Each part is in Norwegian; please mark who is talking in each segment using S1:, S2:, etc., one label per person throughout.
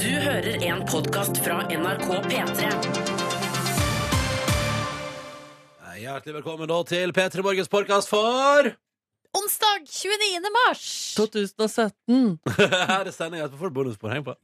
S1: Du hører en podkast fra NRK P3.
S2: Eh, Hjertelig velkommen da til P3 Morgens podkast for
S3: Onsdag 29. mars.
S4: 2017.
S2: Her er sendinga etterpå får du bonuspoeng på.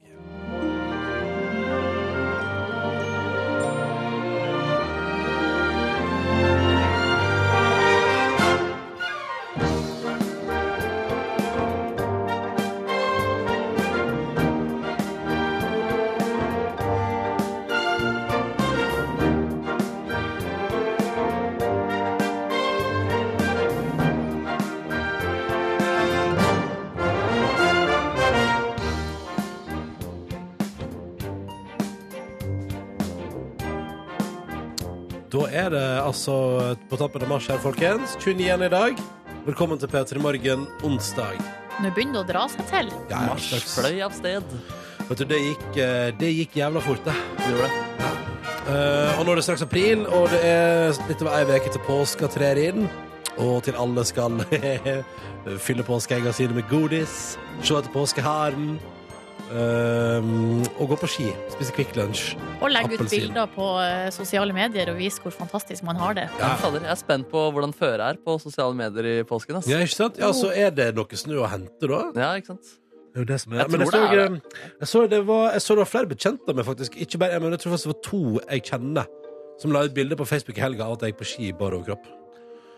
S2: Da er det altså på tampen av mars her, folkens. 29. i dag. Velkommen til P3 Morgen onsdag.
S3: Nå begynner det å dra seg til.
S2: Ja, ja,
S4: Mars
S2: slags-
S4: fløy av sted.
S2: Vet du, det gikk, eh, det gikk jævla fort, det.
S4: Gjorde det.
S2: Eh, og nå er det straks april, og det er litt over ei uke til påska trer inn. Og til alle skal fylle påskeegga sine med godis, se etter påskeharen. eh, og gå på ski. Spise Kvikk Lunsj.
S3: Og legge ut
S2: Appelsin.
S3: bilder på eh, sosiale medier og vise hvor fantastisk man har det.
S2: Ja.
S4: Men fader, jeg er spent på hvordan føret er på sosiale medier i påsken. Ass.
S2: Ja, ikke sant? Ja, så er det noe snø å hente, da.
S4: Ja, ikke sant?
S2: Det er jo det som er.
S4: Jeg
S2: men jeg
S4: tror
S2: så, eh,
S4: det er
S2: jeg, så det var, jeg så det var flere bekjente av meg, faktisk. Ikke bare jeg, men jeg tror faktisk det var to jeg kjenner, som la ut bilde på Facebook i helga av at jeg gikk på ski i bar overkropp.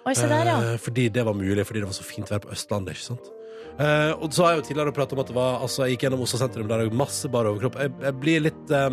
S3: Oi, se der, ja.
S2: Eh, fordi det var mulig, fordi det var så fint vær på Østlandet, ikke sant? Eh, og så har jeg jo tidligere pratet om at det var Altså, jeg gikk gjennom Oslo sentrum der det var masse bar overkropp. Jeg, jeg blir litt eh,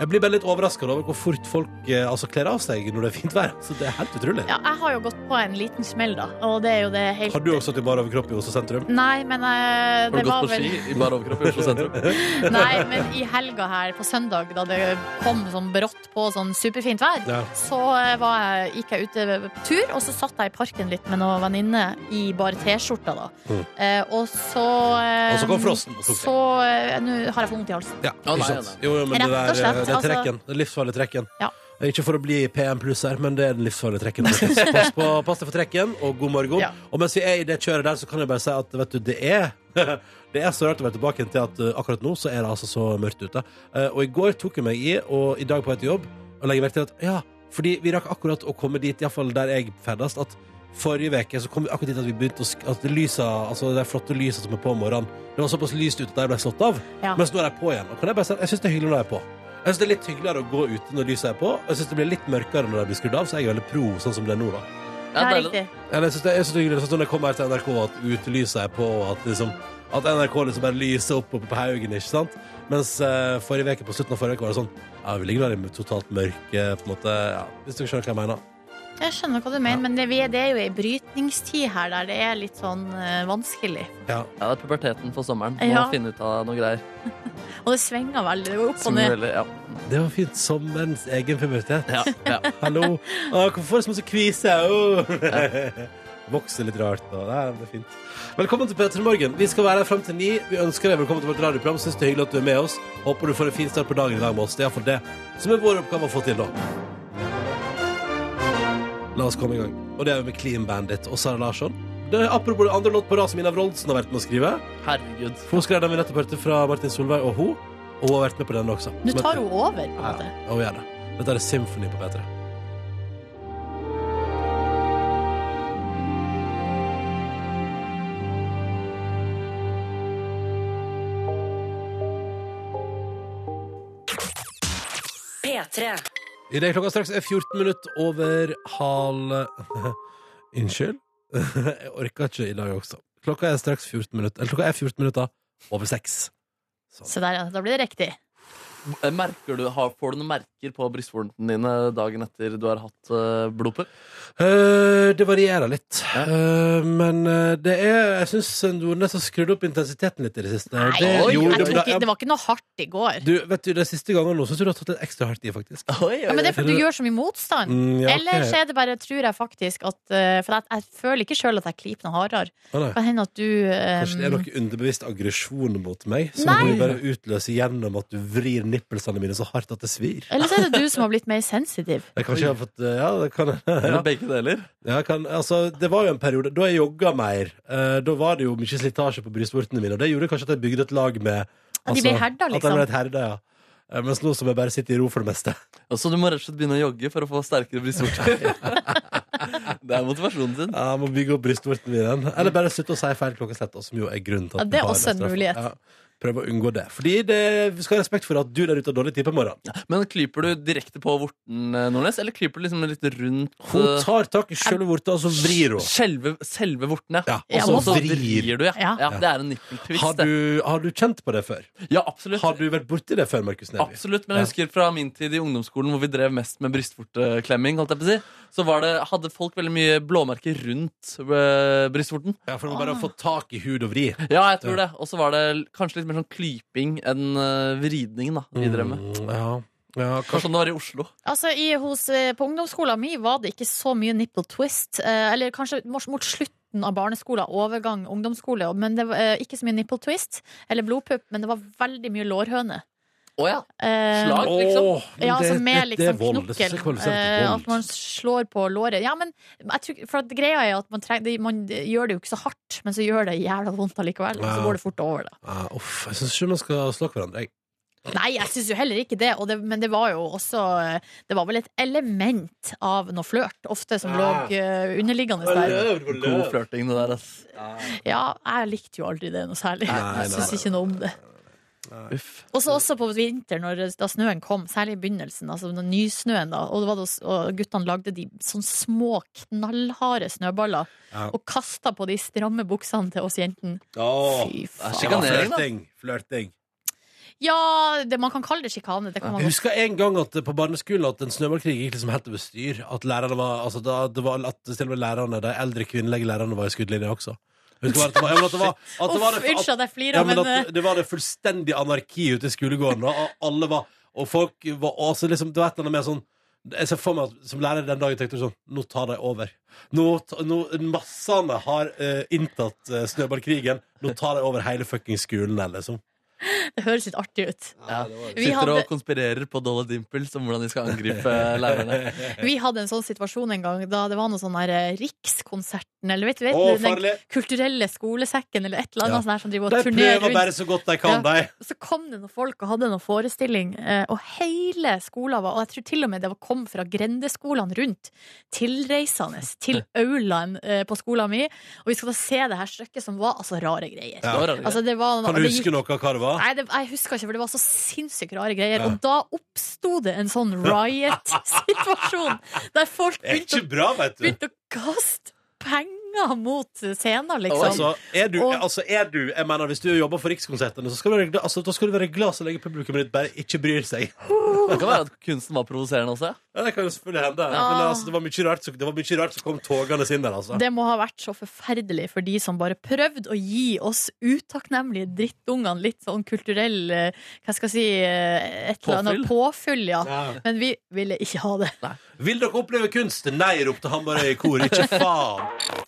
S2: Jeg blir bare litt overraska over hvor fort folk eh, altså, kler av seg når det er fint vær. Så det er helt utrolig.
S3: ja. Jeg har jo gått på en liten smell, da. Og det er jo det helt
S2: Har du også stått i bar overkropp i Oslo sentrum?
S3: Nei, men eh,
S4: Har
S3: det
S4: du gått
S3: var
S4: på
S3: vel
S4: ski i bar overkropp i Oslo sentrum?
S3: Nei, men i helga her på søndag, da det kom sånn brått på sånn superfint vær,
S2: Ja.
S3: så eh, var jeg, gikk jeg ute på tur, og så satt jeg i parken litt med noen venninner i bare T-skjorta, da.
S2: Mm.
S3: Eh, og så eh,
S2: Og så kom frosten og tok deg.
S3: Så eh, Nå har jeg vondt i halsen.
S2: Ja,
S4: Å,
S2: ikke
S4: nei,
S2: sant?
S4: nei.
S2: Jo, jo, men
S3: Rett
S2: det der, eh,
S3: og slett,
S2: det er
S3: altså-
S2: trekken. Det er livsfarlig trekken.
S3: Ja.
S2: Ikke for å bli PM pluss her, men det er den livsfarlige trekken. folkens. Pass, på, pass deg for trekken, og god morgen.
S3: Ja.
S2: Og mens vi er i det kjøret der, så kan jeg bare si at vet du, det er Det er så rart å være tilbake igjen til at uh, akkurat nå så er det altså så mørkt ute. Eh, og i går tok jeg meg i, og i dag på vei til jobb, å legge merke til at ja, fordi vi rakk akkurat å komme dit, iallfall der jeg ferdes, at forrige uke så kom vi akkurat dit at vi begynte å sk- At det lysa, altså de flotte lysa som er på om morgenen, det var såpass lyst ute at jeg ble slått av.
S3: Ja.
S2: Mens nå er de på igjen. Og kan jeg bare si at jeg syns det er hyggelig når de er på. Jeg synes Det er litt hyggeligere å gå ute når lyset er på. Og jeg synes det blir litt mørkere når de blir skrudd av, så jeg er veldig pro sånn som det er nå. da
S4: Ja,
S3: det er
S4: deilig.
S3: riktig.
S2: Eller jeg synes det jeg synes det er hyggelig sånn som når jeg kommer her til NRK, at utelyset er på, og at, liksom, at NRK liksom bare lyser opp oppe på haugen, ikke sant? Mens eh, forrige uke, på slutten av forrige uke var det sånn Ja, vi ligger der i totalt mørke, på en måte. Ja, hvis du skjønner hva jeg mener.
S3: Jeg skjønner hva du mener, men det, vi er- det er jo ei brytningstid her der det er litt sånn eh, vanskelig.
S2: Ja.
S4: Ja, det er puberteten for sommeren. Må
S3: Ja.
S4: finne ut av noen greier.
S3: Og det svinger veldig. Det går opp og
S4: Som
S3: ned.
S4: veldig, ja.
S2: Det var fint. Sommerens egen pubertet.
S4: Ja, ja.
S2: Hallo. Å, hvorfor får jeg så masse kvise? Å. Vokser litt rart. Og. Nei, det er fint. Velkommen til P3 Morgen. Vi skal være her fram til ni. Vi ønsker deg velkommen til vårt radioprogram. Syns det er hyggelig at du er med oss. Håper du får en fin start på dagen i dag med oss. Det er iallfall det som er vår oppgave å få til, da. La oss komme i gang. Og det er jo med Clean Bandit og Sara Larsson. Det er apropos det andre låt på rad som Ina Wroldsen har vært med å skrive.
S4: Herregud.
S2: For hun skrev den vi nettopp hørte fra Martin Solveig og hun. Og hun har vært med på den også.
S3: Nå tar hun over, på en
S2: Ja,
S3: måte.
S2: ja, hun gjør det. Dette er Symphony på P3.
S1: P3.
S2: I det klokka straks er 14 minutt over halv Unnskyld? Jeg orka ikke i dag også. Klokka er straks 14 minutter Eller klokka er 14 minutter over seks.
S3: Se der, ja. Da blir det riktig.
S4: Eh, Merker du, har, får du noen merker på brystvortene dine dagen etter du har hatt uh, blodpupp?
S2: Eh, det varierer litt.
S4: Ja.
S2: Eh, men eh, det er Jeg syns Nordnes har skrudd opp intensiteten litt i det siste.
S3: Nei,
S2: det,
S4: oi,
S2: jo,
S3: jeg
S2: det-
S3: tror ikke, det var ikke noe hardt i går.
S2: du, vet du, De siste gangene nå syns jeg du har tatt litt ekstra hardt i, faktisk.
S3: Ja, men det er fordi du gjør så mye motstand.
S2: Mm, ja, ok.
S3: Eller så er det bare, tror jeg faktisk at eh, For jeg, jeg føler ikke sjøl at jeg klyper noe hardere.
S2: Å, nei.
S3: Kan hende at du eh,
S2: Kanskje det er noe underbevisst aggresjon mot meg som
S3: Nei!
S2: du bare utløser gjennom at du vrir nippelsene mine så hardt at det svir.
S3: Eller så er det du som har blitt mer sensitiv.
S2: Jeg kanskje har fått eh, Ja, det kan
S4: Eller
S2: ja.
S4: begge deler.
S2: Ja, kan, altså, Det var jo en periode da jeg jogga mer. eh, da var det jo mye slitasje på brystvortene mine, og det gjorde kanskje at jeg bygde et lag med altså,
S3: At de ble herda,
S2: At jeg
S3: liksom.
S2: ble et herda, ja. Eh, Mens nå som jeg bare sitter i ro for det meste.
S4: Og så du må rett og slett begynne å jogge for å få sterkere brystvorter. det er motivasjonen sin.
S2: Jeg må bygge opp brystvortene mine igjen. Eller bare slutte å si feil klokkeslett, da, som jo er grunnen til at
S3: Ja, det er
S2: vi har
S3: også en
S2: straff.
S3: mulighet.
S2: Ja, prøv å unngå det. Fordi det, vi skal ha respekt for at du der ute har dårlig tid på morgenen.
S4: Men klyper du direkte på vorten, eh, Nordnes, eller klyper du liksom litt rundt
S2: Hun
S4: eh,
S2: tar tak i sjølve vorta, og så vrir hun.
S4: selve, selve vorten, ja.
S2: Ja,
S4: Og
S3: Ja,
S4: så-
S3: man
S4: så
S2: vrir.
S4: vrir du, ja.
S3: Ja.
S4: ja. Det er en nippeltvist.
S2: Har
S4: det.
S2: du, har du kjent på det før?
S4: Ja, absolutt.
S2: Har du vært borti det før, Markus Neby?
S4: Absolutt, men jeg husker fra min tid i ungdomsskolen hvor vi drev mest med brystvorteklemming, holdt jeg på å si, så var det, hadde folk veldig mye blåmerker rundt eh, brystvorten.
S2: Ja, for det
S3: Ah.
S2: var bare å få tak i hud og vri.
S4: Ja, jeg tror det. Og så var det l- kanskje litt mer sånn klyping enn eh, vridning, da, vi drev med.
S2: Mm, ja. ja,
S4: Det var sånn det var i Oslo.
S3: Altså, i, hos, eh, På ungdomsskolen min var det ikke så mye nipple twist. Eh, eller kanskje mot, mot slutten av barneskolen, overgang ungdomsskole. Men det var eh, ikke så mye nipple twist eller blodpupp, men det var veldig mye lårhøne.
S4: Å ja.
S3: Eh,
S4: Slag? liksom.
S2: Åh, men
S3: Ja,
S2: det-
S3: altså med
S2: det- det er
S3: liksom
S2: vold. Det synes jeg
S3: knokkel.
S2: kvalifiserer
S3: eh,
S2: til
S3: At man
S2: vold.
S3: slår på låret. Ja, men jeg tror, for at greia er at man, treng, det, man gjør det jo ikke så hardt, men så gjør det jævla vondt allikevel. Og
S2: Ja.
S3: så går det fort over, da.
S2: Ja, Ah, uff, jeg syns ikke man skal slå hverandre. Jeg.
S3: Nei, jeg syns jo heller ikke det, og det, men det var jo også Det var vel et element av noe flørt, ofte, som lå
S2: Ah.
S3: eh, underliggende der.
S4: God flørting, det der, ass.
S3: Ja, jeg likte jo aldri det noe særlig.
S2: Nei,
S3: Jeg
S2: nei,
S3: syns ikke noe om det.
S4: Uff.
S3: Og så også på vinteren, når, da snøen kom, særlig i begynnelsen, altså den nysnøen, da, og, det var da s- og guttene lagde de sånn små, knallharde snøballer
S2: Ja.
S3: og kasta på de stramme buksene til oss jentene.
S2: Åh,
S3: Fy
S2: det
S3: faen.
S2: var
S4: Sjikanering, da.
S2: flørting. Flørting.
S3: Ja, det, man kan kalle det sjikane. Det kan man
S2: Jeg
S3: godt.
S2: husker en gang at eh, på barneskolen at en snøballkrig gikk liksom helt over styr. At lærerne var, altså da, det var at til og med lærerne, de eldre kvinnelige lærerne var i skuddlinja også. Jeg husker bare at det var, ja, men at det var, at det var,
S3: Uff,
S2: det- at,
S3: unnskyld at jeg
S2: ja,
S3: flirer,
S2: men
S3: men, eh,
S2: at det var det fullstendig anarki ute i skolegården, og alle var Og folk var også liksom Det var et eller annet med sånn jeg ser for meg at Som lærer den dagen tenkte jeg sånn Nå tar de over. Nå, ta- nå Massene har eh, inntatt eh, snøballkrigen. Nå tar de over hele fuckings skolen, her, liksom.
S3: det høres litt artig ut.
S4: Ja.
S3: Vi
S4: Sitter
S3: hadde-
S4: og konspirerer på Dolly Dimples om hvordan de skal angripe lærerne.
S3: Vi hadde en sånn situasjon en gang da det var noe sånn der eh, Rikskonserten, eller vet du, vet,
S2: Å,
S3: du, den
S2: farlig!
S3: kulturelle skolesekken eller et eller annet
S2: Ja.
S3: sånn her som driver
S2: De
S3: og turnerer
S2: prøver
S3: rundt.
S2: bare så godt de kan, de.
S3: Og Så kom det noen folk og hadde noen forestilling, eh, og hele skolen var, og jeg tror til og med det var- kom fra grendeskolene rundt, tilreisende til aulaen eh, på skolen min, og vi skal da se det her stykket som var altså rare greier.
S2: Ja.
S4: Det var rare greier.
S3: Altså, det var,
S2: Kan du
S3: det
S2: huske noe av hva det var?
S3: Nei, det, jeg husker ikke, for det var så sinnssykt rare greier.
S2: Ja.
S3: Og da oppsto det en sånn riot-situasjon, der folk
S2: Det er
S3: begynte å
S2: ikke bra, vet du.
S3: begynte å kaste penger mot scenen, liksom.
S2: Altså, er du,
S3: Og-
S2: altså, er du Jeg mener, hvis du jobber for Rikskonsertene, så skal du være glad, altså, da skal du være glad så lenge publikummet ditt bare ikke bryr seg.
S4: Det kan være at kunsten var provoserende også. ja.
S2: Ja, det kan jo selvfølgelig hende. Men
S3: Ah.
S2: altså, det var mye rart, som- det var mye rart som kom togene inn der, altså.
S3: det må ha vært så forferdelig for de som bare prøvde å gi oss utakknemlige drittungene litt sånn kulturell eh, Hva skal jeg si eh, Et eller annet påfyll, ja.
S2: Ja.
S3: Men vi ville ikke ha det.
S2: Vil dere oppleve kunst? Nei, ropte Hammarøy i kor. Ikke faen!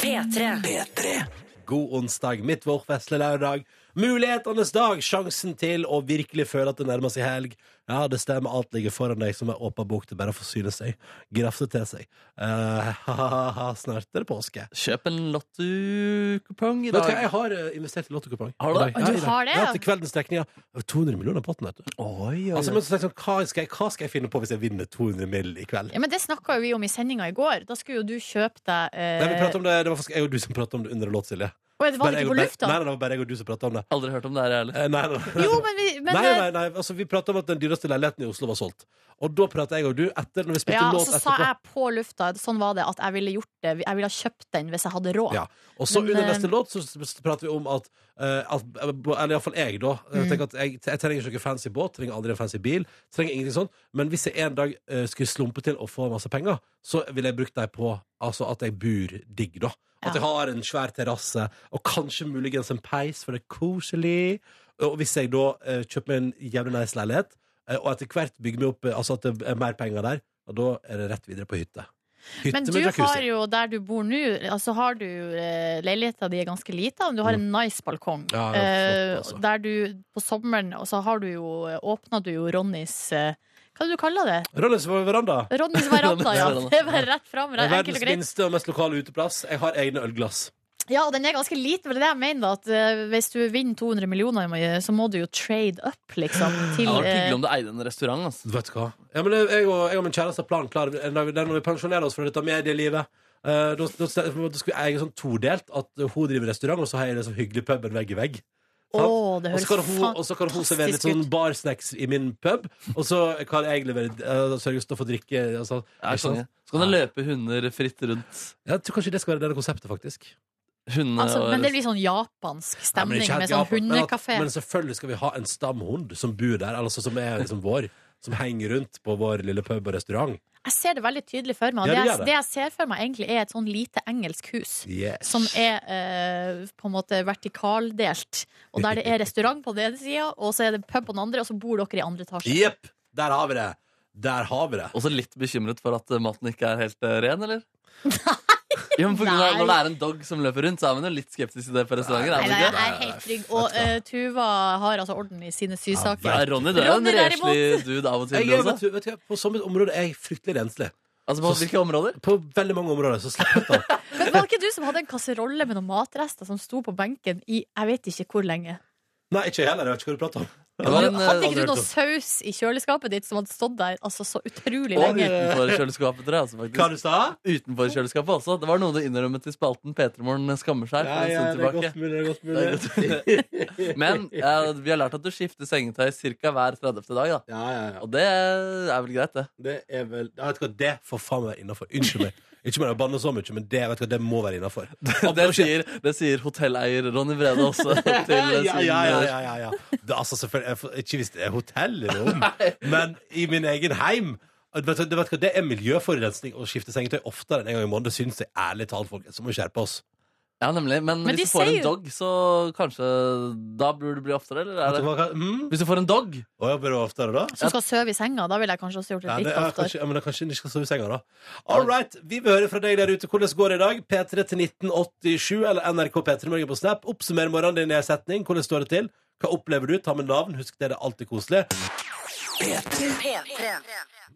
S1: P3.
S2: God onsdag, mitt vårfestlige lørdag. Mulighetenes dag, sjansen til å virkelig føle at det nærmer seg helg. Ja, det stemmer, alt ligger foran deg som en åpen bok til bare å forsyne seg. Grafse til seg. Eh, ha-ha-ha, snart er det påske.
S4: Kjøp en lotto-kupong i
S2: Vet du hva,
S4: dag.
S2: jeg har eh, investert i lottokupong.
S4: Har du det?
S2: I dag. Ja,
S3: Du
S2: i dag.
S3: har det,
S2: Ja,
S3: ja.
S2: til kveldens trekning, ja. Det var 200 millioner i potten, vet du. Altså, men så tenkte jeg sånn, hva skal, jeg, hva skal jeg finne på hvis jeg vinner 200 mill. i kveld?
S3: Ja, men det snakka jo vi om i sendinga i går. Da skulle jo du kjøpe deg eh,
S2: Nei, vi pratet om det, det var faktisk jeg og du som pratet om det under en låt, Silje.
S3: Oi, det var
S2: Bare jeg
S3: ikke
S2: og-
S3: på lufta?
S2: Nei, nei, det var bare jeg og du som pratet om det.
S4: Aldri hørt om det her, jeg heller.
S2: Eh, Nei, nei, nei.
S3: Jo, men vi men, eh,
S2: nei, nei, nei. Altså, vi pratet om at den dyreste leiligheten i Oslo var solgt. Og da pratet jeg og du etter, når vi spilte
S3: Ja, og
S2: låt
S3: så sa
S2: etterpå.
S3: jeg på lufta sånn var det, at jeg ville gjort det Jeg ville ha kjøpt den hvis jeg hadde råd.
S2: Ja. Og så
S3: Men,
S2: under
S3: eh,
S2: neste låt så s- prater vi om at, eh, at Eller iallfall jeg, da. Jeg,
S3: Mm.
S2: tenker at jeg, jeg trenger ikke noen fancy båt, trenger aldri en fancy bil. Trenger ingenting sånn Men hvis jeg en dag eh, skulle slumpe til å få masse penger, så ville jeg brukt dem på altså, at jeg bor digg, da. At
S3: Ja.
S2: jeg har en svær terrasse, og kanskje muligens en peis, for det er koselig. Og hvis jeg da eh, kjøper meg en jævlig nice leilighet, eh, og etter hvert bygger meg opp eh, Altså at det er mer penger der, og da er det rett videre på hytte. Hytte
S3: Men du
S2: med
S3: har
S2: jacuzzi.
S3: jo, der du bor nå, altså har du eh, leiligheta di er ganske lita, men du har en nice balkong.
S2: Mm. Ja, det er flott,
S3: Eh,
S2: altså.
S3: Der du på sommeren, og så har du jo åpna du jo Ronnys eh, Hva er det du kaller det?
S2: Rollins på veranda.
S3: Ronnys veranda, ja.
S4: Ronnys veranda.
S3: Det er bare rett fram.
S2: Det er
S3: Enkelt
S2: verdens
S3: og greit.
S2: minste og mest lokale uteplass. Jeg har egne ølglass.
S3: Ja, og den er ganske liten, men det er det jeg mener, da. At eh, hvis du vinner 200 millioner, så må du jo trade up, liksom,
S4: Det
S3: til
S4: hadde vært
S3: eh,
S4: hyggelig om du eide en restaurant. Altså.
S2: Vet du hva? Ja, men jeg, jeg, og, jeg og min kjæreste har planen klar. En dag- Når vi pensjonerer oss fra dette medielivet, eh, da, da, da skal vi eie sånn todelt at hun driver restaurant, og så har jeg liksom hyggelig puben vegg i vegg.
S3: Å,
S2: Sant?
S3: det
S2: Og så kan
S3: høres
S2: hun, og så kan hun servere litt
S3: fantastisk
S2: sånn
S3: ut.
S2: barsnacks i min pub, og så kan jeg levere uh, sørge for å få drikke. Altså,
S4: Ja,
S2: ikke sant?
S4: konge. Så kan du løpe hunder fritt rundt.
S2: Jeg tror kanskje det skal være det konseptet, faktisk.
S4: Hunde
S3: Altså,
S4: og
S3: men det blir sånn japansk
S2: Ja, men
S3: stemning
S2: ikke helt
S3: med sånn
S2: Japan, men at-
S3: hundekafé.
S2: Men selvfølgelig skal vi ha en stamhund som bor der, altså som er liksom vår. Som henger rundt på vår lille pub og restaurant.
S3: Jeg ser det veldig tydelig for meg. Og
S2: Ja,
S3: det,
S2: du gjør
S3: jeg,
S2: det.
S3: det jeg ser for meg, egentlig er et sånn lite engelsk hus.
S2: Yes.
S3: Som er eh, på en måte vertikaldelt. Og der det er restaurant på den ene sida, og så er det pub på den andre, og så bor dere i andre etasje.
S2: Jepp! Der har vi det! Der har vi det.
S4: Også litt bekymret for at eh, maten ikke er helt eh, ren, eller? Jo, men på grunn av,
S3: Nei.
S4: når det er en dog som løper rundt, så er man jo litt skeptisk til det på restauranter.
S3: Nei,
S4: Er
S3: nei,
S4: man
S3: jeg
S4: ikke?
S3: er helt trygg. Og eh, Tuva har altså orden i sine
S4: Ja,
S3: sysaker.
S4: Ronny det er jo en
S3: Ronny, derimot.
S4: reslig dude av og til.
S2: Jeg er, vet
S4: også.
S2: du, vet du, på sånne områder er jeg fryktelig renslig.
S4: Altså, på hvilke områder?
S2: På veldig mange områder. Så slapp helt av.
S3: Men var ikke du som hadde en kasserolle med noen matrester som sto på benken i jeg vet ikke hvor lenge?
S2: Nei, ikke jeg heller. Jeg vet ikke hva du prater om.
S4: Det var en,
S3: Hadde
S4: eh,
S3: ikke
S2: aldri
S3: du noe
S2: hørt
S3: saus i kjøleskapet ditt som hadde stått der altså, så utrolig
S4: og
S3: lenge?
S4: utenfor kjøleskapet, tror jeg. Altså,
S2: Hva
S4: faktisk.
S2: du sa
S4: Utenfor kjøleskapet også. Det var noe du innrømmet i spalten P3morgen skammer seg. for en
S2: Sånn
S4: stund tilbake.
S2: mulig.
S4: Det er Men eh, vi har lært at du skifter sengetøy ca. hver 30. dag. da
S2: Ja, ja, ja.
S4: Og det er vel greit, det.
S2: Det er vel Jeg vet ikke hva det får faen meg være innafor. Unnskyld meg. Ikke med å banne så mye, men det, vet du hva, det må være innafor.
S4: Det sier, det sier hotelleier Ronny Brede også til
S2: Ja,
S4: sin eh,
S2: ja, ja, ja, ja, ja. Det, er altså, selvfølgelig, jeg, får- ikke hvis det er hotellrom, men i min egen heim. Vet du, vet du, hva, det er miljøforurensning å skifte sengetøy oftere enn en gang i måneden. Det syns jeg ærlig talt, folkens. Så må vi skjerpe oss.
S4: Ja, nemlig. Men,
S3: Men de
S4: hvis du får
S3: sier
S4: en
S3: jo-
S4: dog, så kanskje Da burde du bli oftere, eller?
S2: Vet
S4: Er
S2: du
S4: det?
S2: hva, mm?
S4: Hvis du får en dog
S2: Å, jeg bør oftere, da?
S3: Som skal sove i senga. Da ville jeg kanskje også gjort
S2: Ja,
S3: det
S2: det,
S3: litt
S2: ja,
S3: oftere.
S2: kanskje, ja, men da kanskje de skal sove i senga, da. All right, vi vil høre fra deg der ute hvordan går det i dag. P3 til 1987 eller NRK P3 Morgen på Snap. Oppsummer morgenen din i en setning. Hvordan står det til? Hva opplever du? Ta med navn. Husk det, det er alltid koselig.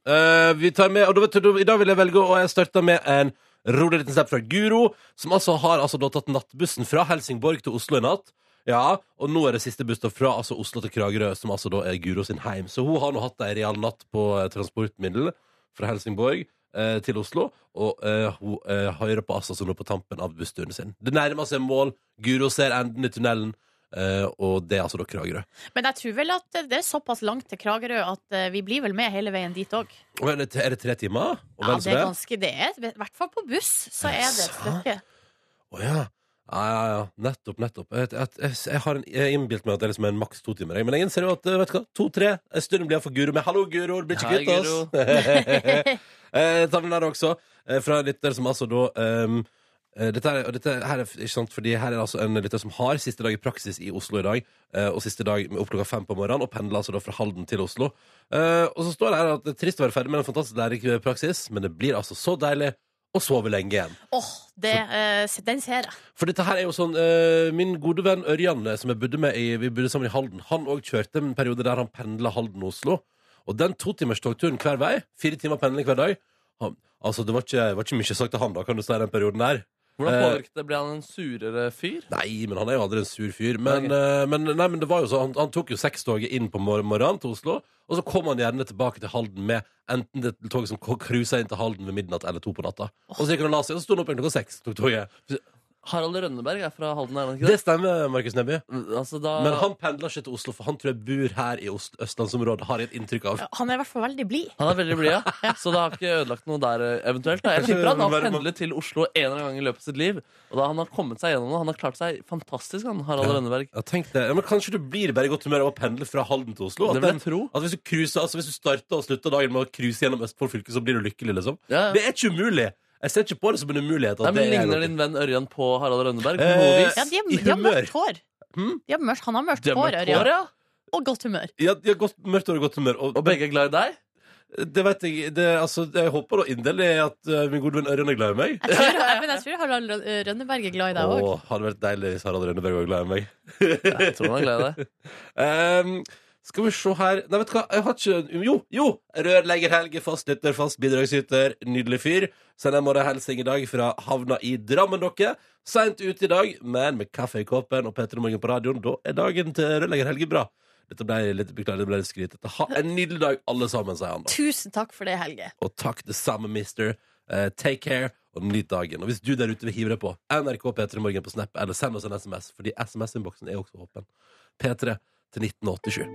S2: Eh, vi tar med, og da vet du, da- I dag vil jeg velge, og jeg starter med en rolig liten snap fra Guro, som altså har altså da tatt nattbussen fra Helsingborg til Oslo i natt. Ja, Og nå er det siste buss da fra altså Oslo til Kragerø, som altså da er Guro sin heim. Så hun har nå hatt ei real natt på eh, transportmiddel fra Helsingborg eh, til Oslo, og eh, hun eh, hører på Assa som nå på tampen av bussturen sin. Det nærmer seg mål. Guro ser enden i tunnelen, eh, og det er altså da Kragerø.
S3: Men jeg tror vel at det er såpass langt til Kragerø at eh, vi blir vel med hele veien dit òg.
S2: Og Er det er det tre timer? Og
S3: Ja,
S2: vel så
S3: det er
S2: det?
S3: ganske det er, I hvert fall på buss så er det et stykke.
S2: Å ja. Ja, ja, ja. Nettopp, nettopp. Jeg, jeg, jeg, jeg har en- jeg innbilt meg at det er liksom en maks to timer. jeg. Men jeg innser jo at eh, vet du hva, to-tre en stund blir jeg for guro med. Hallo, guro! Det blir
S4: Hei,
S2: ikke kvitt oss!
S4: Guro.
S2: Eh, Ta den der også, eh, fra en lytter som altså da ehm, eh, dette, er, og dette her er f- ikke sant, fordi her er det altså en lytter som har siste dag i praksis i Oslo i dag. eh, Og siste dag med opp klokka fem på morgenen, og pendler altså da fra Halden til Oslo. Eh, Og så står det her at det er trist å være ferdig med en fantastisk lærerik praksis, men det blir altså så deilig å sove lenge igjen.
S3: Åh, det, eh, se- den ser jeg.
S2: For dette her er jo sånn eh, Min gode venn Ørjan, eh, som jeg bodde med i, vi bodde sammen i Halden, han òg kjørte en periode der han pendla Halden-Oslo. Og den totimers togturen hver vei, fire timer pendling hver dag han, Altså, det var ikke, det var ikke mye sagt til han, da, kan du si, den perioden der.
S4: Hvordan
S2: Eh.
S4: påvirket det? Ble han en surere fyr?
S2: Nei, men han er jo aldri en sur fyr. Men,
S4: Ok.
S2: eh, men, nei, men det var jo så, han, han tok jo sekstoget inn på mor morgenen til Oslo, og så kom han gjerne tilbake til Halden med enten det toget som cruisa inn til Halden ved midnatt eller to på natta. Og så gikk han og la seg, og så sto han opp igjen klokka seks. tok toget.
S4: Harald Rønneberg er fra Halden, er han ikke
S2: Det
S4: det?
S2: stemmer, Markus Neby.
S4: Altså, da,
S2: Men
S4: han...
S2: han pendler ikke til Oslo, for han tror jeg bor her i Øst østlandsområdet, har jeg et inntrykk av.
S3: Han er i hvert fall veldig blid.
S4: er veldig blid, ja. Så det har ikke ødelagt noe der eh, eventuelt. Da. Jeg
S2: Kanskje
S4: tipper han har
S2: det må være-
S4: pendlet til Oslo en eller annen gang i løpet av sitt liv. Og da han har kommet seg gjennom det. Han har klart seg fantastisk, han Harald Rønneberg.
S2: Ja, tenk det. Ja, men kanskje du blir bare i godt humør av å pendle fra Halden til Oslo?
S4: Det vil jeg tro.
S2: at hvis, du cruiser, altså hvis du starter og slutter dagen med å cruise gjennom Østfold fylke, så blir du lykkelig, liksom?
S4: Ja, ja.
S2: Det er ikke umulig! Jeg ser ikke på det som en umulighet.
S4: Nei,
S2: At
S4: men
S2: det er
S4: Ligner
S2: noe.
S4: din venn Ørjan på Harald Rønneberg? På
S2: Eh,
S4: noe vis?
S3: Ja, de,
S2: I
S3: har- de har
S2: humør.
S3: mørkt hår.
S2: Hmm?
S3: De har mørkt, han har mørkt
S4: De har
S3: hår,
S4: mørkt
S3: Ørjan.
S4: hår, ja.
S3: Og godt humør.
S2: Ja, de har godt, mørkt hår og godt humør. Og,
S4: Og begge er glad i deg?
S2: Det vet jeg det, altså, Jeg håper da inderlig at eh, min gode venn Ørjan er glad i meg.
S3: Jeg tror, men jeg tror Harald Rø- Rønneberg er glad i deg òg.
S2: Åh, hadde vært deilig hvis Harald Rønneberg var glad i meg.
S4: Jeg tror han er glad i deg.
S2: Ehm, skal vi se her Nei, vet du hva, jeg har ikke Jo, jo! Rørlegger Helge, fastlytter, fast bidragsyter, nydelig fyr. Sender en morgenhilsen i dag fra havna i Drammen, dere. Seint ute i dag, men med kaffe i koppen og Petter Morgen på radioen, da er dagen til Rørlegger Helge bra. Dette ble litt beklager, det ble litt skrytete. Ha en nydelig dag, alle sammen, sier han. da.
S3: Tusen takk for det, Helge.
S2: Og takk det samme, mister. Eh, take care. Og nyt dagen. Og hvis du der ute vil hive deg på, NRK P3 Morgen på Snap, eller send oss en SMS, fordi SMS-innboksen er også åpen. P3 til 1987.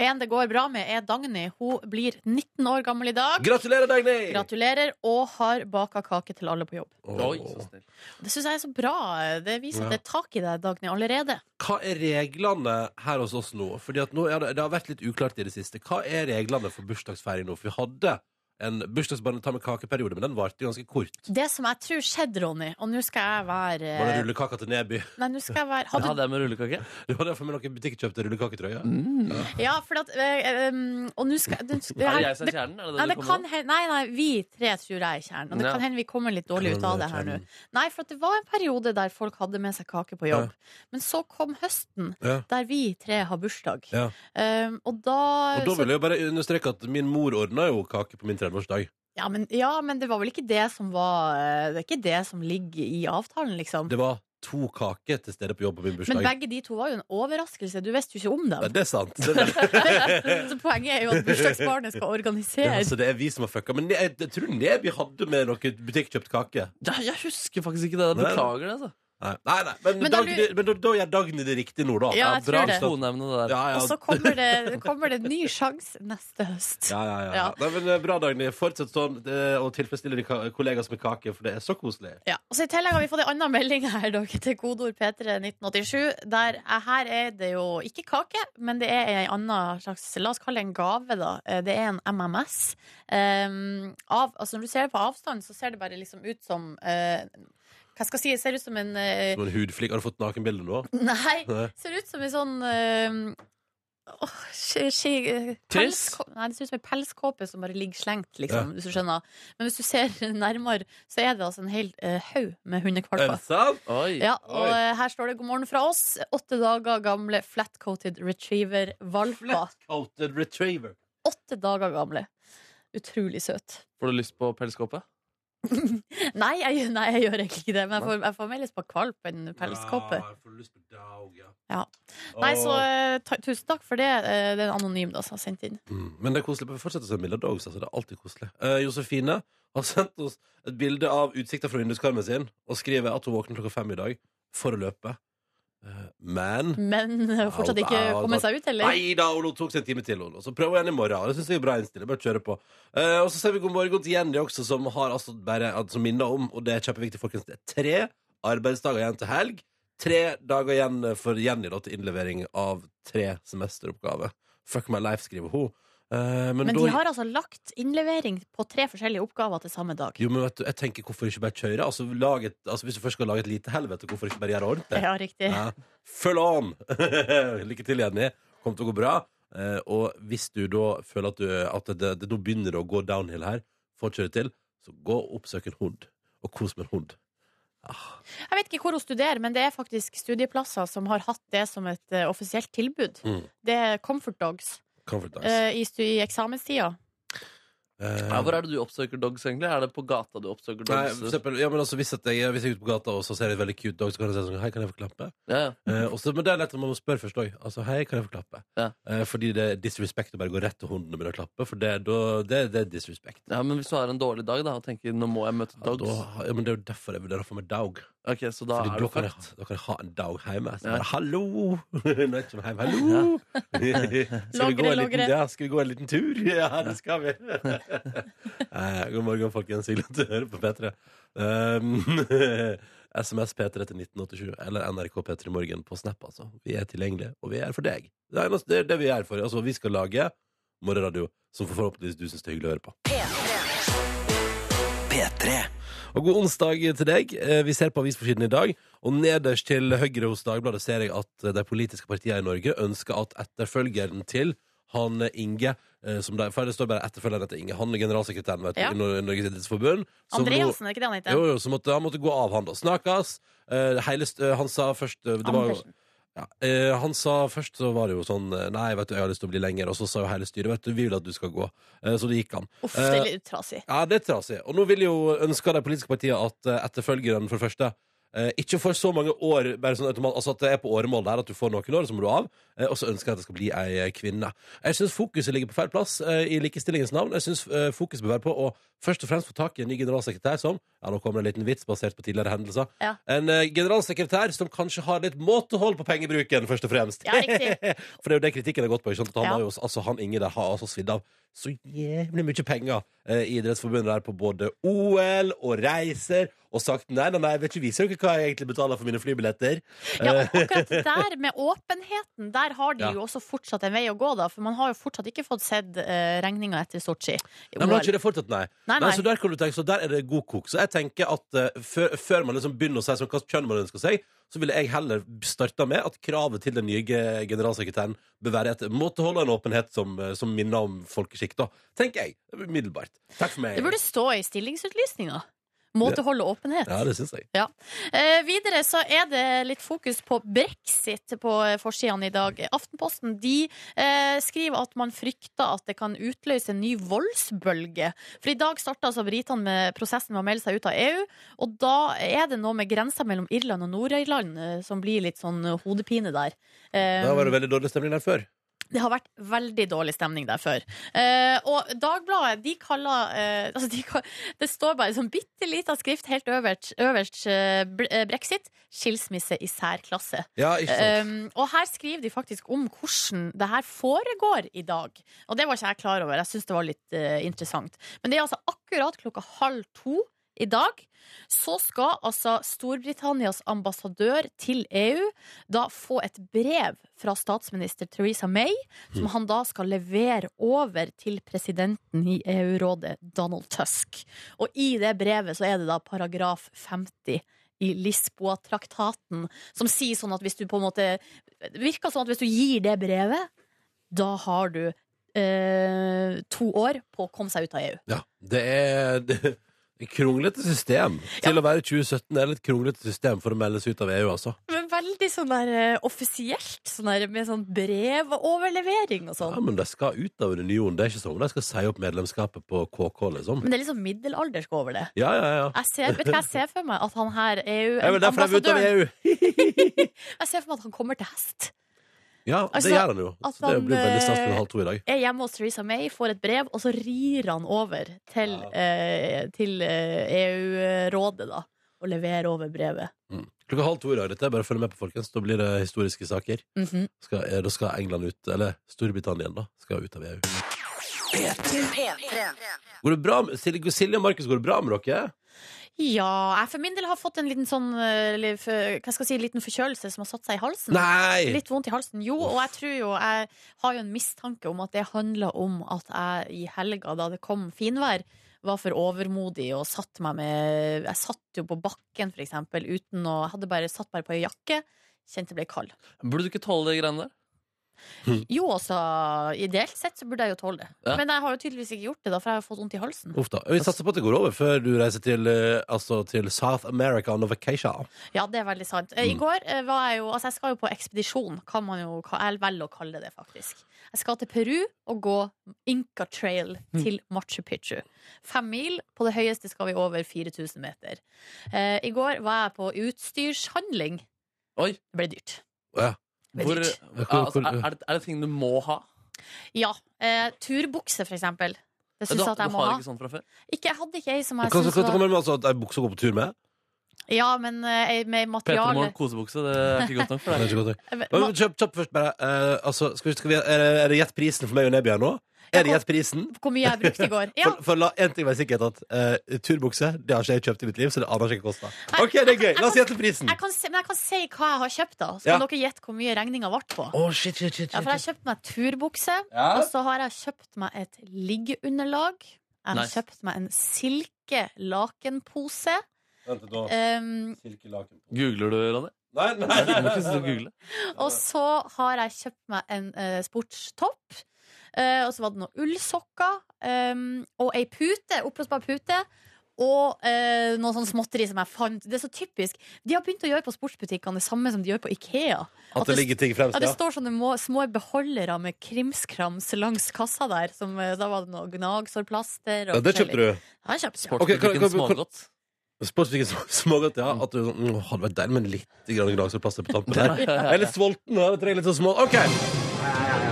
S3: En det går bra med, er Dagny. Hun blir 19 år gammel i dag.
S2: Gratulerer, Dagny!
S3: Gratulerer, og har baka kake til alle på jobb.
S2: Åh.
S4: Oi, så snill.
S3: Det syns jeg er så bra. Det viser
S2: Ja.
S3: at det er tak i deg, Dagny, allerede.
S2: Hva er reglene her hos oss nå? Fordi at nå ja, det, det har vært litt uklart i det siste. Hva er reglene for bursdagsfeiring nå? For vi hadde en bursdagsbarnetall med kakeperiode, men den varte ganske kort.
S3: Det som jeg tror skjedde, Ronny, og nå skal jeg være
S2: Var det rullekaka til Neby?
S3: Nei, nå skal jeg være
S4: Det
S3: Hadde
S4: hadde jeg med rullekake.
S2: Det var derfor vi noen butikker kjøpte rullekaketrøye.
S3: Mm. Ja, for at eh, um, Og nå skal det,
S4: Er det
S3: her-
S4: jeg som er kjernen? Er det
S3: Nei,
S4: det
S3: det
S4: du
S3: kan
S4: kommer med?
S3: hende, nei, nei, vi tre tror jeg er kjernen. Og det
S4: Ja.
S3: kan hende vi kommer litt dårlig ut av det her nå. Nei, for at det var en periode der folk hadde med seg kake på jobb. Men så kom høsten,
S2: Ja.
S3: der vi tre har bursdag.
S2: Ja.
S3: Um, og da,
S2: Og da
S3: så-
S2: vil jeg jo bare understreke at min mor ordna jo kake på min 30-årsdag.
S3: ja, men, ja, men det var vel ikke det som var eh, Det er ikke det som ligger i avtalen, liksom.
S2: Det var to kaker til stede på jobb på min
S3: Men
S2: bursdag.
S3: begge de to var jo en overraskelse. Du visste jo ikke om
S2: Nei,
S3: dem.
S2: det er sant. Det er,
S3: så poenget er jo at bursdagsbarnet skal
S2: ja,
S3: organisere.
S2: altså, det er vi som har fucka. Men jeg, jeg tror Neby hadde med noe butikkjøpt kake.
S4: Ja, jeg husker faktisk ikke det. Jeg
S2: Nei.
S4: Beklager det. altså
S2: Nei, nei, nei. Men,
S3: Men da
S2: Dagny,
S3: lurer-
S2: men da, da gjør Dagny det riktig nå, da.
S3: Ja, jeg
S4: Bra
S3: tror det.
S4: toneevne, det der.
S2: Ja, ja.
S3: Og så kommer det, kommer det en ny sjanse neste høst.
S2: Ja, ja, ja.
S3: Ja.
S2: Nei, men eh, Bra, Dagny. Fortsett sånn eh, og tilfredsstille de ka- kollegaer med kake, for det er så koselig.
S3: Ja, og så I tillegg har vi fått en annen melding her dere, til kodeord P31987. Der, eh, her er det jo ikke kake, men det er en annen slags La oss kalle det en gave, da. Eh, Det er en MMS. Um, av, altså Når du ser det på avstand, så ser det bare liksom ut som eh, Hva skal jeg si? Det ser ut som en eh,
S2: Noen hudflik. Har du fått nakenbilde nå?
S3: Nei!
S2: Nei.
S3: ser ut som en sånn eh, åh, ski, ski, eh,
S4: Tiss?
S3: pelsko- Nei, det ser ut som en pelskåpe som bare ligger slengt, liksom, hvis du skjønner. Men hvis du ser nærmere, så er det altså en hel eh, haug med
S2: Er
S3: hundekvalper.
S2: det Eh, sant?
S4: Oi.
S3: Ja, og
S2: Oi.
S3: eh, her står det 'God morgen fra oss'. Åtte dager gamle flat-coated retriever-valper.
S2: Flat-coated retriever.
S3: Åtte dager gamle. Utrolig søt.
S4: Får du lyst på pelskåpe?
S3: Nei jeg, nei, jeg gjør egentlig ikke det, men jeg får, jeg får mer lyst på kvalp enn pelskåpe.
S2: Ja, jeg får Ah, lyst på dog, ja.
S3: Ja. Nei, så eh, ta, tusen takk for det. Eh, det er en anonym da, som har sendt inn.
S2: Mm, Men det er koselig. Vi fortsetter å se Milla Dogs. Altså, det er alltid koselig. Eh, Josefine har sendt oss et bilde av utsikta fra vinduskarmen sin og skriver at hun våkner klokka fem i dag for å løpe. Eh, men
S3: Men eh, fortsatt
S2: Au,
S3: ikke
S2: au,
S3: kommet
S2: da-
S3: seg ut, eller?
S2: Nei da, Olo tok seg en time til, Olo. Så prøv igjen i morgen. Det synes jeg er bra innstilling. Bare kjøre på. Eh, og så ser vi god morgen til Jenny også, som har altså bare altså, minner om, og det er kjempeviktig, folkens, det er tre arbeidsdager igjen til helg. Tre dager igjen for Jenny da, til innlevering av tre semesteroppgaver. Fuck my life, skriver hun. Eh, men
S3: Men
S2: da,
S3: de har altså lagt innlevering på tre forskjellige oppgaver til samme dag.
S2: Jo, men vet du, jeg tenker hvorfor ikke bare kjøre? Altså, lag et, altså, hvis du først skal lage et lite helvete, hvorfor ikke bare gjøre ordentlig?
S3: Ja, riktig.
S2: Ja. Følg on! Lykke til, Jenny. Kommer til å gå bra. Eh, og hvis du da føler at, du, at det, det, nå begynner det å gå downhill her, får kjøre til, så gå og oppsøk en hund. Og kos med en hund.
S3: Jeg vet ikke hvor hun studerer, men det er faktisk studieplasser som har hatt det som et eh, offisielt tilbud.
S2: Mm.
S3: Det er Comfort Dogs
S2: Comfort dogs.
S3: eh, i, stu- i eksamenstida.
S2: Eh,
S4: Ja, hvor er det du oppsøker dogs, egentlig? Er det på gata du oppsøker
S2: Nei,
S4: dogs?
S2: for eksempel, ja, men altså, hvis, at jeg, hvis jeg er ute på gata og så ser jeg et veldig cute dog, så kan jeg si sånn Hei, kan jeg få klappe?
S4: ja, ja.
S2: Eh, og så- men det er lett at man må spørre først òg. Altså, hei, kan jeg få klappe?
S4: Ja.
S2: Eh, fordi det er disrespect å bare gå rett til hunden og begynne å klappe. For det, er da- det, det er disrespect.
S4: ja, Men hvis du har en dårlig dag da, og tenker 'nå må jeg møte
S2: Ja,
S4: dogs',
S2: da, ja, men det er jo derfor jeg vurderer å få meg dog.
S4: Ok, så da
S2: Fordi
S4: er
S2: da,
S4: du
S2: kan jeg,
S4: fucked.
S2: da kan jeg ha en dag hjemme. Så
S4: Ja.
S2: bare, Hallo! Når jeg kommer hjem, hallo! skal, vi gå en
S3: Logre,
S2: liten,
S3: logre.
S2: ja, skal vi gå en liten tur? Ja, det skal vi. eh, god morgen, folkens. Hyggelig at du hører på P3. Um, SMS P3 til 1987 eller NRK P3 Morgen på Snap. altså Vi er tilgjengelige, og vi er for deg. Det er eneste- det, er det vi er for. Altså, vi skal lage morgenradio som forhåpentligvis du syns det er hyggelig å høre på. Og god onsdag til deg. Eh, Vi ser på avisforsiden i dag, og nederst til høyre hos Dagbladet ser jeg at eh, de politiske partiene i Norge ønsker at etterfølgeren til han eh, Inge eh, som der, For det står bare etterfølgeren etter Inge. Han er generalsekretæren vet du,
S3: Ja.
S2: i Nor- Norges idrettsforbund. som nå-
S3: Andreassen, er ikke det han heter?
S2: Jo, jo, så måtte, han måtte gå av, han da. Snakkes. Eh, hele st- eh, han sa først eh, det var jo,
S3: Andersen.
S2: ja, eh, Han sa først så var det jo sånn eh, Nei, vet du, jeg har lyst til å bli lenger. Og så sa jo hele styret vet du, vi vil at du skal gå. Eh, så det gikk Eh, han.
S3: Uff, det er litt trasig.
S2: Ja, det er trasig. Og nå vil jo ønske de politiske partiene at eh, etterfølgeren, for det første eh, ikke får så mange år, bare sånn automat, altså at det er på åremål der, at du får noen år, så må du av. Eh, og så ønsker jeg at det skal bli ei eh, kvinne. Jeg syns fokuset ligger på feil plass eh, i likestillingens navn. Jeg syns eh, fokuset bør være på å først og fremst få tak i en ny generalsekretær som Ja, nå kommer det en liten vits basert på tidligere hendelser.
S3: Ja.
S2: En eh, generalsekretær som kanskje har litt måtehold på pengebruken, først og fremst.
S3: Ja, riktig.
S2: For det er jo det kritikken har gått på. Ikke sant? At han,
S3: Ja.
S2: har jo, altså, han Inge der har altså svidd av så jævlig mye penger eh, i Idrettsforbundet der på både OL og reiser, og sagt nei, nei, nei, jeg vil ikke vise dere hva jeg egentlig betaler for mine flybilletter.
S3: Ja, og akkurat der med åpenheten, der har de
S2: Ja.
S3: jo også fortsatt en vei å gå, da. For man har jo fortsatt ikke fått sett eh, regninga etter Sotsji.
S2: Nei, men har ikke det fortsatt, nei. Nei,
S3: Nei, nei.
S2: så der kan du tenke, så der er det god kok. Så jeg tenker at eh, før, før man liksom begynner å si sånn, hva kjønn man ønsker seg, så ville jeg heller starta med at kravet til den nye ge- generalsekretæren bør være et måtehold og en åpenhet som, eh, som minner om folkeskikk, da. Tenker jeg. Umiddelbart. Takk for meg.
S3: Det burde stå i stillingsutlysninga. Måtehold og åpenhet.
S2: Ja, det syns jeg.
S3: Eh, videre så er det litt fokus på brexit på eh, forsidene i dag. Aftenposten de eh, skriver at man frykter at det kan utløse en ny voldsbølge. For i dag starta altså britene med prosessen med å melde seg ut av EU. Og da er det noe med grensa mellom Irland og Nord-Irland eh, som blir litt sånn eh, hodepine der. Eh,
S2: Da var det veldig dårlig stemning der før.
S3: det har vært veldig dårlig stemning der før. Eh, og Dagbladet de kaller eh, altså de, ka- Det står bare sånn bitte lita skrift helt øverst, øverst eh, bre- eh, brexit. Skilsmisse i særklasse.
S2: Ja, ikke sant.
S3: Um, og her skriver de faktisk om hvordan det her foregår i dag. Og det var ikke jeg klar over. Jeg syns det var litt eh, interessant. Men det er altså akkurat klokka halv to i dag. Så skal altså Storbritannias ambassadør til EU da få et brev fra statsminister Theresa May,
S2: Mm.
S3: som han da skal levere over til presidenten i EU-rådet, Donald Tusk. Og i det brevet så er det da paragraf 50 i Lisboa-traktaten som sier sånn at hvis du på en måte Det virker sånn at hvis du gir det brevet, da har du eh, to år på å komme seg ut av E EU.
S2: Ja, det er det, er kronglete system. Til å være 2017 er det et kronglete system for å melde seg ut av EU, altså.
S3: Men veldig sånn der eh, offisielt, sånn der med sånn brevoverlevering og
S2: Ja,
S3: sånn.
S2: men de skal ut av unionen. Det er ikke sånn de skal si opp medlemskapet på KK, liksom.
S3: Men det er litt sånn middelaldersk over det.
S2: Ja, ja, ja.
S3: Jeg ser, vet du hva jeg ser for meg? At han her
S2: Jeg vil derfor er vi ute av E
S3: EU-ambassadøren
S2: EU!
S3: Jeg ser for meg at han kommer til hest.
S2: Ja,
S3: Altså,
S2: det gjør han jo.
S3: at
S2: Så det
S3: han,
S2: blir veldig stas
S3: eh,
S2: klokka halv to i dag.
S3: Er hjemme hos Theresa May, får et brev, og så rir han over til, eh, til eh, EU-rådet, da. Og leverer over brevet.
S2: Mm. Klokka halv to i dag. Dette er bare å følge med på, folkens. Da blir det historiske saker.
S3: Mhm.
S2: Skal, eh, da skal England ut, eller Storbritannia da, skal ut av EU. Går det bra med Silje Silje og Markus, går det bra med dere?
S3: Ja, jeg for min del har fått en liten sånn eh, liv- Hva skal jeg si, liten forkjølelse som har satt seg i halsen.
S2: Nei!
S3: Litt vondt i halsen, jo, og jeg tror jo Jeg har jo en mistanke om at det handler om at jeg i helga, da det kom finvær, var for overmodig og satt meg med Jeg satt jo på bakken, for eksempel, uten å Jeg hadde bare satt bare på ei jakke. Kjente det ble kald.
S4: Burde du ikke tåle de greiene der?
S3: Jo, altså, ideelt sett så burde jeg jo tåle det.
S4: Ja.
S3: Men jeg har jo tydeligvis ikke gjort det, da, for jeg har fått vondt i halsen.
S2: Uff da. Vi satser på at det går over før du reiser til, eh, altså, til South America on a vacation.
S3: Ja, det er veldig sant. Eh, I
S4: Mm.
S3: går eh, var jeg jo Altså, jeg skal jo på ekspedisjon, kan man jo ka- Jeg velger å kalle det det, faktisk. Jeg skal til Peru og gå Inca Trail
S4: Mm.
S3: til Machu Picchu. Fem mil. På det høyeste skal vi over 4000 meter. Eh, I går var jeg på utstyrshandling.
S4: Oi.
S3: Det ble dyrt.
S2: Ja.
S3: Det ble
S4: Hvor,
S3: dyrt.
S4: altså, er, er, det, er det ting du må ha?
S3: Ja. Eh, turbukse, for eksempel. Det syns
S4: du,
S3: jeg at jeg
S4: du
S3: må
S4: har
S3: ha.
S4: ikke sånn fra før?
S3: Ikke, jeg hadde ikke ei som
S2: Hva
S3: jeg
S2: skal
S3: syns
S2: det
S3: var
S2: komme med altså, at ei bukse å gå på tur med?
S3: Ja, men eh, ei med
S4: Peter
S3: materiale
S4: Morgen kosebukse, det er ikke godt nok
S2: Det
S4: for
S2: er
S4: deg.
S2: ikke godt nok.
S3: Eh, ma-
S2: Men Kjapt kjapt først, bare. eh, altså, skal vi, skal vi, er, det- er det gjett prisen for meg og Nebya nå? Er det gjett prisen?
S3: Hvor mye jeg brukte i går. Ja,
S2: For, for la en ting være sikkert at eh, turbukse det har ikke jeg kjøpt i mitt liv, så det aner jeg ikke hva koster. OK, det er gøy. La oss gjette prisen.
S3: jeg kan, se, men jeg kan si hva jeg har kjøpt, da. Så kan
S2: Mm. Ja.
S3: dere gjette hvor mye regninga ble på.
S2: Å, shit, shit, shit, shit.
S3: Ja, for jeg har kjøpt meg turbukse,
S2: Ja.
S3: og så har jeg kjøpt meg et liggeunderlag. Jeg har
S4: Nice.
S3: kjøpt meg en silke silke-lakenpose.
S2: Vent da.
S3: Um,
S2: Silkelaken på.
S4: Googler du, Ronny?
S2: Nei, nei!
S4: Du må ikke sitte og google.
S3: og så har jeg kjøpt meg en eh, sportstopp. Eh, og så var det noen ullsokker em, og ei pute, oppblåsbar pute. Og eh, noe sånn småtteri som jeg fant. Det er så typisk. De har begynt å gjøre på sportsbutikkene det samme som de gjør på Ikea.
S2: At det ligger ting fremst,
S3: Ja, det
S2: ja.
S3: står sånne må- små beholdere med krimskrams langs kassa der. Som, eh, da var det noe gnagsårplaster.
S2: Ja, det kjøpte du.
S3: Ja, jeg kjøpte det.
S2: Ok, kan- kan-
S4: Sportsbutikken
S2: kan-
S4: Smågodt.
S2: Sportsbutikken sm- smågodt, ja. At du sånn, mm, hadde vært deilig med litt grann gnagsårplaster på tampen der. Jeg er litt sulten, jeg trenger litt sånn små OK.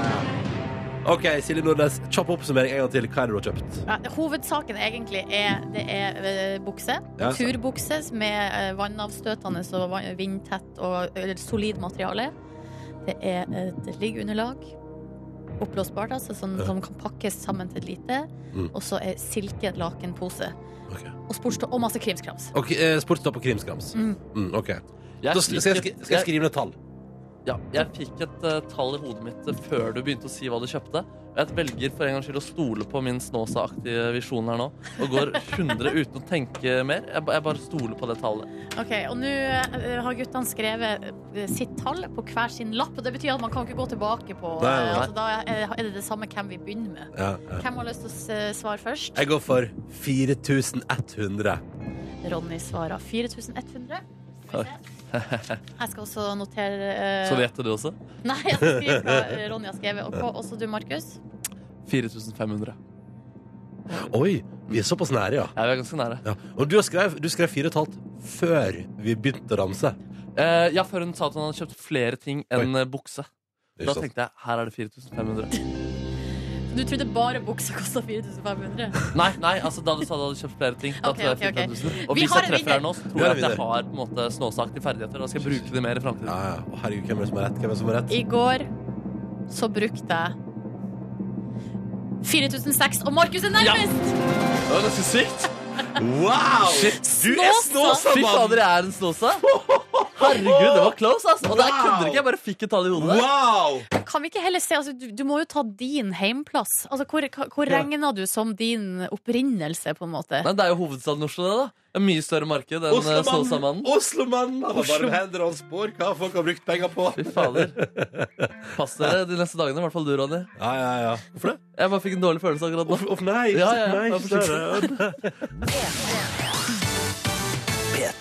S2: OK, Silje Nordnes, kjapp oppsummering en gang til. Hva er det du har kjøpt?
S3: Ja, hovedsaken egentlig er det er eh, bukse.
S2: Ja, så-
S3: Turbukse med eh, vannavstøtende og vann- vindtett og eller, solid materiale. Det er et liggeunderlag. Oppblåsbart, altså, som,
S2: Ja.
S3: som kan pakkes sammen til et lite.
S2: Mm.
S3: Og så er silkelakenpose.
S2: Ok.
S3: Og, sportstå- og masse krimskrams.
S2: Ok, eh, Sportstopp og krimskrams.
S3: Mm.
S2: Mm, ok.
S4: Jeg
S2: Da skal jeg,
S4: fikk
S2: skri-
S4: et-
S2: skal jeg skrive ned tall.
S4: Ja, jeg fikk et eh, tall i hodet mitt eh, før du begynte å si hva du kjøpte. Og jeg velger for en gangs skyld å stole på min Snåsa-aktige visjon her nå. Og går 100 uten å tenke mer. Jeg, ba- jeg bare stoler på det tallet.
S3: Ok, og nå eh, har guttene skrevet eh, sitt tall på hver sin lapp. Og det betyr at man kan ikke gå tilbake på
S2: Nei, nei,
S3: eh,
S2: nei.
S3: altså, Da er er det det samme hvem vi begynner med.
S2: Ja, ja.
S3: Hvem har lyst til å s- eh, svare først?
S2: Jeg går for 4100.
S3: Ronny svarer 4100. Skal vi se. Jeg skal også notere eh,
S4: Så gjetter du også.
S3: Nei, jeg skal skrive hva eh, Ronny har skrevet. Og hva også du, Markus?
S4: 4500.
S2: Oi, vi er såpass nære, ja.
S4: Ja, vi er ganske nære.
S2: ja. Og du har skrev, du skrev 4,5 før vi begynte å ramse.
S4: Eh, ja, før hun sa at hun hadde kjøpt flere ting enn eh, bukse.
S2: Ikke
S4: Da
S2: sant?
S4: tenkte jeg her er det 4500.
S3: Du trodde bare buksa kosta 4500?
S4: Nei, nei, altså da du sa du hadde kjøpt flere ting. Da
S3: Ok,
S4: tror jeg
S3: ok, ok.
S4: 4500. Og
S3: Vi
S4: hvis
S3: har
S4: jeg
S3: en
S4: treffer her
S3: vinner.
S4: nå, så
S2: Vi
S4: tror
S2: har
S4: jeg at
S2: en
S4: jeg har på en måte Snåsa-aktige ferdigheter. Da skal jeg bruke det mer i
S2: Ja,
S4: framtiden.
S2: ja. Å, herregud, hvem er det som har rett? Hvem er det som har rett?
S3: I går så brukte jeg 4600, og Markus er nærmest!
S4: Det var ganske sykt.
S2: Wow! Du er
S3: Snåsa!
S2: snåsa,
S4: Fy fader,
S2: mann!
S4: jeg er en snåsa. Herregud, det var close, ass. Og der
S2: Wow.
S4: kødder ikke. Jeg bare fikk et tall i hodet.
S2: Wow!
S3: Kan vi ikke heller se altså, du, du må jo ta din heimplass. Altså, hvor hvor
S2: Ja.
S3: regner du som din opprinnelse, på en måte?
S4: Nei, det er jo hovedstaden i Oslo, det, da. Det er mye større marked enn eh,
S2: Oslomannen!
S4: Snåsamannen.
S2: Oslomannen! Han har
S4: Oslo-
S2: varme hender og han spår hva folk har brukt penger på.
S4: Fy fader. Pass dere de neste dagene, i hvert fall du, Ronny.
S2: Ja, ja, ja. Hvorfor det?
S4: Jeg bare fikk en dårlig følelse akkurat nå.
S2: Uff, uff, nei,
S4: Ja, ja, ja.
S2: nei,
S4: Ja,
S2: ikke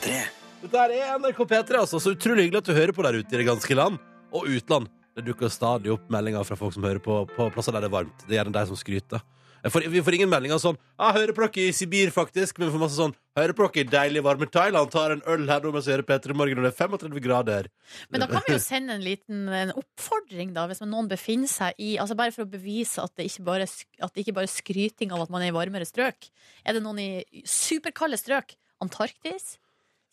S2: det. Dette her er NRK P3, altså. Så utrolig hyggelig at du hører på der ute i det ganske land. Og utland. Det dukker stadig opp meldinger fra folk som hører på på plasser der det er varmt. Det er gjerne de som skryter. Jeg får, vi får ingen meldinger sånn ah, 'Hører på dere i Sibir, faktisk.' Men vi får masse sånn 'Hører på dere i deilig, varme Thailand, tar en øl her nå mens vi hører P3 Morgen, og det er 35 grader'.
S3: Men da kan vi jo sende en liten en oppfordring, da, hvis noen befinner seg i altså Bare for å bevise at det ikke bare, sk- at det ikke bare er skryting av at man er i varmere strøk. Er det noen i superkalde strøk? Antarktis?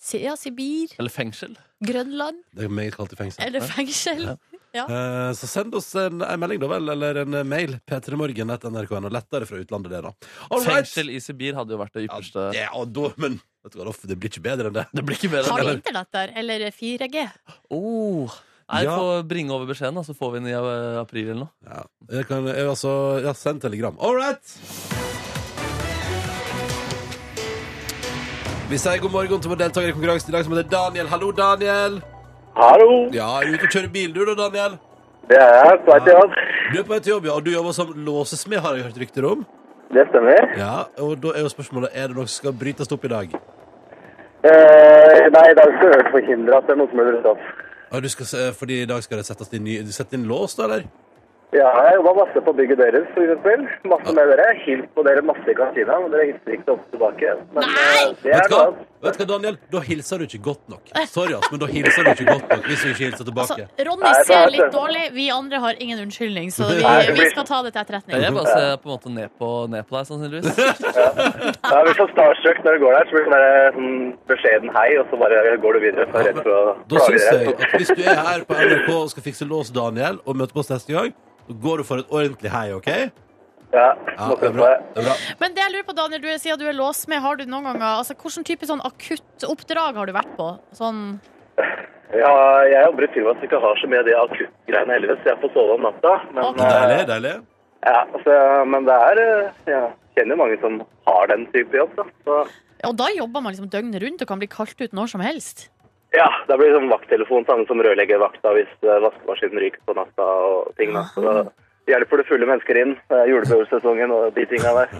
S3: Si- Ja, Sibir?
S4: Eller fengsel.
S3: Grønland?
S2: Det er meget kaldt i fengsel.
S3: Eller fengsel?
S2: Eh, Så send oss en, en melding, da vel, eller en eh, mail. p3morgen.nrk.no. Lettere fra utlandet, det, da. All right.
S4: Fengsel i Sibir hadde jo vært det
S2: Ja,
S4: ypperste.
S2: det, ja, da, men vet du hva, da- det blir ikke bedre enn det.
S4: Det blir ikke bedre.
S3: Har de
S4: enn det.
S3: internett der? Eller 4G?
S4: Oh. Nei,
S2: Ja.
S4: Få bringe over beskjeden, da, så får vi den i eh, april eller noe.
S2: Ja. Jeg kan, jeg, altså, ja, send telegram. All right! Vi sier god morgen til vår deltaker i konkurransen i dag, som heter Daniel. Hallo, Daniel.
S5: Hallo,
S2: Ja, er du ute og kjører bil, du da, Daniel?
S5: det er jeg på et jobb.
S2: Du er på vei til jobb, ja, og du jobber som låsesmed, har jeg hørt rykter om.
S5: Det stemmer.
S2: Ja, og da er jo spørsmålet, er det noe som skal brytes opp i dag?
S5: Eh, nei, i dag skal jeg være forhindret at det er noe som er rullet opp.
S2: Ja, du skal, se- fordi i dag skal det settes inn, ny- du setter inn lås, da, eller?
S5: Ja, jeg jobbet masse på bygget deres, for eksempel. Masse med dere. Hilt på dere masse i kantina, men dere hilser ikke så ofte tilbake. Men,
S3: Nei!
S5: eh, det
S2: Vet
S5: er
S2: du
S5: noe
S2: hva,
S5: annet.
S2: Vet du hva, Daniel? Da hilser du ikke godt nok. Sorry, ass, men da hilser du ikke godt nok hvis du ikke hilser
S3: Altså,
S2: tilbake.
S3: Ronny
S5: Nei, jeg
S3: ser
S5: tar-
S3: litt dårlig. Vi andre har ingen unnskyldning, så vi,
S2: Nei,
S5: det
S3: vi
S5: blir-
S3: skal ta det til etterretning.
S2: Mhm.
S4: Jeg bare ser på en måte ned på, ned på deg, sannsynligvis.
S5: Ja, jeg blir så starstruck når du går der, så blir det sånn der, sånn beskjeden hei, og så bare går du videre. Så er jeg redd for å
S2: Da syns
S5: dere.
S2: jeg at hvis du er her på NRK og skal fikse lås, Daniel, og møter på oss neste gang, så går du for et ordentlig hei, OK?
S5: Ja,
S2: Ja,
S5: måtte
S2: det
S5: jeg
S2: er bra.
S5: få det.
S2: Det er bra.
S3: Men det jeg lurer på, Daniel, du sier at du er låsmed. Har du noen ganger altså, Hvilken type sånn akutt oppdrag har du vært på? Sånn
S5: Ja, jeg jobber i firma som ikke har så mye av de akuttgreiene heldigvis. Jeg får sove om natta, men...
S3: Ok.
S5: eh,
S2: Deilig, deilig.
S5: Ja, altså, men det er eh, Jeg kjenner mange som har den type jobb, da. Så
S3: Og da jobber man liksom døgnet rundt og kan bli kalt ut når som helst.
S5: ja, da blir det sånn vakttelefon samme som rørleggervakta hvis eh, vaskemaskinen ryker på natta og ting, da. Så da hjelper det fulle mennesker inn. eh, Julebørsesongen og de tinga der.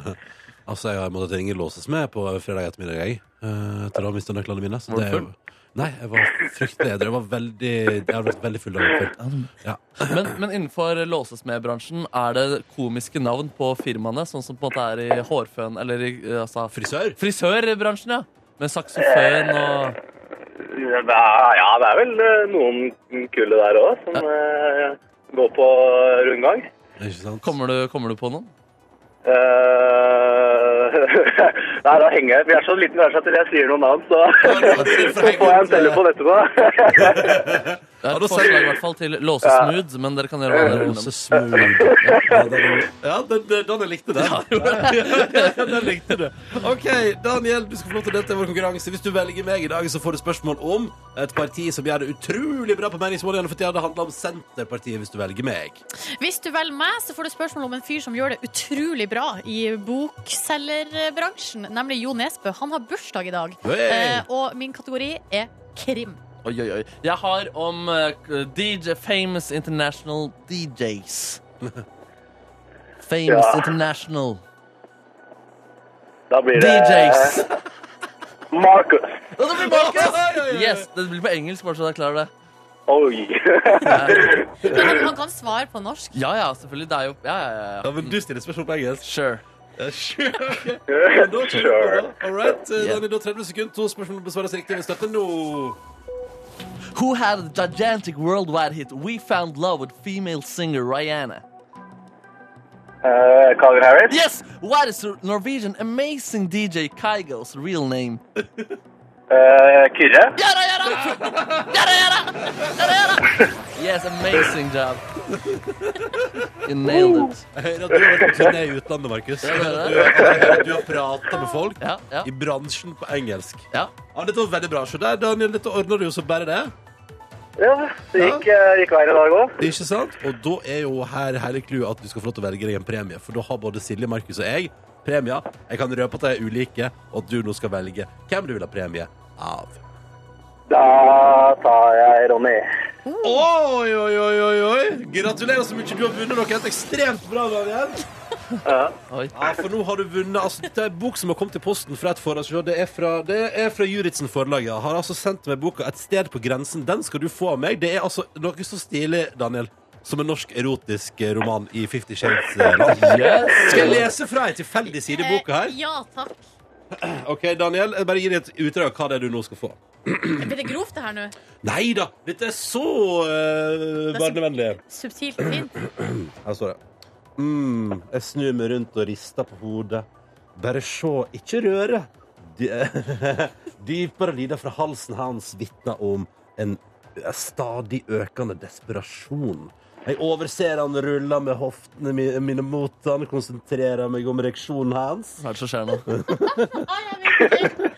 S2: Altså, jeg har måttet ringe låses med på fredag ettermiddag, jeg. eh, Etter å ha mistet nøklene mine. Så
S4: Var du
S2: det er jo...
S4: full?
S2: Nei, jeg var fryktelig edru. Jeg var veldig Jeg har vært veldig full dagen før. Ja.
S4: Men, men innenfor låsesmedbransjen er det komiske navn på firmaene, sånn som på en måte er i hårføn Eller i eh, altså,
S2: Frisør?
S4: frisørbransjen, ja. Med saksofon og
S5: Ja, det er- ja, det er vel eh, noen kule der òg, som eh, går på rundgang.
S2: Ikke sant?
S4: Kommer du, kommer du på noen?
S5: Eh, Nei, da henger jeg Vi er så liten bransje at jeg sier noe navn, så, så får jeg en telefon etterpå.
S4: Det er
S2: da
S4: et
S2: sier-
S4: forslag i hvert fall til låsesmooth, men dere kan gjøre hva dere vil. med
S2: Så
S4: det.
S2: smooth. Ja, den- Ja, den, den, den jeg likte den. Ja, den likte du. OK, Daniel, du skal få lov til å delta i vår konkurranse. Hvis du velger meg i dag, så får du spørsmål om et parti som gjør det utrolig bra på meningsmålingene for tida. Det handler om Senterpartiet, hvis du velger meg.
S3: Hvis du velger meg, så får du spørsmål om en fyr som gjør det utrolig bra i bokselgerbransjen, nemlig Jo Nesbø. Han har bursdag i dag,
S2: Hey!
S3: Eh, og min kategori er krim.
S4: Oi, oi, oi. Jeg har om eh, DJ Famous International DJs. Famous
S5: Ja.
S4: International
S5: Da blir det er-
S4: DJs.
S5: Marcus.
S4: Og det blir Marcus! Yes, det blir på engelsk, bare så dere klarer det.
S5: Oi.
S3: Men han, han kan svare på norsk.
S4: Ja, ja, selvfølgelig. Det er jo Ja, ja, ja.
S2: men du stiller spørsmål på engelsk. Eh,
S4: Sure.
S2: Sure. ok. Da kjører vi på,
S5: sure.
S2: da. All right. eh,
S4: Yeah.
S2: Daniel, du har 30 sekunder. To spørsmål besvares riktig. Vi støtter nå.
S4: Who had the gigantic worldwide hit We Found Love with female singer Rihanna?
S5: Eh, Calvin Harris.
S4: Yes! What is the Norwegian amazing DJ Kygo's real name?
S5: Eh, Kyrre.
S4: Yada, yada! Yada, yada! Yada, yada! Yes, amazing job. You nailed it.
S2: Jeg hører at du har vært på turné i utlandet, Markus. Jeg hører at Du, jeg hører at du har prata med folk
S4: Ja, ja,
S2: i bransjen på engelsk.
S4: ja.
S2: Ja, Dette var veldig bra. Så der, Daniel, dette ordner du jo så bare det.
S5: Ja, det gikk, eh, gikk veien i dag òg.
S2: Ikke sant? Og da er jo her hele clouet at du skal få lov til å velge deg en premie. For da har både Silje, Markus og jeg premier. Jeg kan røpe at de er ulike, og at du nå skal velge hvem du vil ha premie av.
S5: Da tar jeg Ronny.
S2: Oi, oi, oi, oi, oi! Gratulerer så mye. Du har vunnet noe helt ekstremt bra, Daniel.
S4: Oi.
S2: Ja, for nå har du vunnet altså, Det er en bok som har kommet i posten fra et forlag se, Det er fra, det er fra Juritzen forlaget Har altså sendt meg boka Et sted på grensen Den skal du få av meg Det er altså noe så stilig, Daniel Som en norsk erotisk eh, roman i 50 Shades eh, land. Skal jeg lese fra en tilfeldig side i boka
S3: Eh,
S2: her?
S3: ja, takk.
S2: Ok, Daniel, jeg bare gir deg et utdrag av Hva det er du nå skal få
S3: Blir det grovt, det her nå?
S2: Neida, dette er så eh,
S3: Det er så-
S2: barnevennlig
S3: Subtilt og fint.
S2: Her står det. Mm, jeg snur meg rundt og rister på hodet. Bare se, ikke røre. Dy- Dypere lyder fra halsen hans vitner om en stadig økende desperasjon. Jeg overser han ruller med hoftene mi- mine mot han, konsentrerer meg om reaksjonen hans,
S4: Hva er det som skjer nå?
S3: Ah, jeg vet ikke.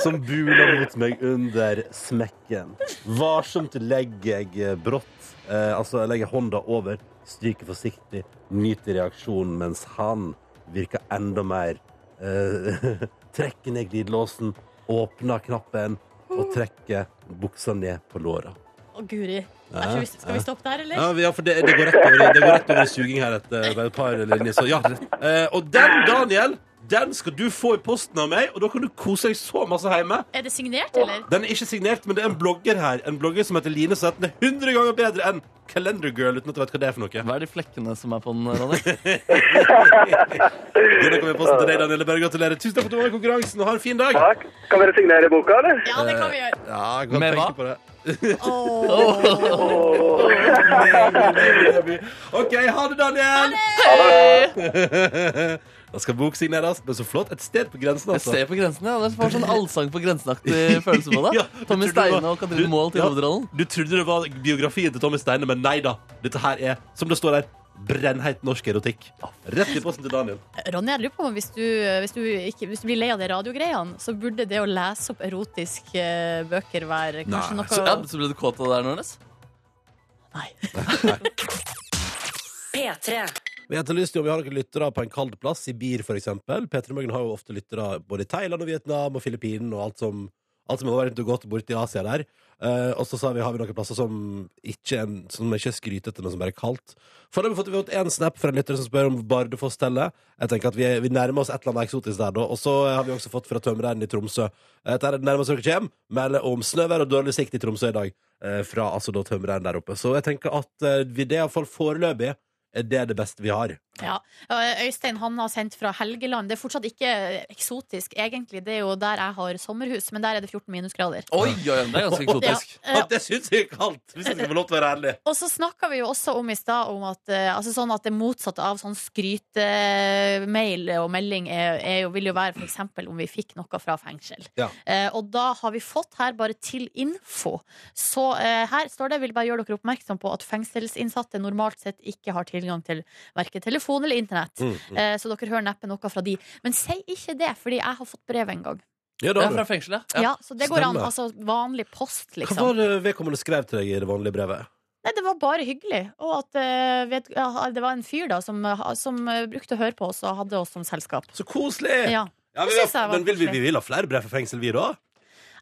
S2: som buler mot meg under smekken. Varsomt legger jeg brått, eh, altså jeg legger hånda over, stryker forsiktig, nyter reaksjonen, mens han virker enda mer eh, Trekker ned glidelåsen, åpner knappen og trekker buksa ned på låra.
S3: Å, guri. Jeg tror vi, skal vi stoppe der, eller?
S2: Ja, vi- ja, for det, det, går rett over, det går rett over i suging her etter bare et par linjer. Så ja. Eh, og den, Daniel, den skal du få i posten av meg, og da kan du kose deg så masse hjemme.
S3: Er det signert, eller?
S2: Den er ikke signert, men det er en blogger her. En blogger som heter Line, som heter 100 ganger bedre enn Calendar Girl, uten at du vet hva det er for noe.
S4: Hva er de flekkene som er på den, Ronny?
S2: Denne kommer i posten til deg, Daniel. Bare gratulerer. Tusen takk for at du var med i konkurransen, og ha en fin dag.
S5: Takk. Kan dere signere boka, eller?
S3: Ja, det kan vi gjøre.
S2: Ja, jeg kan
S4: Med
S2: tenke
S4: hva?
S2: på det.
S3: Åh.
S2: OK, ha det, Daniel! Da skal bok signeres. Men så flott. Et sted på grensen,
S4: Jeg
S2: altså.
S4: ser på grensen, ja. Det får sånn allsang på grensen-aktig eh, følelse på
S2: Ja,
S4: det.
S2: du
S4: Tommy
S2: trodde det
S4: Steine
S2: var-
S4: og Katrine
S2: du-
S4: Moholt i
S2: ja,
S4: hovedrollen.
S2: Du trodde det var biografien til Tommy Steine, men nei da. Dette her er, som det står der, brennheit norsk erotikk. Rett i posten til Daniel.
S3: Ronny, jeg lurer på om hvis du, eh, hvis, du ikke, hvis du blir lei av de radiogreiene, så burde det å lese opp erotiske eh, bøker være kanskje
S2: Nei.
S4: Så, ja,
S3: noe
S4: så ble du kåt av det der, Nordnes?
S3: Nei.
S1: P3.
S2: Vi etterlyste jo om vi har noen lyttere på en kald plass, Sibir for eksempel. Peter Morgen har jo ofte lyttere både i Thailand og Vietnam og Filippinen og alt som Alt som har vært godt borti Asia der. Eh, og så sa vi har vi noen plasser som ikke, er- som ikke er skrytete, men som bare er kaldt. For da har vi fått, vi har fått en snap fra en lytter som spør om Bardufoss-stellet. Jeg tenker at vi, vi nærmer oss et eller annet eksotisk der, da. Og så eh, har vi også fått fra tømreren i Tromsø. Eh, Dette er det nærmeste dere kommer. Melder om snøvær og dårlig sikt i Tromsø i dag. eh, Fra altså da tømreren der oppe. Så jeg tenker at eh, vi, det er iallfall foreløpig er det det beste vi har.
S3: Ja. og Øystein han har sendt fra Helgeland. Det er fortsatt ikke eksotisk, egentlig. Det er jo der jeg har sommerhus, men der er det 14 minusgrader.
S4: Oi, oi, oi, det er ganske eksotisk.
S3: Ja.
S2: At det syns jeg er kaldt! Hvis jeg skal få lov til å være ærlig.
S3: Og så snakka vi jo også om i stad om at, eh, altså sånn at det motsatte av sånn skrytemail og melding er, er jo, vil jo være f.eks. om vi fikk noe fra fengsel.
S2: Ja.
S3: Eh, og da har vi fått her bare til info. Så eh, her står det, vil bare gjøre dere oppmerksom på at fengselsinnsatte normalt sett ikke har tilgang til verken telefon eller internett.
S2: Mm, mm.
S3: Eh, så dere hører neppe noe fra de. Men si ikke det, fordi jeg har fått brev en gang.
S2: Ja,
S4: Det
S2: da,
S4: er fra fengselet.
S3: Ja, Så det går an.
S2: Stemmer.
S3: Altså vanlig post,
S2: Hva
S3: liksom.
S2: var det vedkommende skrev til deg i det vanlige brevet?
S3: Nei, det var bare hyggelig. Og at eh, vet, ja, det var en fyr da som, som eh, brukte å høre på oss og hadde oss som selskap.
S2: Så koselig!
S3: Ja.
S2: Ja,
S3: Det
S2: vi,
S3: synes jeg var
S2: men vil vi,
S3: koselig.
S2: vi vil ha flere brev fra fengsel, vi da?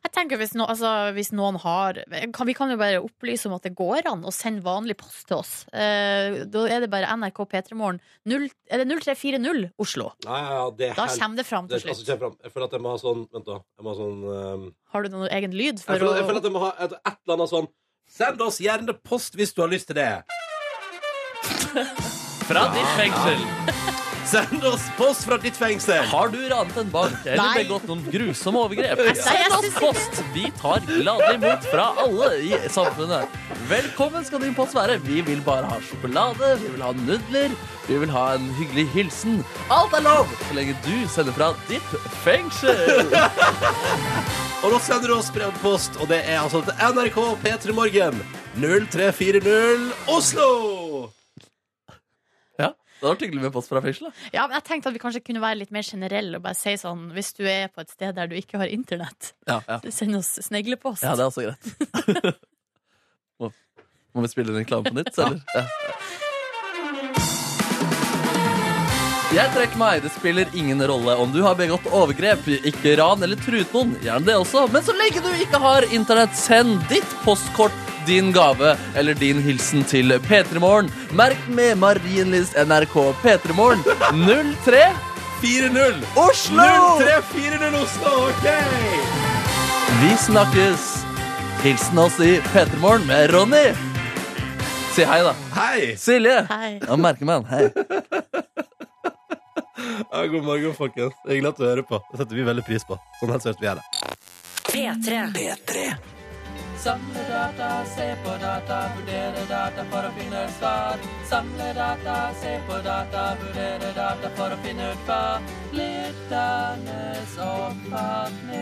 S3: Jeg tenker hvis, no, altså, hvis noen har eh, kan, Vi kan jo bare opplyse om at det går an å sende vanlig post til oss. Eh, da er det bare NRK P3morgen. Er det 0340 Oslo?
S2: Nei, ja, det er
S3: Da
S2: helt-
S3: kommer det fram
S2: det
S3: til
S2: er- altså,
S3: slutt.
S2: kjem fram. Jeg føler at jeg må ha sånn Vent, da. Jeg må ha sånn ehm,
S3: Har du noen egen lyd
S2: jeg,
S3: for
S2: føler, jeg føler
S3: å
S2: at jeg må ha et, et eller annet sånn Send oss gjerne post hvis du har lyst til det.
S4: Fra ditt fengsel.
S2: Send oss post fra ditt fengsel!
S4: Har du ranet en bank eller
S3: Nei.
S4: begått noen grusomme overgrep?
S3: Nei, jeg
S4: Send oss
S3: synes-
S4: post! Vi tar gladelig imot fra alle i samfunnet. Velkommen skal din post være. Vi vil bare ha sjokolade, vi vil ha nudler, vi vil ha en hyggelig hilsen. Alt er lov så lenge du sender fra ditt fengsel.
S2: Og da sender du oss brevpost, og det er altså til NRK P3 Morgen. 0340 Oslo!
S4: Ja, det hadde vært hyggelig med post fra fengselet.
S3: Ja, men jeg tenkte at vi kanskje kunne være litt mer generelle og bare si sånn Hvis du er på et sted der du ikke har internett,
S4: Ja, ja.
S3: send oss sneglepost.
S4: ja, det er også greit. Må, må vi spille inn reklame på nytt, eller? Ja. Jeg trekker meg. Det spiller ingen rolle om du har begått overgrep, ikke ran eller truet noen. Gjerne det også. Men så lenge du ikke har internett, send ditt postkort, din gave eller din hilsen til P3morgen. Merk med Marienlyst NRK P3morgen 03
S2: 4-0.
S4: Oslo!
S2: 0340 Oslo, OK!
S4: Vi snakkes. Hilsen oss i P3morgen med Ronny. Si hei, da.
S2: Hei!
S4: Silje.
S3: Hei.
S4: Ja, merker meg han. Hei.
S2: Ja, god morgen, folkens. Hyggelig at du hører på. Det setter vi veldig pris på. Sånn helt seriøst vi er det.
S1: P3.
S4: Samle data, se på data, vurdere data for å finne et svar. Samle data, se på data, vurdere data for å finne ut hva lytternes oppfatning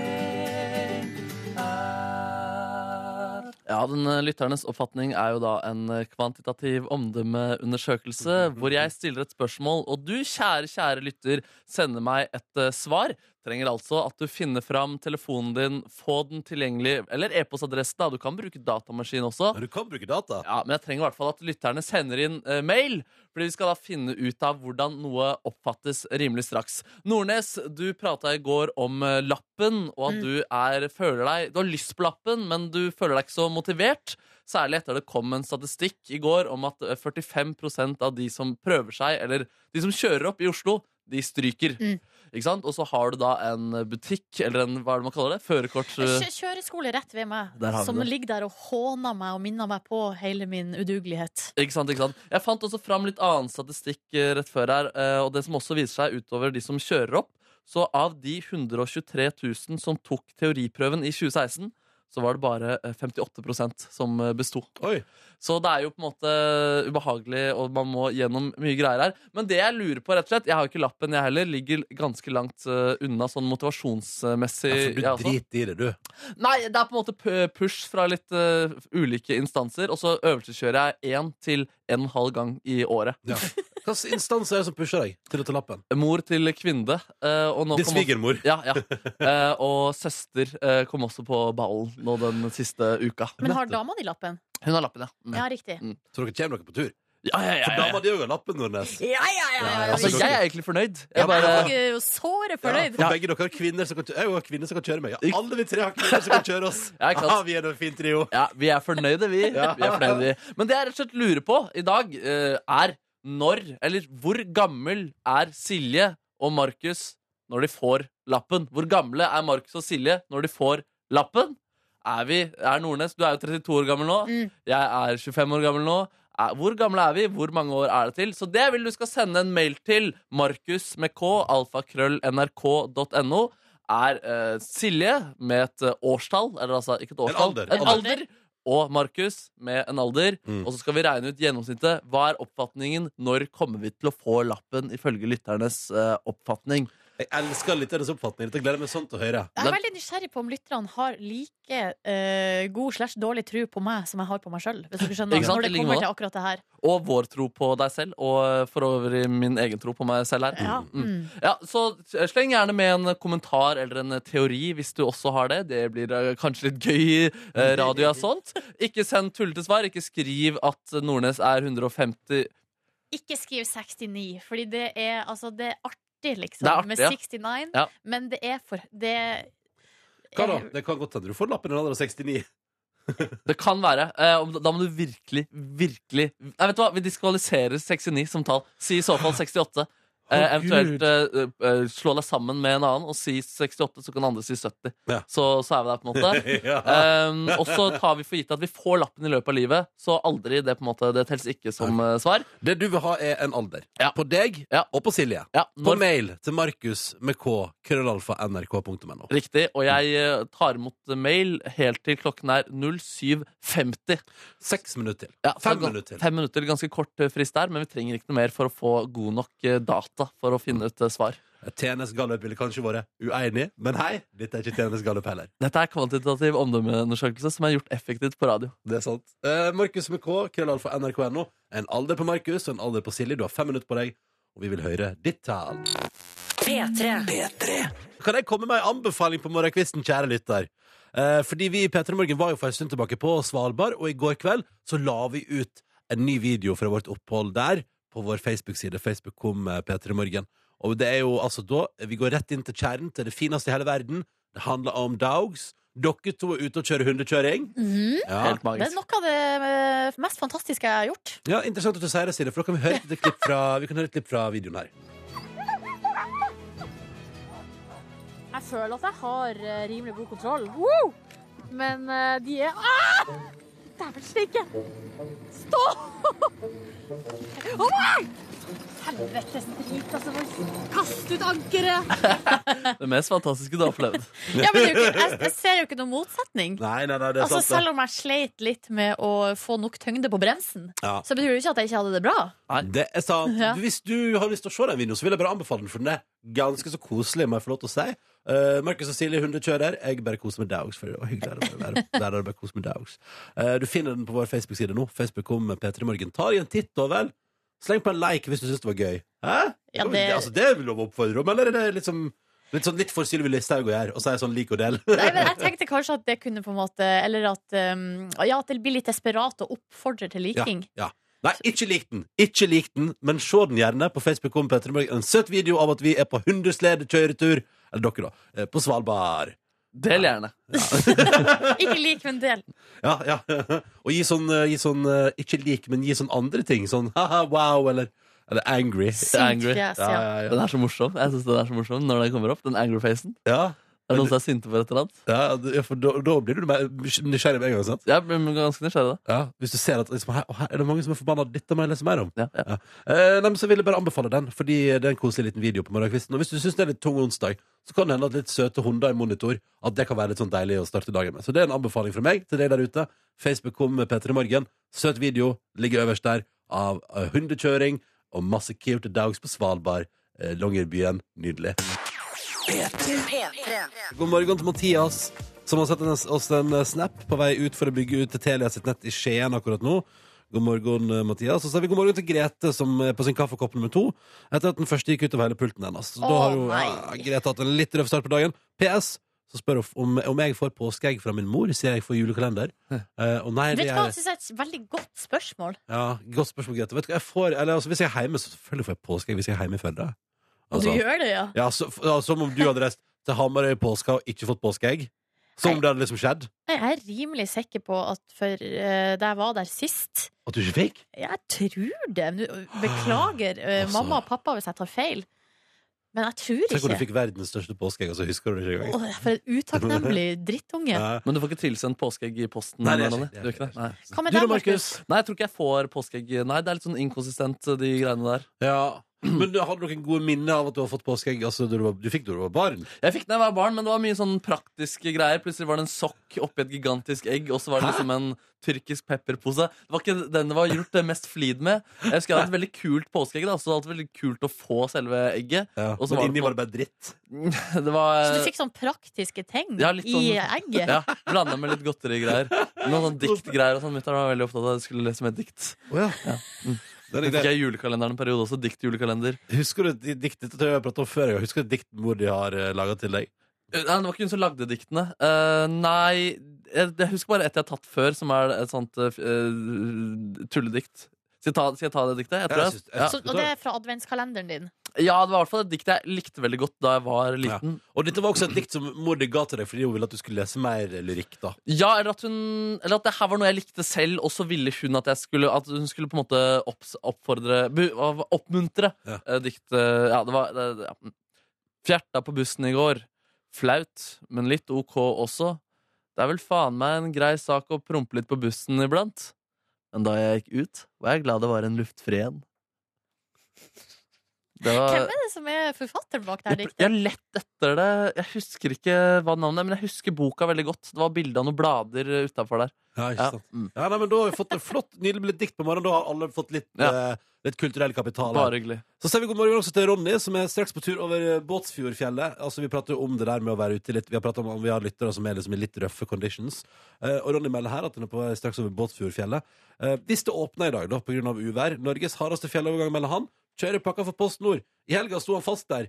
S4: er. Ja, den eh, lytternes oppfatning er jo da en eh, kvantitativ omdømmeundersøkelse hvor jeg stiller et spørsmål, og du, kjære, kjære lytter, sender meg et eh, svar. Trenger altså at du finner fram telefonen din, få den tilgjengelig, eller e-postadressen. da, Du kan bruke datamaskin også.
S2: Men du kan bruke data.
S4: Ja, Men jeg trenger i hvert fall at lytterne sender inn eh, mail, fordi vi skal da finne ut av hvordan noe oppfattes rimelig straks. Nordnes, du prata i går om eh, lappen, og at
S3: Mm.
S4: du er, føler deg Du har lyst på lappen, men du føler deg ikke så motivert. Særlig etter det kom en statistikk i går om at eh, 45 av de som prøver seg, eller de som kjører opp i Oslo, de stryker.
S3: Mm.
S4: Ikke sant? Og så har du da en butikk, eller en hva er det man kaller det? Førerkort... eh,
S3: Kjø- Kjøreskole rett ved meg,
S4: Der har vi
S3: som
S4: det.
S3: ligger der og håner meg og minner meg på hele min udugelighet.
S4: Ikke sant, ikke sant. Jeg fant også fram litt annen statistikk eh, rett før her, eh, og det som også viser seg utover de som kjører opp, så av de 123 000 som tok teoriprøven i 2016, så var det bare eh, 58 som eh, besto.
S2: Oi.
S4: Så det er jo på en måte eh, ubehagelig, og man må gjennom mye greier her. Men det jeg lurer på, rett og slett Jeg har jo ikke lappen, jeg heller. Ligger ganske langt eh, unna sånn motivasjonsmessig. altså.
S2: Ja, for du
S4: jeg også.
S2: driter i det, du.
S4: Nei, det er på en måte pu- push fra litt eh, ulike instanser, og så øvelseskjører jeg én til en halv gang i året.
S2: Ja. Hvilken instans er det som pusher deg til å ta lappen?
S4: Mor til kvinne. eh, og nå
S2: Din
S4: kom også-
S2: svigermor.
S4: Ja, ja. Eh, og søster eh, kom også på ballen nå den siste uka.
S3: Men har dama di lappen?
S4: Hun har lappen, ja. Mm.
S3: Ja, riktig.
S2: Tror dere kommer dere på tur?
S4: Ja, ja, ja,
S2: For
S4: ja,
S2: da
S4: ja.
S2: var det jo lappen, Nordnes.
S3: Ja, ja, ja! ja,
S4: Altså, jeg er egentlig fornøyd. Jeg bare,
S3: Jeg er jo såre fornøyd.
S2: for begge dere har kvinner som kan, kjø- jeg har kvinner som kan kjøre meg. Ja, alle vi tre har kvinner som kan kjøre oss.
S4: Ja, ikke sant.
S2: Aha, vi er en fin trio.
S4: ja, vi er fornøyde, vi. vi er fornøyde, vi. Men det jeg rett og slett lurer på i dag, eh, er når, eller hvor gammel er Silje og Markus når de får lappen? Hvor gamle er Markus og Silje når de får lappen? Er vi, er Nordnes, du er jo 32 år gammel nå.
S3: Mm.
S4: Jeg er 25 år gammel nå. Er- Hvor gamle er vi? Hvor mange år er det til? Så det vil du skal sende en mail til Markus med K, alfakrøll.nrk.no. Er eh, Silje med et eh, årstall, eller altså ikke et årstall,
S2: alder.
S4: En alder. Og Markus med en alder.
S2: Mm.
S4: Og så skal vi regne ut gjennomsnittet. Hva er oppfatningen? Når kommer vi til å få lappen, ifølge lytternes eh, oppfatning?
S2: Jeg elsker litt av deres oppfatning. Dette gleder jeg meg sånn til å høre.
S3: Jeg er veldig nysgjerrig på om lytterne har like eh, god slash dårlig tro på meg som jeg har på meg sjøl. Hvis dere skjønner
S4: Ikke
S3: når
S4: sant? I
S3: det
S4: like måte.
S3: kommer til akkurat det her.
S4: Og vår tro på deg selv, og eh, for øvrig min egen tro på meg selv her.
S3: Ja.
S4: Mm.
S3: Mm.
S4: Ja, så eh, Sleng gjerne med en kommentar eller en eh, teori hvis du også har det. Det blir eh, kanskje litt gøy i eh, radio og sånt. Ikke send tullete svar. Ikke skriv at Nordnes er 150
S3: Ikke skriv 69, fordi det er, altså, det er artig, liksom,
S4: Det er artig,
S3: med
S4: ja.
S3: 69,
S4: Ja.
S3: men det er for det
S2: Hva da? Det kan godt hende du får lappen når du er 69.
S4: Det kan være. Eh, om- Da må du virkelig, virkelig Nei, vet du hva? Vi diskvaliserer 69 som tall. Si i så fall 68. Eh,
S2: Å,
S4: eventuelt eh, eh, slå deg sammen med en annen og si 68, så kan andre si 70.
S2: Ja.
S4: Så, så er vi der, på en måte.
S2: ja.
S4: Um, og så tar vi for gitt at vi får lappen i løpet av livet, så aldri. Det på en måte, det telles ikke som eh, svar.
S2: Det du vil ha, er en alder.
S4: Ja.
S2: På deg
S4: Ja.
S2: og på Silje.
S4: Ja,
S2: På
S4: når,
S2: mail til markus med k krøllalfa nrk.no.
S4: riktig, og jeg eh, tar imot mail helt til klokken er 07.50.
S2: Seks minutter til.
S4: Ja, så
S2: Fem
S4: gan-
S2: minutter til.
S4: Fem minutter, Ganske kort eh, frist der, men vi trenger ikke noe mer for å få god nok eh, data for å finne ut eh, svar.
S2: TNS Gallup ville kanskje vært uenig, men hei, dette er ikke TNS Gallup heller.
S4: Dette er kvantitativ omdømmeundersøkelse som er gjort effektivt på radio.
S2: Det er sant. Eh, Markus med K, krøllalfa nrk.no. En alder på Markus og en alder på Silje. Du har fem minutter på deg, og vi vil høre ditt tall.
S1: P3.
S2: Kan jeg komme med en anbefaling på morgenkvisten, kjære lytter? Eh, fordi vi i P3 Morgen var jo for en stund tilbake på Svalbard, og i går kveld så la vi ut en ny video fra vårt opphold der på vår Facebook-side. Facebook kom eh, P3 Morgen. Og det er jo altså da vi går rett inn til kjernen til det fineste i hele verden. Det handler om dogs. Dere to er ute og kjører hundekjøring.
S3: Mhm.
S2: Ja.
S4: Helt
S3: Det er
S4: magisk.
S3: noe av det eh, mest fantastiske jeg har gjort.
S2: ja, Interessant at du sier det, Silje, for da kan vi høre et lite klipp fra, vi kan høre et klipp fra videoen her.
S3: Jeg føler at jeg har eh, rimelig god kontroll. Men eh, de er ah! Dæven steike! Stå! Å nei! Helvetes drit, altså. bare Kast ut ankeret!
S4: Det mest fantastiske du har opplevd.
S3: Ja, men det er jo ikke, jeg, jeg ser jo ikke noen motsetning.
S2: Nei, nei, nei, det er
S3: Altså,
S2: sant.
S3: selv om jeg sleit litt med å få nok tyngde på bremsen,
S2: Ja.
S3: så betyr det jo ikke at jeg ikke hadde det bra.
S2: Det. det er sant.
S3: Ja.
S2: Du, Hvis du har lyst til å se den videoen, så vil jeg bare anbefale den, for den er ganske så koselig, må jeg få lov til å si. Eh, Markus og Silje, hundekjører. Jeg bare koser med dogs, for det var hyggelig. å være Der Der er det bare kos med dogs. Eh, du finner den på vår Facebook-side nå. Facebook kom med P3 Morgen. Ta deg en titt, da vel. Sleng på en like hvis du syns det var gøy. Hæ?
S3: Ja,
S2: det...
S3: det-
S2: altså, det er vel lov å oppfordre om, eller er det liksom Litt, sånn, litt for Sylvi Listhaug å gjøre, og så er jeg sånn lik og del.
S3: Nei, men jeg tenkte kanskje at det kunne på en måte Eller at, um, ja, at det blir litt desperat å oppfordre til liking.
S2: Ja, ja. Nei, ikke lik den. Ikke lik den, men se den gjerne på Facebook. om Petter i Morgen. En søt video av at vi er på hundeslede kjøretur. Eller dere, da. eh, På Svalbard.
S4: Del gjerne.
S3: Ikke lik, men del.
S2: Ja, ja. Og gi sånn, eh, gi sånn eh, ikke lik, men gi sånn andre ting. Sånn haha, wow, eller, eller angry.
S3: Sint
S4: Angry.
S3: fjes,
S2: Ja,
S3: ja.
S2: ja, ja.
S4: Den er så morsom. Jeg synes den er så morsom når den kommer opp. Den angry-facen.
S2: ja.
S4: Er det noen som er sinte for et eller annet?
S2: ja det- ja, for da, da blir du mer nysgjerrig med en gang. sant?
S4: Jeg blir ganske nysgjerrig da.
S2: Ja, Hvis du ser at liksom, her, her er det mange som er forbanna, dette må jeg lese mer om.
S4: Ja, ja.
S2: Ja. Eh, nei, men så vil jeg bare anbefale den, fordi det er en koselig liten video på morgenkvisten. Og hvis du syns det er litt tung onsdag, så kan det hende at litt søte hunder i monitor At det kan være litt sånn deilig å starte dagen med. Så det er en anbefaling fra meg til deg der ute. Facebook kom med Petter i morgen. Søt video ligger øverst der av eh, hundekjøring og masse cute dogs på Svalbard. eh, Longyearbyen. Nydelig. God morgen til Mathias, som har sett en- oss en eh, snap på vei ut for å bygge ut Telia sitt nett i Skien akkurat nå. God morgen, eh, Mathias. Og så har vi god morgen til Grete, som er på sin kaffekopp nummer to. Etter at den første gikk ut av hele pulten hennes. Så da
S3: Å,
S2: har jo ja,
S3: nei.
S2: Grete hatt en litt røff start på dagen. PS. Så spør hun f- om, om jeg får påskeegg fra min mor, sier jeg får julekalender. Eh, og nei,
S3: Vet
S2: det
S3: du hva, altså?
S2: er
S3: jeg synes det er et veldig godt spørsmål.
S2: ja, Godt spørsmål, Grete. Vet du hva, jeg får, eller, altså, hvis jeg er hjemme, så selvfølgelig får jeg påskeegg hvis jeg er hjemme i Førde.
S3: Og du
S2: Altså,
S3: gjør det, ja.
S2: ja, så, ja, som om du hadde reist til Hamarøy i påska og ikke fått påskeegg. Som om det hadde liksom skjedd.
S3: Nei, Jeg er rimelig sikker på at for eh, da jeg var der sist
S2: At du ikke fikk?
S3: Jeg tror det. Nå, Beklager eh,
S2: Altså.
S3: mamma og pappa hvis jeg tar feil, men jeg tror
S2: Tenk om du
S3: ikke.
S2: fikk verdens største påskeegg, og så husker du det ikke engang.
S3: Åh, for en utakknemlig drittunge.
S2: Ja.
S4: Men du får ikke tilsendt påskeegg i posten?
S2: Nei, det er
S4: Ronny.
S2: ikke-
S4: Du gjør ikke det? Nei.
S3: Hva med
S2: Du da,
S3: deg,
S2: Markus?
S4: Nei, jeg tror ikke jeg får påskeegg. Nei, det er litt sånn inkonsistent, de greiene der.
S2: Ja. Men du hadde noen gode minner av at du har fått påskeegg? Altså, du, var, du fikk det da du var barn?
S4: Jeg fikk den da jeg var barn, men det var mye sånn praktiske greier. Plutselig var det en sokk oppi et gigantisk egg, og så var det liksom en tyrkisk pepperpose. Det var ikke den det var gjort det mest flid med. Jeg husker jeg hadde et veldig kult påskeegg, da, så det var alltid veldig kult å få selve egget.
S2: Ja.
S4: Og så
S2: Men
S4: var det
S2: inni
S4: på-
S2: var det bare dritt.
S4: Det var
S3: Så
S2: Eh,
S3: du fikk sånn praktiske ting
S4: Ja, litt
S3: i
S4: sånn-
S3: egget?
S4: ja, Blanda med litt godterigreier. Noen sånn diktgreier og sånn. Mutter'n var veldig opptatt av at jeg skulle lese med dikt.
S2: Oh, ja. Det er
S4: Så
S2: litt
S4: fikk
S2: greit.
S4: jeg julekalenderen en periode også. Diktjulekalender.
S2: Husker du et dikt dette tror jeg jeg har pratet om før? jeg. Husker du et dikt mor di har uh, laga til deg?
S4: Eh, Nei, det var ikke hun som lagde diktene. Eh, nei, jeg, jeg husker bare et jeg har tatt før, som er et sånt eh, f- eh, tulledikt. Skal jeg, ta, skal jeg ta det diktet? Jeg tror
S2: Ja,
S4: jeg,
S2: jeg
S4: ja.
S2: synes-
S3: Så, og det er fra adventskalenderen din?
S4: ja, det var i hvert fall et dikt jeg likte veldig godt da jeg var liten.
S2: Og dette var også et dikt som mor di ga til deg fordi hun ville at du skulle lese mer lyrikk. da
S4: Ja, eller, at hun, eller at det her var noe jeg likte selv, og så ville hun at jeg skulle At hun skulle på en måte opps, oppfordre bu, av- Oppmuntre
S2: Ja.
S4: eh, dikt eh, Ja, det var det- det- ja. Fjerta på bussen i går. Flaut, men litt ok også. Det er vel faen meg en grei sak å prompe litt på bussen iblant. Men da jeg gikk ut, var jeg glad det var en luftfri en. Det
S2: Eh,
S4: var-
S3: Hvem er det som er forfatteren bak det her
S4: jeg,
S3: diktet?
S4: jeg har lett etter det. Jeg husker ikke hva navnet er, men jeg husker boka veldig godt. Det var bilde av noen blader utafor der.
S2: Ja, ikke
S4: Ja.
S2: sant
S4: Mm.
S2: ja, nei, men Da har vi fått et flott, nydelig blitt dikt på morgenen. Da har alle fått litt,
S4: Ja.
S2: eh, litt kulturell kapital. her.
S4: Bare hyggelig.
S2: Så sier vi god morgen også til Ronny, som er straks på tur over eh, Båtsfjordfjellet. Altså, vi prater jo om det der med å være ute litt. Vi har pratet om om vi har lyttere som er liksom i litt røffe conditions. Eh, og Ronny melder her at han er på vei straks over Båtsfjordfjellet. Eh, hvis det åpner i dag, da, pga. uvær, Norges hardeste fjellovergang, melder han, kjører pakka for Post Nord. I helga sto han fast der.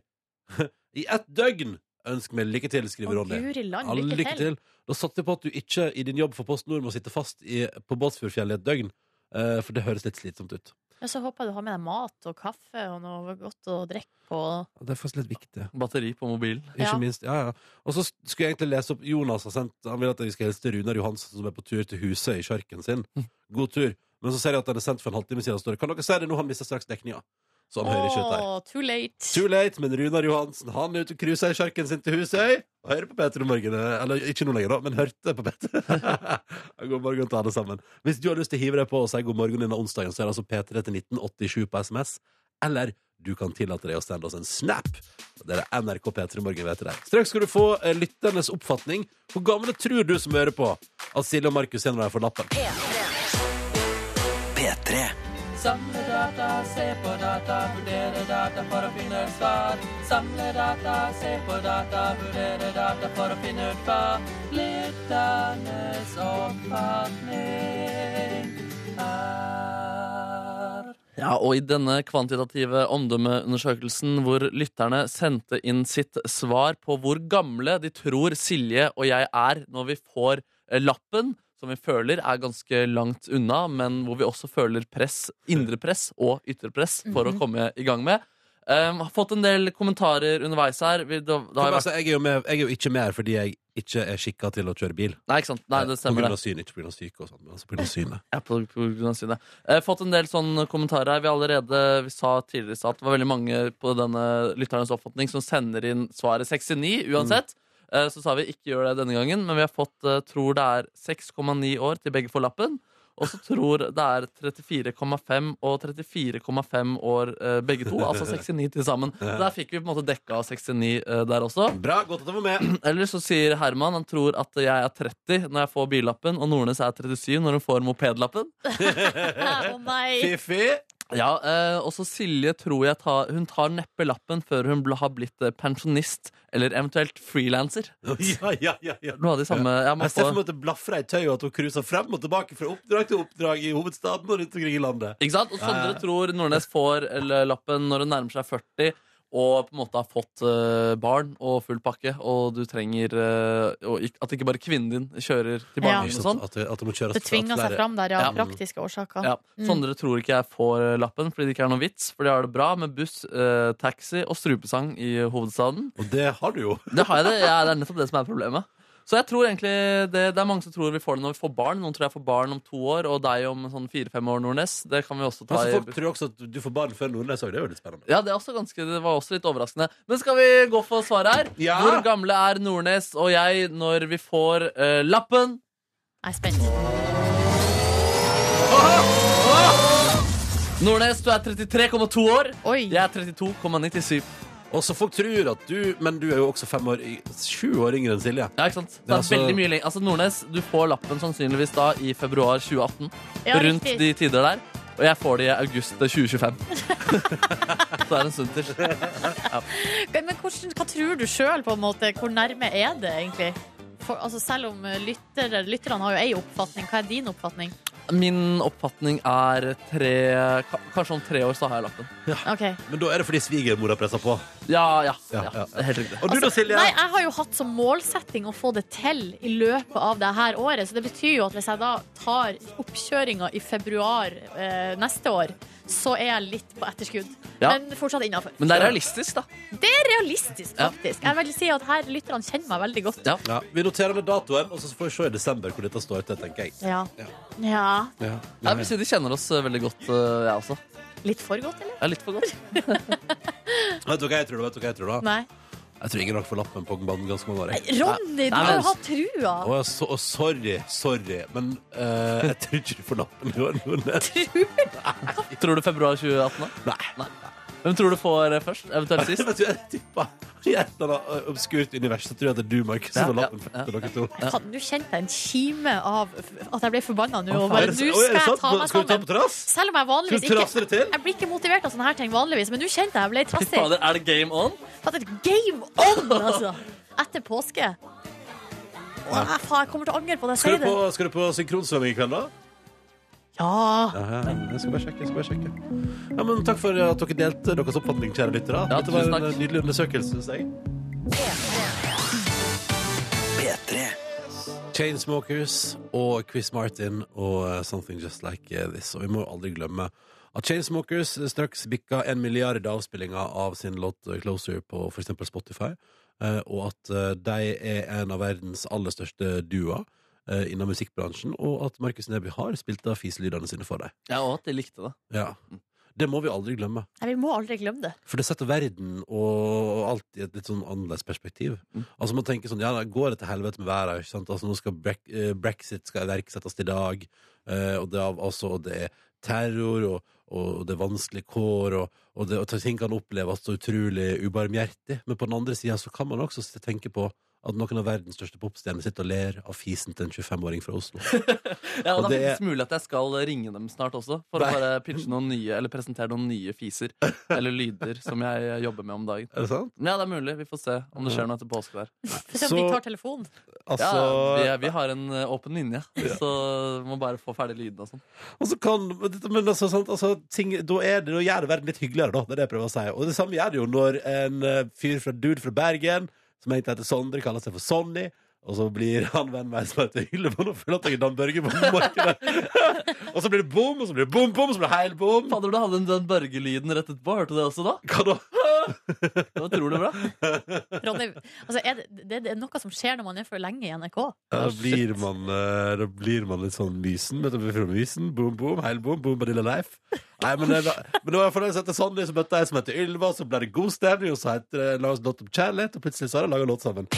S2: I ett døgn! Ønsk meg lykke til, skriver
S3: Å,
S2: Ronny.
S3: guri land,
S2: Ja,
S3: lykke til.
S2: Da satser jeg på at du ikke i din jobb for Post Nord må sitte fast i, på Båtsfjordfjellet i et døgn, eh, for det høres litt slitsomt ut.
S3: Og så håper jeg du har med deg mat og kaffe og noe godt å drikke på.
S2: Det er faktisk litt viktig.
S4: Batteri på mobilen.
S2: Ikke
S3: Ja.
S2: minst, ja, ja. Og så skulle jeg egentlig lese opp Jonas har sendt Han vil at vi skal hilse til Runar Johansen, som er på tur til huset i kjørken sin. God tur. Men så ser jeg at den er sendt for en halvtime siden. og står det, Kan dere se det nå? Han mister straks dekninga. Så han hører ikke ut der.
S3: Åh, too late.
S2: Too late, men Runar Johansen Han er ute og cruiser i kjørken sin til Husøy. Og hører på Peter om morgenen. Eller ikke nå lenger, da, men hørte på Peter. god morgen til alle sammen. Hvis du har lyst til å hive deg på og si god morgen denne onsdagen, så er det altså P3 til 1987 på SMS. Eller du kan tillate deg å sende oss en snap. Det er det NRK P3 Morgen vet det der. Straks skal du få eh, lytternes oppfatning. Hvor gamle tror du som hører på at Silje og Markus er når de får lappen?
S6: P3
S4: Samle data, se på data, vurdere data for å finne ut svar. Samle data, se på data, vurdere data for å finne ut hva. Lytternes oppfatning er ja, og i denne kvantitative omdømmeundersøkelsen hvor lytterne sendte inn sitt svar på hvor gamle de tror Silje og jeg er når vi får eh, lappen, som vi føler er ganske langt unna, men hvor vi også føler press, indre press og ytre press for å komme i gang med. Um, har fått en del kommentarer underveis her. Vi, da, da
S2: Jeg,
S4: har jeg vært,
S2: altså, jeg, er jo med, jeg er jo ikke med her fordi jeg ikke er skikka til å kjøre bil.
S4: nei, ikke sant? Nei, det
S2: På
S4: stemmer
S2: grunn
S4: det.
S2: av synet, ikke på grunn av syke og sånn, men altså på grunn av synet.
S4: Ja, på, på grunn av synet. Eh, fått en del sånne kommentarer her. Vi allerede vi sa tidligere i stad at det var veldig mange på denne lytternes oppfatning som sender inn svaret 69 uansett. Eh, så sa vi ikke gjør det denne gangen, men vi har fått eh, tror det er 6,9 år til begge får lappen. Og så tror det er 34,5 og 34,5 år eh, begge to, altså 69 til sammen. Så der fikk vi på en måte dekka 69 eh, der også.
S2: Bra, godt at du var med.
S4: Eller så sier Herman han tror at jeg er 30 når jeg får billappen, og Nordnes er 37 når hun får mopedlappen.
S3: Å nei.
S2: Fiffi.
S4: Ja, eh, også Silje tror jeg tar, hun tar neppe lappen før hun bl- har blitt eh, pensjonist, eller eventuelt frilanser.
S2: Ja, ja, ja, ja.
S4: Noe av de samme ja, man
S2: Jeg ser for
S4: får,
S2: meg at det blafrer i tøyet, og at hun cruiser frem og tilbake fra oppdrag til oppdrag i hovedstaden og rundt omkring i landet.
S4: Ikke sant? Og Sondre tror Nordnes får eller, lappen når hun nærmer seg 40. og på en måte har fått eh, barn og full pakke, og du trenger eh, og ikk- at ikke bare kvinnen din kjører
S3: Ja.
S4: til barnehagen og sånn.
S2: At, det- at det må kjøres
S3: Det tvinger
S2: flere-
S3: seg fram der, ja.
S4: Ja.
S3: av Praktiske årsaker.
S4: Ja. Sondre tror ikke jeg får eh, lappen fordi det ikke er noen vits, for de har det bra med buss, eh, taxi og strupesang i hovedstaden.
S2: Og det har du jo.
S4: Det har jeg det. Ja, det er nettopp det som er problemet. Så jeg tror egentlig det, det er mange som tror vi får det når vi får barn. Noen tror jeg får barn om to år, og deg om sånn fire-fem år, Nordnes. Det kan vi også ta
S2: Altså,
S4: i
S2: folk tror også at du får barn før Nordnes òg. Det er jo litt spennende.
S4: ja, det, er også ganske, det var også litt overraskende. Men skal vi gå for svaret her?
S2: Ja.
S4: Hvor gamle er Nordnes og jeg når vi får eh, lappen?
S3: Jeg er spent.
S4: Nordnes, du er 33,2 år.
S3: Oi.
S4: Jeg er 32,97.
S2: Og så folk tror at du Men du er jo også fem år y- sju år yngre enn Silje.
S4: Ja, ikke sant? Det
S2: Ja,
S4: er
S2: altså-
S4: veldig mye lenger. Altså, Nordnes, du får lappen sannsynligvis da i februar 2018.
S3: Ja,
S4: rundt
S3: riktig.
S4: de tider der. Og jeg får det i august 2025. Så det er en stund til.
S3: Men hvordan, hva tror du sjøl, på en måte? Hvor nærme er det, egentlig? For, altså, selv om eh, lyttere, lytterne har jo ei oppfatning, hva er din oppfatning?
S4: Min oppfatning er tre ka- Kanskje om tre år så har jeg lappen.
S3: Ok.
S2: Men da er det fordi svigermora presser på.
S4: Ja, ja.
S2: Ja,
S4: ja,
S2: ja.
S4: det er Helt riktig.
S2: Og du da, Silje?
S3: Altså, Nei, jeg har jo hatt som målsetting å få det til i løpet av det her året. Så det betyr jo at hvis jeg da tar oppkjøringa i februar eh, neste år, så er jeg litt på etterskudd.
S4: Ja.
S3: Men fortsatt innafor.
S4: Men det er realistisk, da.
S3: Det er realistisk,
S4: Ja.
S3: faktisk. Jeg vil si at her lytterne kjenner meg veldig godt.
S4: Ja.
S2: Ja, vi noterer ned datoen, og så får vi se i desember hvor dette står til, tenker jeg.
S3: Ja.
S2: Ja.
S3: ja.
S2: Ja.
S4: Jeg vil si de kjenner oss eh, veldig godt, eh, jeg også.
S3: Litt for godt, eller?
S4: Jeg er litt for godt.
S2: Vet du hva jeg tror, da? Vet du hva jeg tror, da?
S3: Nei.
S2: Jeg tror ingen dere får lappen på banen ganske mange år. jeg.
S3: Ronny, du
S4: Nei,
S3: har jo
S4: men-
S3: hatt trua.
S2: Å, så, å, sorry, sorry, men eh, jeg tror ikke du får lappen i år. Nordnes.
S4: Tror du februar 2018, da?
S2: Nei.
S4: Nei. Hvem tror du får eh, først? Eventuelt sist?
S2: Vet du, jeg tippa i et eller annet eh, obskurt univers så tror jeg det er du, Markus, som
S4: Ja,
S2: får lappen
S4: ja,
S2: først til dere to.
S3: Faen, Nå kjente jeg en kime av at jeg ble forbanna nå. Og
S2: Er
S3: bare,
S2: det-
S3: nå
S2: Oi, er
S3: skal
S2: det
S3: jeg
S2: sant?
S3: ta meg
S2: Skal du ta på
S3: sammen.
S2: trass?
S3: Selv om
S2: Skal
S3: jeg vanligvis
S2: du
S3: ikke
S2: trasse det til?
S3: Jeg blir ikke motivert av sånne her ting vanligvis, men nå kjente jeg jeg ble
S4: Fy
S3: trassig.
S4: fader, er det game on?
S3: Fatt et game on, altså! Etter påske. Åh, faen, jeg kommer til å angre på det jeg
S2: Skal
S3: sier.
S2: du
S3: det.
S2: på, skal du på synkronsvømming i kveld, da?
S3: Ja.
S2: Ja, jeg skal bare sjekke. jeg skal bare sjekke ja, men Takk for at dere delte deres oppfatning, kjære lyttere.
S4: Ja,
S2: Dette var
S4: tusen
S2: en
S4: takk.
S2: nydelig undersøkelse, synes jeg. Chainsmokers og Chris Martin og eh, Something Just Like eh, This. Og vi må aldri glemme at Chainsmokers straks bikka en milliard avspillinger av sin låt eh, Closer på f.eks. Spotify, eh, og at eh, de er en av verdens aller største duoer eh, innen musikkbransjen, og at Markus Neby har spilt av fiselydene sine for deg.
S4: Ja, og at de likte det.
S2: Ja. Det må vi aldri glemme,
S3: Nei, vi må aldri glemme det.
S2: for det setter verden og alt i et litt sånn annerledes perspektiv.
S4: Mm.
S2: Altså Man tenker sånn ja, da går det til helvete med været? ikke sant? Altså Nå skal brek eh, brexit skal iverksettes i dag, eh, og det er, av- altså, og det er terror, og, og det er vanskelige kår, og, og, det, og ting kan oppleves så utrolig ubarmhjertig. Men på den andre sida så kan man også s- tenke på at noen av verdens største popstjerner sitter og ler av fisen til en 25-åring fra Oslo.
S4: Ja,
S2: Og
S4: og Det er
S2: det-
S4: faktisk mulig at jeg skal ringe dem snart også, for
S2: Nei.
S4: å bare pitche noen nye, eller presentere noen nye fiser eller lyder som jeg jobber med om dagen.
S2: Er det sant?
S4: Men ja, det er mulig. Vi får se om det skjer noe etter påske der.
S3: Få se om de
S2: Så-
S3: tar telefonen.
S2: Altså,
S4: Ja, vi, er- vi har en eh, åpen linje, så må bare få ferdig lyden og sånn.
S2: Og så kan, men dette- men altså, sant, altså, ting, da, er det, da gjør det verden litt hyggeligere, da. Det er det jeg prøver å si. Og det samme gjør det jo når en eh, fyr fra dude fra Bergen, som egentlig heter Sondre, kaller seg for Sonny. Og så blir han venn med ei som heter Hyllebond og føler at jeg er Dan Børge på markedet. og så blir det bom, og så blir det bom-bom, og så blir det heil bom.
S4: Fader, du hadde den, den børgelyden rett etterpå. Hørte du det også da?
S2: Hva da?
S4: Det var utrolig bra.
S3: Ronny, altså, er det, det, det er noe som skjer når man er for lenge i NRK.
S2: Ja,
S4: Ah,
S2: Da blir, man, eh, da blir man litt sånn mysen. Vet du, vi får mysen Boom, boom, heil boom, boom, badilla life. Nei, men, det, men det var for den som heter Sandy, som møtte ei som heter Ylva, så ble det god stemning, og så heter det la oss låt om kjærlighet, og plutselig så har de laga låt sammen.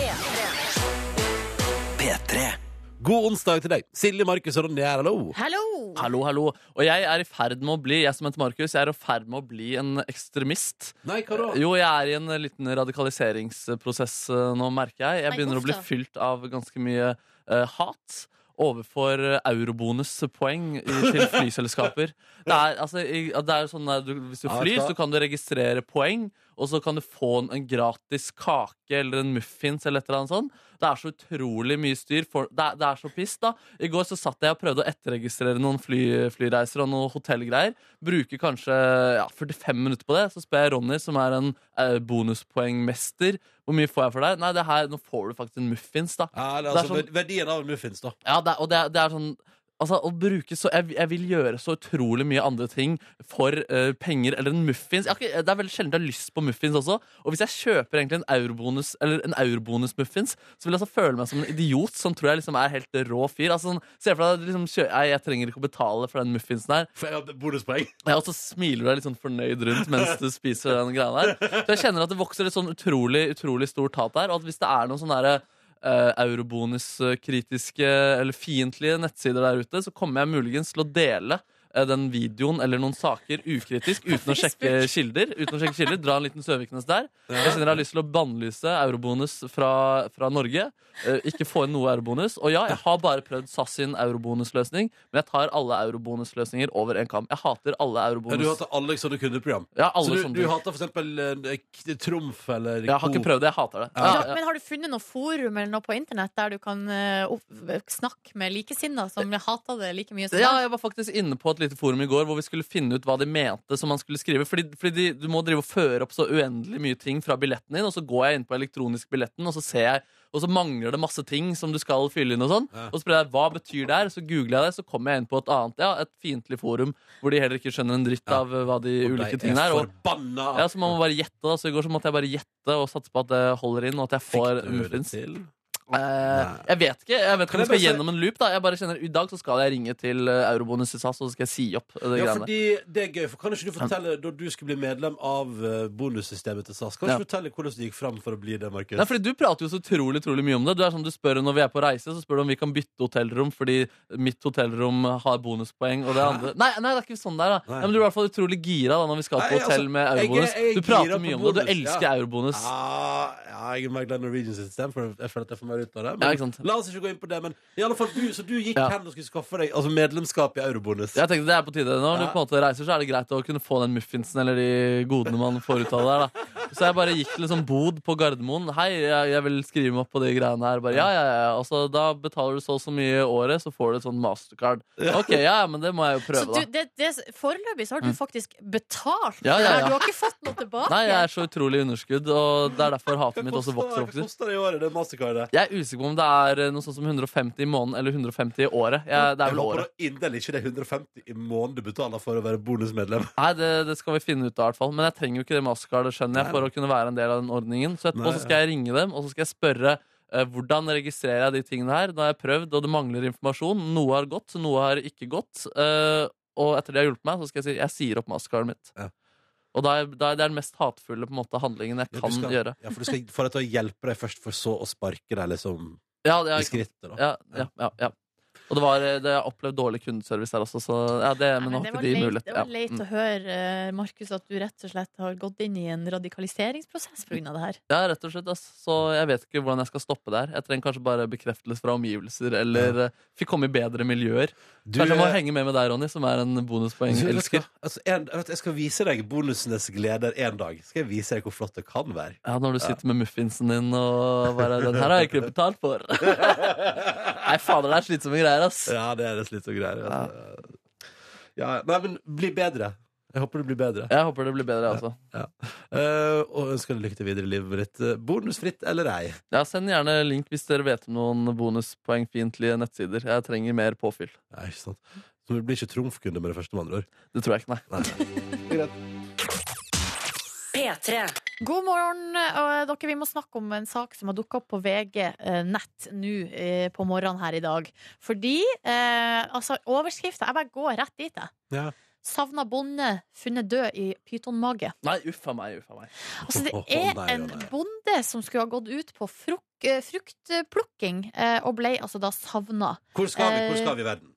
S2: God onsdag til deg. Silje, Markus og Ronny her, hallo.
S3: Hallo!
S4: Hallo, hallo. Og jeg er i ferd med å bli jeg som heter Markus, jeg er i ferd med å bli en ekstremist.
S2: Nei, hva da?
S4: Jo, jeg er i en liten radikaliseringsprosess eh, nå, merker jeg. Jeg
S3: Nei,
S4: begynner å bli
S3: uff da.
S4: fylt av ganske mye eh, hat. Overfor eh, eurobonuspoeng i- til flyselskaper. Det er, altså, i- at det er jo sånn eh, du, Hvis du
S2: Ja, vet du
S4: flyr,
S2: hva?
S4: så kan du registrere poeng, og så kan du få en, en gratis kake eller en muffins eller et eller annet sånt. Det er så utrolig mye styr. For, det, er, det er så piss, da. I går så satt jeg og prøvde å etterregistrere noen fly, flyreiser og noen hotellgreier. Bruker kanskje ja, 45 minutter på det. Så spør jeg Ronny, som er en eh, bonuspoengmester, hvor mye får jeg for deg? Nei, det her, nå får du faktisk en muffins, da.
S2: Ja, det er
S4: Det er
S2: altså,
S4: sånn-
S2: Verdien av muffins, da.
S4: Ja, det, er- og det, er- det er sånn Altså, å bruke så jeg, jeg vil gjøre så utrolig mye andre ting for eh, penger eller en muffins. Jeg har ikke, det er veldig sjelden jeg har lyst på muffins også. Og hvis jeg kjøper egentlig en eurobonus Eller en eurobonus-muffins, så vil jeg altså føle meg som en idiot som tror jeg liksom er helt rå fyr. Altså, sånn, Se for deg at liksom, kjø- nei, jeg trenger ikke å betale for den muffinsen her.
S2: For jeg har bonuspoeng.
S4: Ja, og så smiler du deg litt sånn fornøyd rundt mens du spiser den greia der. Så jeg kjenner at det vokser et sånn utrolig, utrolig stort tap der. Og at hvis det er noen sånne derre eh, eurobonus-kritiske eller fiendtlige nettsider der ute, så kommer jeg muligens til å dele eh, den videoen eller noen saker ukritisk uten å sjekke kilder. Uten å sjekke kilder, Dra en liten Søviknes der. Jeg kjenner jeg har lyst til å bannlyse eurobonus fra, fra Norge. Eh, ikke få inn noe eurobonus. Og ja, jeg har bare prøvd SAS sin eurobonusløsning, men jeg tar alle eurobonusløsninger over en kam. Jeg hater alle
S2: Ja,
S4: eurobonus.
S2: du hater alle sånne kundeprogram.
S4: Ja, alle
S2: Så du,
S4: sånne
S2: du
S4: ting.
S2: hater for eksempel eh, k- Trumf eller
S4: Jeg har ikke prøvd det. Jeg hater det. Ja, ja.
S3: Men har du funnet noe forum eller noe på internett der du kan eh, opp- snakke med likesinnede som hater det like mye som
S4: Ja,
S3: deg?
S4: jeg var faktisk inne på et lite forum i går hvor vi skulle finne ut hva de mente som man skulle skrive. Fordi, fordi de, du må drive og føre opp så uendelig mye ting fra billetten din, og så går jeg inn på elektronisk billetten, og så ser jeg og så mangler det masse ting som du skal fylle inn. Og sånn
S2: Ja.
S4: Og så spør jeg hva betyr det her, så googler jeg det, så kommer jeg inn på et annet Ja, et fiendtlig forum hvor de heller ikke skjønner en dritt
S2: Ja.
S4: av eh, hva de ulike
S2: ting
S4: tingene er. Og,
S2: Forbanna!
S4: ja, så man må bare gjette da. Så i går så måtte jeg bare gjette og satse på at det holder inn, og at jeg får muffins.
S2: til?
S4: Eh, jeg vet ikke. Jeg vet ikke
S2: Kan jeg
S4: om jeg skal
S2: bare si-
S4: gjennom en loop. da Jeg bare kjenner, I dag så skal jeg ringe til eh, Eurobonus i SAS, og så skal jeg si opp eh, det
S2: Ja,
S4: greiene.
S2: fordi det er gøy. For kan ikke du fortelle, da du skulle bli medlem av eh, bonussystemet til SAS, kan du
S4: Ja.
S2: ikke fortelle hvordan du gikk fram for å bli det, Markus?
S4: Nei, fordi Du prater jo så utrolig utrolig mye om det. Du er sånn, du spør Når vi er på reise, så spør du om vi kan bytte hotellrom fordi mitt hotellrom har bonuspoeng. Og det andre Nei, nei det er ikke sånn der da
S2: Nei.
S4: ja, Men Du er i hvert fall utrolig gira da når vi skal
S2: Nei,
S4: på hotell
S2: altså,
S4: med
S2: jeg er-
S4: eurobonus.
S2: jeg er
S4: Du prater
S2: gira på
S4: mye om det, og
S2: bonus,
S4: du
S2: ja.
S4: elsker eurobonus.
S2: Ah, ja, jeg er mer glad i Norwegian sitt system, for jeg føler at jeg får mer ut av det. Men
S4: Ja, ikke sant.
S2: la oss ikke gå inn på det, men i alle fall du, så du gikk
S4: Ja.
S2: hen og skulle skaffe deg altså medlemskap i eurobonus.
S4: Jeg tenkte det er på tide
S2: Ja.
S4: Når du på en måte reiser, så er det greit å kunne få den muffinsen eller de godene man får ut av det. her, Da. Så jeg bare gikk til en sånn bod på Gardermoen. Hei, jeg, jeg vil skrive meg opp på de greiene her. Bare, ja, ja, ja. Og så da betaler du så og så mye i året, så får du et sånt mastercard. Ok, ja, men det må jeg jo
S3: Så
S4: prøve,
S3: du,
S4: da.
S3: det, det, foreløpig så har du faktisk betalt.
S4: Mm. Ja, ja, ja.
S3: Du har ikke fått noe tilbake.
S4: Nei, jeg er så utrolig underskudd, og det er derfor hatet mitt også vokser
S2: Hva
S4: og vokser.
S2: koster det i året, det mastercardet?
S4: Jeg er usikker på om det er eh, noe sånt som 150 i måneden eller 150 i året. Jeg, det er
S2: Jeg
S4: vel
S2: håper
S4: året.
S2: da inderlig ikke det er 150 i måneden du betaler for å være bonusmedlem.
S4: Nei, det, det skal vi finne ut av, i hvert fall. Men jeg trenger jo ikke det mastercardet, skjønner jeg, for å kunne være en del av den ordningen. Så etterpå
S2: Nei,
S4: så skal jeg ringe dem, og så skal jeg spørre eh, hvordan registrerer jeg de tingene her. Nå har jeg prøvd, og det mangler informasjon. Noe har gått, noe har ikke gått. Eh, og etter de har hjulpet meg, så skal jeg si jeg sier opp mastercardet mitt.
S2: Ja.
S4: Og da er, da er det den mest hatefulle på en måte, handlingen jeg
S2: Ja, du
S4: kan
S2: skal-
S4: gjøre.
S2: Ja, for du skal få deg til å hjelpe deg først, for så å sparke deg liksom
S4: Ja, det
S2: i
S4: er,
S2: skrittet. da.
S4: ja, ja, ja, ja. Og det var, eh, det, jeg har opplevd dårlig kundeservice her også, så ja, det,
S3: Nei,
S4: men nå
S3: men
S4: har
S3: det var
S4: ikke de
S3: leit,
S4: mulighet.
S3: det var
S4: Ja.
S3: leit
S4: Mm.
S3: å høre, eh, Markus, at du rett og slett har gått inn i en radikaliseringsprosess pga. det her.
S4: Ja, rett og slett. Ass. Så jeg vet ikke hvordan jeg skal stoppe det her. Jeg trenger kanskje bare bekreftelse fra omgivelser, eller eh, fikk komme i bedre miljøer.
S2: Du,
S4: kanskje jeg må
S2: eh,
S4: henge med med deg, Ronny, som er en
S2: du, jeg skal-
S4: bonuspoengelsker.
S2: Altså, en, vet du, jeg skal vise deg bonusenes gleder en dag. Skal jeg vise deg hvor flott det kan være.
S4: Ja, når du sitter med muffinsen din og bare Den her har jeg ikke betalt for. Nei, fader, det er slitsomme greier, ass.
S2: Ja, det er det slitsomme greier. Altså. Ja, nei, men bli bedre. Jeg håper du blir bedre.
S4: Jeg håper det blir bedre, altså. jeg også.
S2: Eh, og ønsker deg lykke til videre i livet ditt. Eh, Bonusfritt eller ei.
S4: Ja, send gjerne link hvis dere vet om noen bonuspoengfiendtlige nettsider. Jeg trenger mer påfyll.
S2: Nei, ikke sant. Så du blir ikke trumfkunde med det første, med andre ord.
S4: Det tror jeg ikke, nei.
S1: P3.
S3: God morgen, eh, dere. Vi må snakke om en sak som har dukka opp på VG eh, nett nå eh, på morgenen her i dag. Fordi eh, altså, overskrifta Jeg bare går rett dit, jeg.
S2: Ja.
S3: Savna bonde funnet død i pytonmage.
S4: Nei, uffa meg, uffa meg.
S3: Altså, det
S2: Å,
S3: er
S2: nei, å,
S3: en
S2: nei.
S3: bonde som skulle ha gått ut på fruk- eh, fruktplukking, eh, og ble altså da savna.
S2: Hvor skal vi? Hvor skal vi i verden?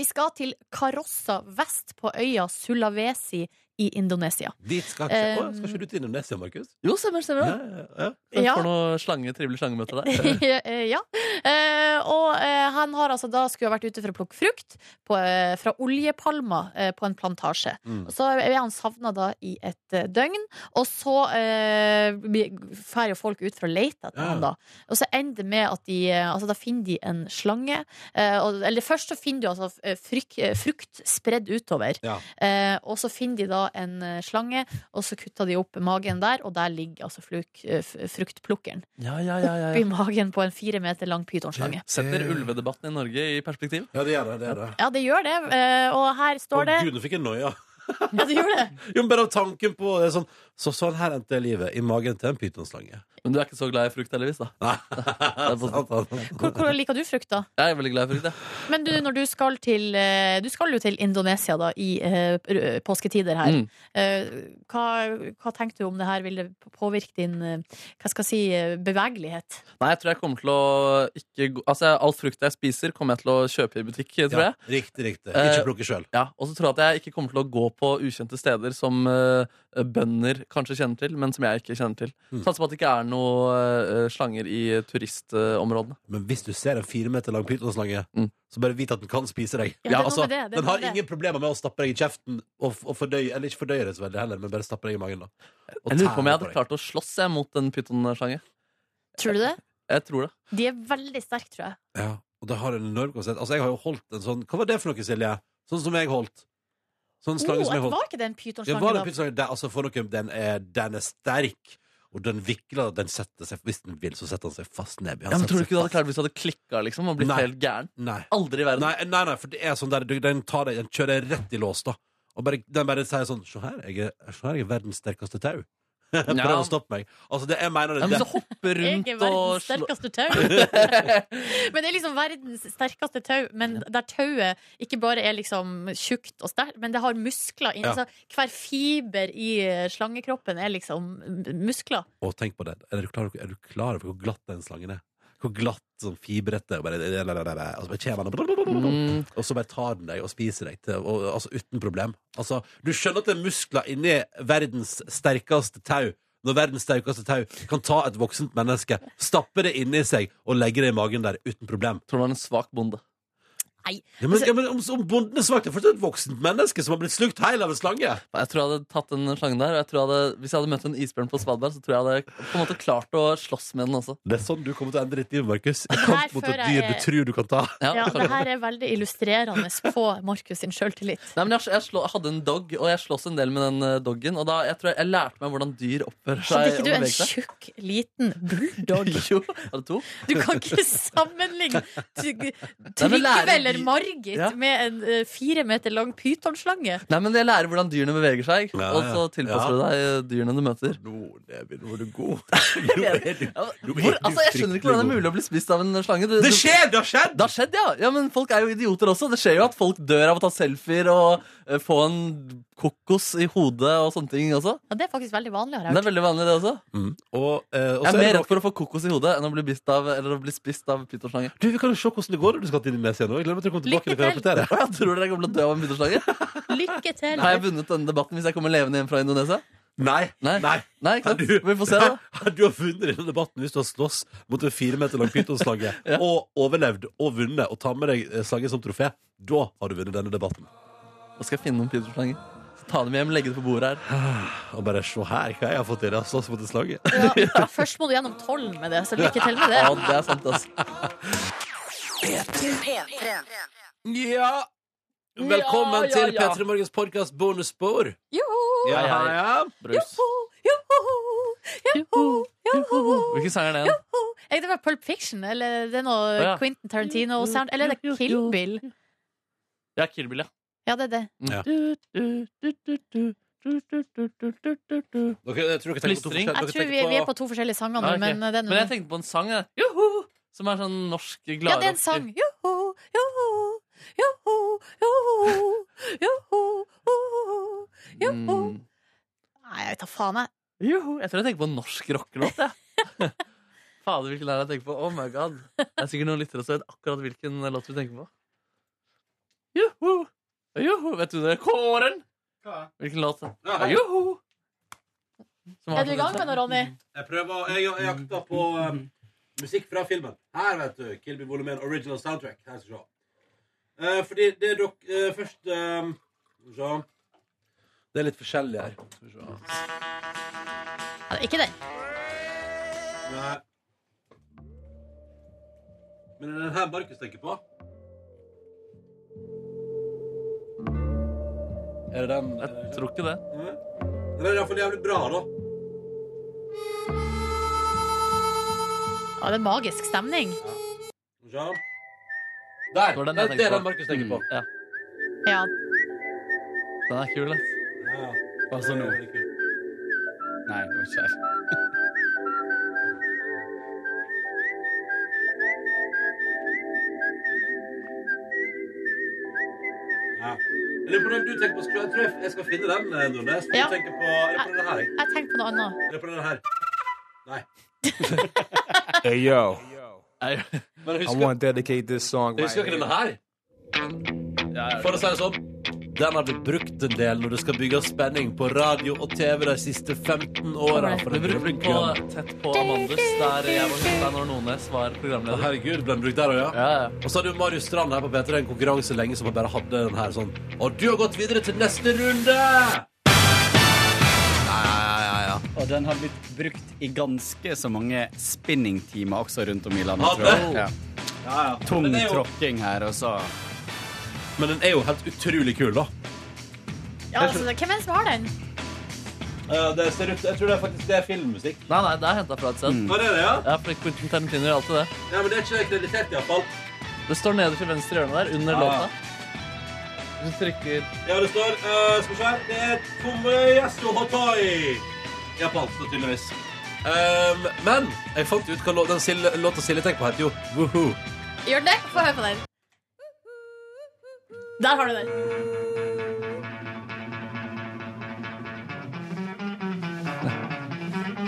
S3: Vi skal til Karossa vest på øya Sulawesi i Indonesia.
S2: Dit skal ikke Å,
S3: Um,
S2: skal ikke du til Indonesia, Markus?
S4: Jo, stemmer, stemmer.
S2: Ja,
S4: Ja.
S2: ja, ja.
S3: Ja.
S4: For noe slange, trivelig slangemøte der.
S3: Eh, ja. Eh, og eh, han har altså da skulle ha vært ute for å plukke frukt på, eh, fra oljepalmer eh, på en plantasje.
S2: Mm.
S3: Og Så er han savna da i et eh, døgn, og så eh, blir- fer jo folk ut for å lete etter
S2: Ja.
S3: han da. Og så ender det med at de eh, Altså, da finner de en slange. Eh, og, eller først så finner du altså eh, fryk, eh, frukt spredd utover.
S2: Ja.
S3: Eh, og så finner de da en eh, slange, og så kutter de opp magen der, og der ligger altså fluk, eh, f- fruktplukkeren
S4: Ja, ja, ja, ja,
S3: i
S4: ja.
S3: magen på en fire meter lang pytonslange.
S4: Setter ulvedebatten i Norge i perspektiv.
S2: Eh, Ja, det gjør det. det, gjør det.
S3: Ja, det gjør det. eh, Og
S2: Å
S3: her står det
S2: gud, nå fikk jeg noia.
S3: Ja, det gjør det.
S2: Jo, men bare av tanken på det er sånn, Så sånn her endte livet. I magen til en pytonslange.
S4: Men du er ikke så glad i frukt, heldigvis. da
S2: Nei,
S4: sant.
S3: Hvor, hvor liker du frukt, da?
S4: Jeg er veldig glad i frukt, jeg.
S3: Men du, når du skal til eh, Du skal jo til Indonesia, da, i eh, r- påsketider her.
S4: Mm.
S3: Eh, Hva, hva tenker du om det her? Vil det påvirke din eh, hva skal jeg si, eh, bevegelighet?
S4: Nei, jeg tror jeg kommer til å ikke gå Altså, jeg- Alt frukt jeg spiser, kommer jeg til å kjøpe i butikk, eh, tror
S2: Ja,
S4: jeg.
S2: riktig, riktig.
S4: Eh,
S2: Ikke plukke sjøl.
S4: Ja, Og så tror jeg at jeg ikke kommer til å gå på ukjente steder som eh, bønder kanskje kjenner til, men som jeg ikke kjenner til.
S2: Mm.
S4: Satser på at det ikke er noe eh, slanger i turistområdene.
S2: Men hvis du ser en fire meter lang pytonslange,
S4: Mm.
S2: så bare vit at den kan spise deg.
S3: Ja, det er noe
S4: altså,
S3: med det, det er
S2: Den
S3: noe
S2: har
S3: med det.
S2: ingen problemer med å stappe deg i kjeften og, og fordøye Eller ikke fordøye det så veldig heller, men bare stappe deg i magen. da Og
S4: Jeg lurer på om jeg
S2: tære
S4: hadde klart å slåss jeg, mot en pytonslange.
S3: Tror du det?
S4: Jeg tror det.
S3: De er veldig sterke, tror jeg.
S2: deg. Ja, og det har en enorm konsert. Altså, jeg har jo holdt en sånn Hva var det for noe, Silje? Sånn som jeg holdt. Sånn slange
S3: Oh,
S2: som jeg holdt.
S3: var ikke det en
S2: Ja, var det
S3: pytonslange? da?
S2: plutselig den, altså for noen, den, er, den er sterk, og den vikler, den setter seg Hvis den vil, så setter han seg fast ned. Han
S4: Ja, men
S2: setter
S4: Tror du ikke du
S2: seg
S4: hadde klart hvis du hadde klikka liksom, og blitt
S2: Nei.
S4: helt gæren?
S2: fast. Nei.
S4: Aldri i verden.
S2: Nei, nei, nei, for det er sånn der du- Den, tar deg, den kjører deg rett i lås, da. Og bare, den bare sier sånn Se her, jeg er, se her, jeg er verdens sterkeste tau. Prøv
S4: Ja.
S2: å stoppe meg. Altså, det, jeg mener
S4: Ja,
S2: det.
S4: men
S2: det
S4: så hoppe
S3: Jeg
S4: rundt
S3: er
S4: og
S3: verdens
S4: slå
S3: sterkeste tau. men det er liksom verdens sterkeste tau, men der tauet ikke bare er liksom tjukt og sterkt, men det har muskler inni.
S2: Ja.
S3: Altså, hver fiber i eh, slangekroppen er liksom m- muskler.
S2: Å, tenk på det. Er du klar, er du klar over hvor glatt den slangen er? Hvor glatt, sånn fibrete, og bare Og så bare kommer den og
S4: Mm,
S2: Og så bare tar den deg og spiser deg til, og, altså, uten problem. Altså, du skjønner at det er muskler inni verdens sterkeste tau. Når verdens sterkeste tau kan ta et voksent menneske, stappe det inni seg og legge det i magen der uten problem.
S4: tror du var en svak bonde.
S2: Ja,
S3: Altså-
S2: men, ja, men om, om bonden er svak, det er fortsatt et voksent menneske som har blitt slukt heil av en slange.
S4: Jeg tror jeg hadde tatt den slangen der. Og jeg tror jeg hadde, hvis jeg hadde møtt en isbjørn på Svalbard, så tror jeg jeg hadde på en måte klart å slåss med den også.
S2: Det er sånn du kommer til å endre ditt liv, Markus. I
S3: her
S2: kamp mot et
S3: føler
S2: dyr
S3: jeg-
S2: du tror du kan ta.
S4: Ja,
S3: Ja,
S4: kanskje.
S3: det her er veldig illustrerende på Markus sin sjøltillit.
S4: Nei, men jeg, jeg, slå, jeg hadde en dog, og jeg slåss en del med den eh, doggen. Og da, jeg tror jeg, jeg lærte meg hvordan dyr oppfører seg.
S3: Hadde ikke
S4: og
S3: du en
S4: beveger seg.
S3: tjukk, liten bulldog?
S4: Jo, hadde to.
S3: Du kan ikke sammenligne ty-
S4: men lærer
S3: Trygve eller
S4: vi-
S3: Margit
S4: Ja.
S3: med en eh, fire meter lang pytonslange.
S4: Nei, men Jeg lærer hvordan dyrene beveger seg,
S2: Ja,
S4: og så
S2: ja.
S4: tilpasser du deg eh, dyrene du møter.
S2: Nå, Nebin, nå er du god. Nå er du-
S4: Ja, men
S2: nå er
S4: Hvor,
S2: du
S4: altså, Jeg skjønner ikke
S2: fryktelig
S4: hvordan det er
S2: god.
S4: mulig å bli spist av en slange. Du-
S2: Det
S4: du-
S2: skjer! Det har skjedd!
S4: Det har skjedd, ja. ja! Men folk er jo idioter også. Det skjer jo at folk dør av å ta selfier og eh, få en kokos i hodet og sånne ting også.
S3: Ja, det er faktisk veldig vanlig. har jeg
S4: Men det er veldig vanlig, det også.
S2: Mm. Og, eh, og så
S4: Jeg er
S2: er det
S4: mer
S2: noe-
S4: redd for å få kokos i hodet enn å bli spist av, eller å bli spist av pytonslange.
S2: Du, Vi kan jo se hvordan det går når du skal til Indonesia nå. Jeg gleder meg til å komme tilbake og
S3: Lykke
S2: kan
S3: til.
S2: rapportere.
S4: Å, Jeg tror dere jeg kommer til å dø av en pytonslange.
S3: hørt. Lykke til!
S4: Har jeg vunnet denne debatten hvis jeg kommer levende hjem fra Indonesia?
S2: Nei.
S4: Nei. Nei, ikke
S2: Har
S4: sant?
S2: du,
S4: Vi får se, da.
S2: Har du har vunnet denne debatten hvis du har slåss mot en fire meter lang pytonslange og overlevd og vunnet og tar med deg eh, slangen som trofé, da har du vunnet denne debatten.
S4: Nå skal jeg finne noen pytonslanger. Så Ta dem hjem, legge det på bordet her.
S2: Og bare se her hva jeg har fått til. Jeg har slåss mot en slange.
S3: Ja, først må du gjennom tolv med det, så lykke til med det.
S4: Ja, det er sant, altså.
S2: Ja. Velkommen
S4: Ja, ja,
S2: til
S4: ja.
S2: P3 Morgens podkast bonusspor.
S3: Joho,
S2: Ja, ja, ja.
S4: Brus.
S3: joho, joho, joho.
S4: Hvilken sang er det igjen?
S3: Er det bare Pulp Fiction, eller det er noe
S4: Å, ja.
S3: Quentin Tarantino-sound? Eller er det Kill Bill?
S4: Ja, Kill Bill, ja. Mm.
S3: Ja, det er det.
S2: Dere, jeg tror dere tenker på to forskjellige-
S4: Plystring.
S3: Jeg
S2: dere
S3: tror vi,
S2: tenker
S3: vi er på to forskjellige sanger nå,
S4: Ja, ok.
S3: men eh, det er
S4: Men
S3: noe
S4: jeg tenkte på en sang, jeg. Joho! Som er sånn norsk
S3: Ja,
S4: gladrock.
S3: det er en sang. Joho, joho, joho, joho, joho, joho. Joho.
S4: Mm.
S3: Nei, jeg vet da faen, jeg.
S4: Joho. Jeg tror jeg tenker på en norsk rockelåt, jeg. Fader, hvilken er det jeg tenker på? Oh my god. Det er sikkert noen lyttere som vet akkurat hvilken låt vi tenker på. Joho! Joho! Vet du det? Kåren! Hvilken låt?
S2: Ja.
S4: Joho! Som har
S3: Er du i gang med noe, Ronny?
S2: Jeg prøver Jeg, jeg jakter på um, musikk fra filmen. Her, vet du. Kill Bill Volume 1 original soundtrack. Her skal vi se. Eh, fordi det er dok... eh, først um, Skal vi se. Det er litt forskjellig her. Skal vi se.
S3: Ja, det er ikke den.
S2: Nei. Men er det den her Markus tenker på? Er det den
S4: Jeg tror ikke det.
S2: Nei. Den er iallfall jævlig bra, da.
S3: Ja, det er magisk stemning.
S2: Skal vi se. Der!
S4: Det var
S2: Nei,
S4: den jeg
S2: det er
S4: tenkte
S2: den Markus tenker på.
S4: Mm, Ja,
S3: Ja,
S4: den er kul, ass.
S2: Ja, ja.
S6: Hva så nå?
S2: Det er veldig kult.
S6: Nei, det var ikke her.
S2: Ja. Jeg lurer på den du tenker på. Skal Jeg tror jeg, jeg skal finne den, eh, Nordnes. Du
S3: Ja.
S2: tenker på, jeg lurer på den her, jeg.
S3: jeg tenkte på noe annet.
S2: Jeg lurer på den her. Nei.
S7: Hey yo,
S4: Nei,
S2: Men jeg
S7: I
S2: husker,
S7: want to dedicate this song.
S2: jeg husker ikke denne her. For å si det sånn. Den har blitt brukt en del når det skal bygges spenning på radio og TV de siste 15 åra.
S3: Kommer
S2: for
S4: Vi
S2: den ble
S4: brukte den
S2: brukt
S4: på
S2: grann.
S4: Tett på Amandus, der jeg var Stein og Nordnes var
S2: Å,
S4: programleder.
S2: Herregud, ble den brukt der òg, ja?
S4: Ja, ja.
S2: Og så hadde jo Marius Strand her på P3 en konkurranse lenge som han bare hadde den her sånn Og du har gått videre til neste runde!
S6: Og den har blitt brukt i ganske så mange spinningtimer også rundt om i
S2: Ja,
S6: landet, tror jeg.
S2: det-
S6: Ja. Tung
S2: Men det er jo-
S6: tråkking her, og så
S2: Men den er jo helt utrolig kul, da.
S3: Ja, altså, hvem er det som har den?
S2: det ser ut, jeg tror det er faktisk det er filmmusikk.
S4: Nei, nei, det er henta fra et sted.
S2: Hva er det, ja?
S4: Ja, for Quentin Tarantino gjør alltid det.
S2: Ja, men det er ikke kreditert, iallfall.
S4: Det står nederst i venstre hjørne der, under
S2: Ja.
S4: låta. Hvis du trykker
S2: Ja, det står eh, Skal vi se her. Det er Tomoyasu Hotai. Japansk, da, tydeligvis. Ehm, men jeg fant ut hva lå- den Silje- låta Silje tenker på, heter jo Woohoo.
S3: Gjør den det? Få høre på den. Der har du den.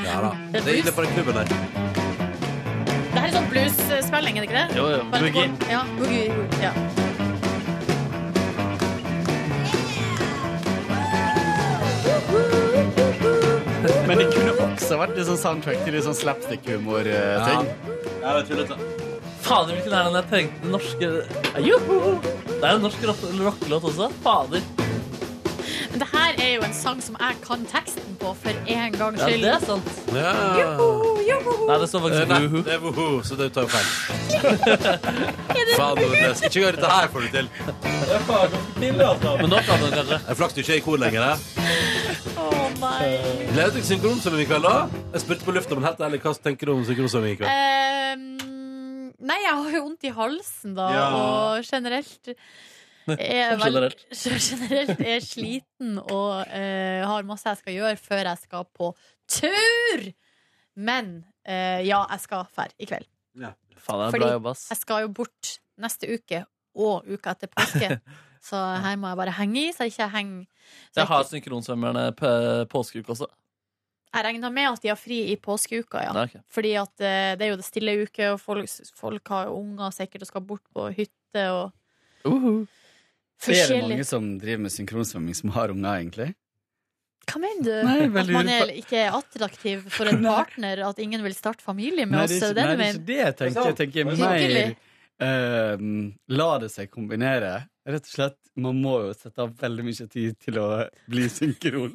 S2: Ja da.
S3: Det er
S2: Det er inne på den klubben der.
S3: Det her er sånn blues-spilling, er det ikke det?
S4: Jo, jo.
S3: Bare at det går- Ja, boogie. Ja.
S6: Men det kunne også vært litt sånn soundtrack til litt sånn eh, slapstick-humor-ting.
S2: Ja, det er tullete.
S4: Fader, hvilken er den jeg trengte? Den norske Joho! Det er en norsk rock- rockelåt også. Fader.
S3: Men det her er jo en sang som jeg kan teksten på for en gangs
S4: Ja,
S3: skyld.
S4: det er sant.
S2: Ja.
S4: Nei, det står
S2: Eh,
S4: faktisk
S2: Nei,
S4: Woohoo.
S2: det er Woohoo, så det tar jo feil. Faen, Nordnes. Ikke gjør dette her, får du til.
S4: Men nå kan den kanskje.
S2: Det er flaks du ikke er i kor lenger. eh.
S3: Å nei.
S2: Gleder du deg til synkronsvømming i kveld, da? Jeg spurte på lufta, men helt ærlig, hva tenker du om synkronsvømming i kveld?
S3: Ehm, nei, jeg har jo vondt i halsen, da,
S2: Ja.
S3: og generelt er
S4: Hm, Generelt.
S3: generelt er sliten og eh, har masse jeg skal gjøre før jeg skal på tur. Men eh, ja, jeg skal fære i kveld.
S4: Faen, det er
S3: Fordi- Altså,
S4: bra jobba, ass.
S3: Jeg skal jo bort neste uke og uka etter påske. Så her må jeg bare henge i, så jeg ikke henger så
S4: Jeg har synkronsvømmerne på påskeuke også.
S3: Jeg regner med at de har fri i påskeuka, ja.
S4: Nei, ok.
S3: Fordi at eh, det er jo det stille uke, og folk, folk har jo unger sikkert og skal bort på hytte og
S6: Det er det
S3: forskjellig.
S6: mange som driver med synkronsvømming som har unger, egentlig.
S3: Hva mener du?
S6: Nei,
S3: at
S6: veldig
S3: man
S6: urettfer-
S3: er, ikke er attraktiv for en partner? At ingen vil starte familie med
S6: Nei,
S3: oss?
S6: det er
S3: det er
S6: ikke,
S3: det du
S6: nei, det er
S3: mener?
S6: ikke det jeg tenker. Jeg tenker mer
S3: Hyggelig.
S6: ehm, La det seg kombinere. Rett og slett, Man må jo sette av veldig mye tid til å bli synkron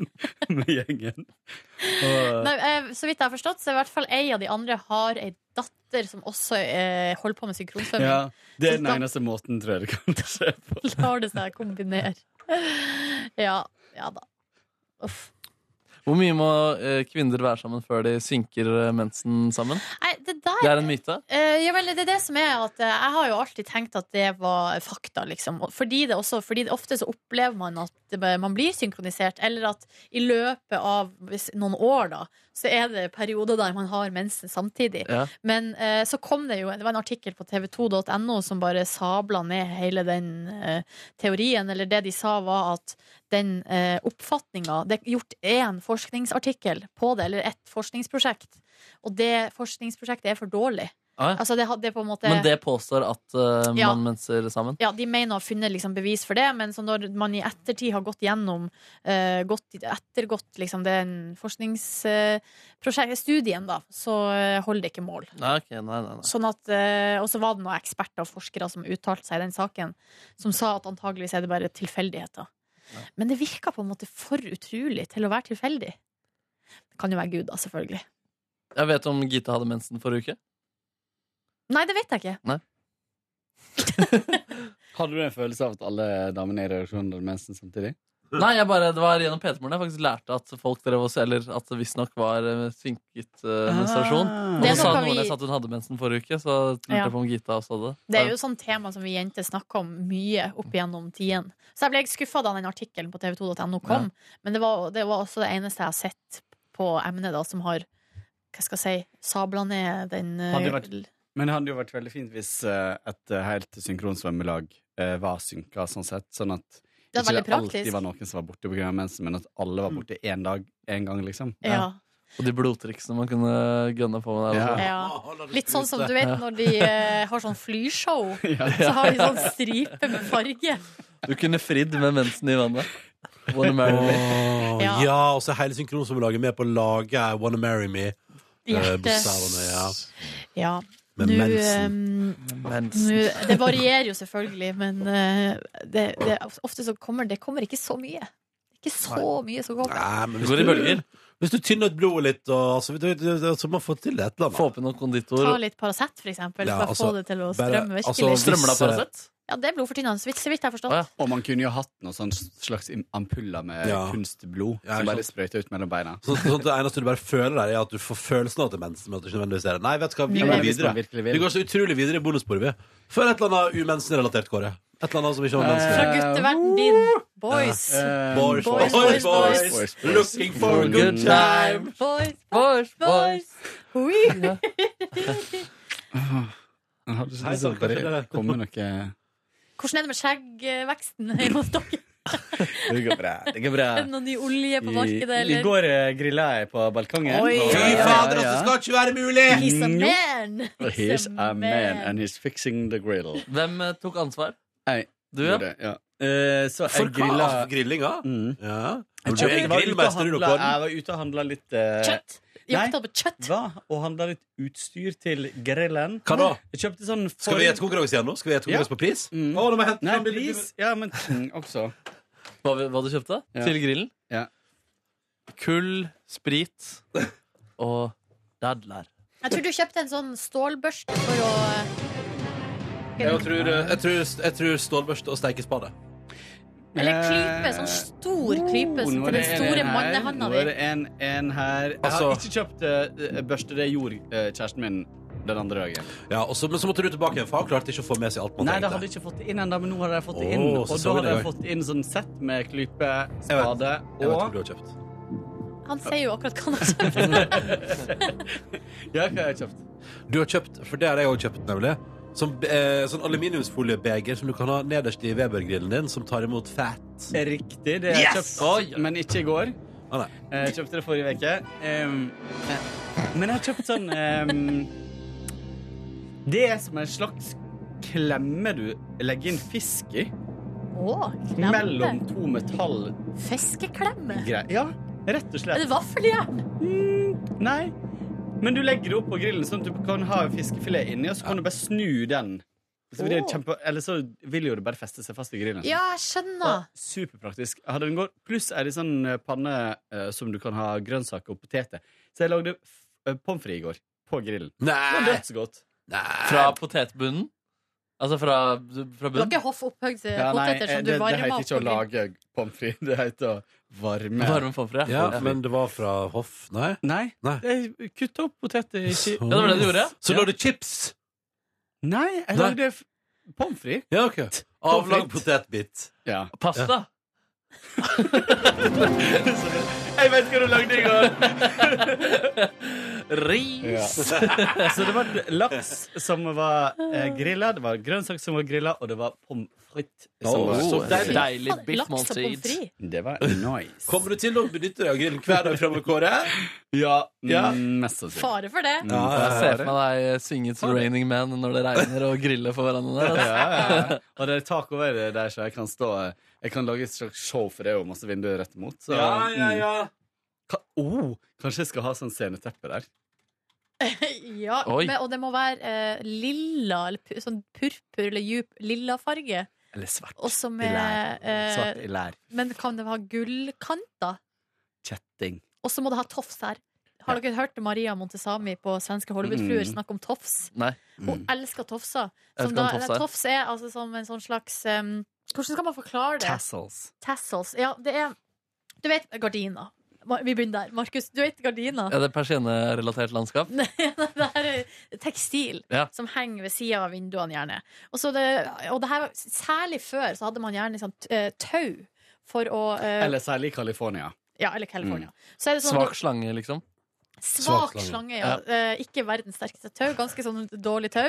S6: med gjengen. Og,
S3: Nei, eh, så vidt jeg har forstått, så er i hvert fall ei av de andre har ei datter som også eh, holder på med synkronsvømming.
S6: ja, det er
S3: Så
S6: den
S3: da-
S6: eneste måten, tror jeg det kan skje på.
S3: Lar det seg kombinere. Ja. Ja da. Uff.
S4: Hvor mye må eh, kvinner være sammen før de synker eh, mensen sammen?
S3: Nei, det der
S4: Det er en myte.
S3: Eh, ja, vel, det er det som er at eh, Jeg har jo alltid tenkt at det var fakta, liksom. Og Fordi, det også, fordi det ofte så opplever man at det bare- man blir synkronisert, eller at i løpet av hvis, noen år, da, så er det perioder der man har mensen samtidig.
S4: Ja.
S3: Men eh, så kom det jo Det var en artikkel på tv2.no som bare sabla ned hele den eh, teorien, eller det de sa var at den eh, oppfatninga Det er gjort én forskningsartikkel på det, eller ett forskningsprosjekt, og det forskningsprosjektet er for dårlig.
S4: Ah, ja.
S3: Altså, det, had- det er på en måte
S4: Men det påstår at eh,
S3: Ja.
S4: man menser sammen?
S3: ja, De mener å ha funnet liksom, bevis for det, men så når man i ettertid har gått gjennom eh, gått, ettergått liksom, den forskningsstudien, da, så eh, holder det ikke mål.
S4: Nei, ok, nei, nei, nei.
S3: Sånn at, eh, og så var det noen eksperter og forskere som uttalte seg i den saken, som sa at antageligvis er det bare tilfeldigheter. Men det virka på en måte for utrolig til å være tilfeldig. Det kan jo være Gud, da, selvfølgelig.
S4: Jeg vet om Gita hadde mensen forrige uke.
S3: Nei, det vet jeg ikke.
S6: Hadde du en følelse av at alle damene i redaksjonen hadde mensen samtidig?
S4: Nei, jeg bare, Det var gjennom PT-moren jeg faktisk lærte at folk drev og Eller at det visstnok var eh, svinket eh, menstruasjon. Og
S3: Ah. Det
S4: så
S3: er sånn-
S4: sa
S3: noe vi-
S4: noen jeg sa at hun hadde mensen forrige uke, så lurte jeg
S3: Ja.
S4: på om Gita også hadde
S3: Det er jo sånn tema som vi jenter snakker om mye opp igjennom tiden. Så jeg ble skuffa da den artikkelen på tv2.no kom, men det var, det var også det eneste jeg har sett på emnet da, som har hva skal jeg si, sabla ned den eh,
S6: Hadde det vært- Men det hadde jo vært veldig fint hvis eh, et eh, helt synkronsvømmelag eh, var synka, sånn sett. Sånn at
S3: Det var
S6: ikke
S3: veldig
S6: det alltid
S3: praktisk. Mm.
S6: var noen som var borte pga. mensen, men at alle var borte én dag, én gang, liksom.
S3: Ja.
S4: Og de blodtriksene man kunne gønne på med der.
S6: Ja.
S3: ja.
S4: også.
S3: Litt sånn som du vet
S4: Ja.
S3: når de eh, har sånn flyshow, så har de sånn stripe med farge.
S4: Du kunne fridd med mensen i vannet. Wanna marry me.
S2: Åh,
S3: Ja.
S2: ja, og så er hele synkronsvømmelaget med på å lage I Wanna Marry Me. Eh, bokstavene, ja.
S3: Ja.
S2: Med
S3: Nå,
S2: mensen.
S3: eh,
S4: Mensen.
S3: nå, det varierer jo selvfølgelig, men eh, det, det, ofte så kommer det kommer ikke så mye. Ikke så mye som kommer.
S2: Nei, men
S4: Det går i bølger.
S2: Hvis du tynner ut blodet litt, og, altså, vet du, vet du, så må man få til et eller
S4: Få
S2: annet.
S4: opp i noen
S3: Ta
S4: konditor.
S3: litt Paracet, for eksempel,
S2: Ja,
S3: for å
S2: altså,
S3: få det til å
S2: bare-
S3: strømme
S2: altså,
S3: virkelig.
S4: Strømmer det av
S2: Hvis, eh,
S4: Paracet?
S3: Ja, det er blodfortynnende, så vidt- så vidt jeg har
S4: Å, ja.
S3: forstått.
S6: Og man kunne jo hatt noen sånn slags im- ampuller med
S2: Ja.
S6: kunstblod
S2: Ja,
S6: som
S2: ikke
S6: bare sprøyta ut mellom beina.
S2: Så, sånn at det eneste du bare føler der, er at du får følelsen av at det er mensen. Men at du ikke nødvendigvis er det. Nei, vet du hva, vi
S3: Ja,
S6: Ja,
S2: går
S6: men hvis man
S2: videre.
S6: virkelig
S2: Vi
S6: vil.
S2: går så utrolig videre i bonussporet, vi. Før et eller annet umensenrelatert, Kåre. Et eller annet som ikke har med
S3: Fra
S2: mensen. å gjøre.
S6: Eh,
S3: gutteverden din, boys.
S6: Eh,
S2: Boys,
S3: boys, boys, boys,
S6: boys, boys.
S2: looking for a good time.
S3: Boys,
S4: Boys,
S3: boys. Oi.
S6: Jeg hadde ikke
S2: Hei,
S6: lyst til
S2: sånn,
S6: å bare
S2: kanskje det-
S6: komme med noe
S3: Hvordan er det med skjeggveksten hjemme hos dere?
S6: Det går bra. Det går bra.
S3: Er det noe ny olje på
S6: I,
S3: markedet,
S6: I
S3: eller?
S6: går eh, grilla jeg på balkongen.
S3: Oi,
S6: Og- eh,
S2: Fy
S3: Ja, ja,
S2: fader, altså, det skal ikke være mulig!
S3: He's a man!
S6: Og He's a man, and he's fixing the grill.
S4: Hvem eh, tok ansvar?
S6: Nei,
S4: Du, ja?
S6: Gjorde, ja. Eh, så jeg
S2: For hva?
S6: grilla
S2: Altså, grillinga? Ja.
S6: mm. Jeg
S2: Du er
S6: kjøpte- var ute og
S2: grillmester, du,
S6: handla-
S2: Kåre.
S6: Jeg var ute og handla litt eh,
S3: Kjøtt!
S6: Nei.
S3: Jakta på kjøtt!
S6: Hva? Og handla litt utstyr til grillen.
S2: Hva da?
S6: Jeg kjøpte sånn
S2: Skal vi gjette konkurranse igjen nå? Skal vi gjette konkurranse på pris?
S6: Mm.
S2: Å, nå må jeg hente
S6: Nei,
S2: fram bildet.
S6: pris. Ja, men mm, også.
S4: Hva, vi- hva du kjøpte?
S6: Ja.
S4: Til grillen?
S6: Ja.
S4: Kull, sprit og dadler.
S3: Jeg tror du kjøpte en sånn stålbørste for å
S2: Jeg tror, jeg tror, jeg tror stålbørste og steikespade.
S3: Eller klype. Sånn stor klype
S6: Eh, Oh,
S3: som
S6: nå er
S3: til
S6: det
S3: den
S6: en
S3: store
S6: her,
S3: mannehanda
S6: Nå er
S3: di.
S6: det en, en her. Jeg har
S2: Altså-
S6: ikke kjøpt eh, børste. Det gjorde eh, kjæresten min den andre dagen.
S2: Ja, og så, men så måtte du tilbake igjen, for han klarte ikke å få med seg alt man
S6: Nei, det
S2: trengte.
S6: hadde jeg ikke fått det inn ennå, men nå hadde jeg fått det
S2: Åh,
S6: inn. og
S2: så
S6: da
S2: så vi
S6: hadde
S2: det
S6: jeg
S2: i
S6: fått inn sånn sett med klype,
S2: Jeg vet-
S6: spade
S2: Jeg vet hvor
S6: og
S2: du har kjøpt.
S3: Han sier jo akkurat hva han har kjøpt.
S6: Ja, hva har jeg kjøpt?
S2: Du har kjøpt, for det har jeg òg kjøpt, nemlig. Som, eh, sånn aluminiumsfoliebeger som du kan ha nederst i Weber-grillen din, som tar imot fett.
S6: Riktig. Det har jeg kjøpt, men ikke i går.
S2: Ah, nei.
S6: Eh, Jeg kjøpte det forrige uke. Em, eh, men jeg har kjøpt sånn em, Det er som en slags klemme du legger inn fisk i.
S3: Å, klemme.
S6: Mellom to metallgreier.
S3: Fiskeklemme.
S6: Ja, rett og
S3: Er
S6: slett.
S3: det vaffeljern?
S6: Mm, Nei. Men du legger det opp på grillen, sånn at du kan ha en fiskefilet inni, og så kan du bare snu den. Så blir det
S3: Åh.
S6: kjempe, eller så vil jo det bare feste seg fast i grillen.
S3: Ja, jeg
S6: Og
S3: skjønner.
S6: Superpraktisk. Jeg hadde den går. Pluss er det sånn eh, panne eh, som du kan ha grønnsaker og poteter. Så jeg lagde f- eh, pommes frites i går. På grillen. Det var
S2: Nei.
S6: dødsgodt.
S2: Nei.
S4: Fra potetbunnen? Altså fra, fra
S3: Du har
S4: bunnen?
S3: ikke hoff opphøyd
S6: Ja, nei,
S3: poteter
S6: eh,
S3: som du
S6: det, det
S3: varmer
S6: heter
S3: opp?
S6: ikke å
S3: på grill?
S6: lage pommes frites. Det heter å varme.
S4: Varme pommes frites?
S2: Ja,
S4: Ja.
S2: men det var fra hoff. Nei.
S6: Nei.
S2: Nei.
S6: Jeg kutta opp poteter i
S2: Så-
S6: ki-
S4: Ja, det var det du gjorde?
S2: Så
S6: Ja.
S2: lå det chips!
S6: Nei, jeg
S2: Nei.
S6: lagde f- pommes frites.
S2: Ja, OK. Avlang potetbit.
S6: Ja.
S4: Pasta?
S6: Jeg vet hva du lagde i går!
S4: Ris!
S6: Så det var laks som var eh, grilla, det var grønnsaker som var grilla, og det var pommes frites. som var-
S2: Oh,
S4: så deilig.
S3: Faen,
S4: biff
S3: Laks og pommes
S4: måltid.
S3: frites.
S6: Det var nice.
S2: Kommer du til å benytte deg av grillen hver dag framover, Kåre?
S6: Ja,
S2: Ja.
S6: mm, mest sannsynlig. Mm.
S3: Fare for det.
S6: Ja,
S4: Jeg ser for meg deg synge til Raining Man når det regner, og grille for hverandre der. altså.
S6: ja, ja. Og det er tak over det der, så jeg kan stå Jeg kan lage et slags show, for det er jo masse vinduer rett imot. Så, mm. Ka oh, kanskje jeg skal ha sånn sceneteppe der.
S3: Ja,
S4: Oi.
S3: men, og det må være eh, lilla, eller pu, sånn purpur eller djup lilla farge.
S6: Eller svart.
S3: Også
S6: i
S3: med
S6: lær. svart
S3: eh,
S6: i lær.
S3: Men kan det ha gullkanter?
S6: Kjetting.
S3: Og så må det ha tofs her. Har dere hørt Maria Montesami på Svenske Hollywoodfluer
S6: Mm.
S3: snakke om tofs?
S4: Nei.
S3: Hun elsker tofser.
S4: Jeg vet
S3: Som
S4: ikke
S3: da,
S4: hva en tofs
S3: tofs,
S4: er.
S3: er altså som en sånn slags em, Hvordan skal man forklare det?
S6: Tassels.
S3: Tassels. Ja, det er Du vet gardiner. Ma- Vi begynner der. Markus, du vet gardiner?
S4: Er det persiennerelatert landskap?
S3: Nei, det her er tekstil
S4: Ja.
S3: som henger ved sida av vinduene, gjerne. Og, så det, og det her, var- særlig før så hadde man gjerne sånn eh, tau for å eh,
S6: Eller særlig i California.
S3: Ja, eller California. Så er det sånn
S4: Svak slange, liksom?
S3: Svak
S2: Svak slange.
S3: slange, ja. Eh, ikke verdens sterkeste tau. Ganske sånn dårlig tau.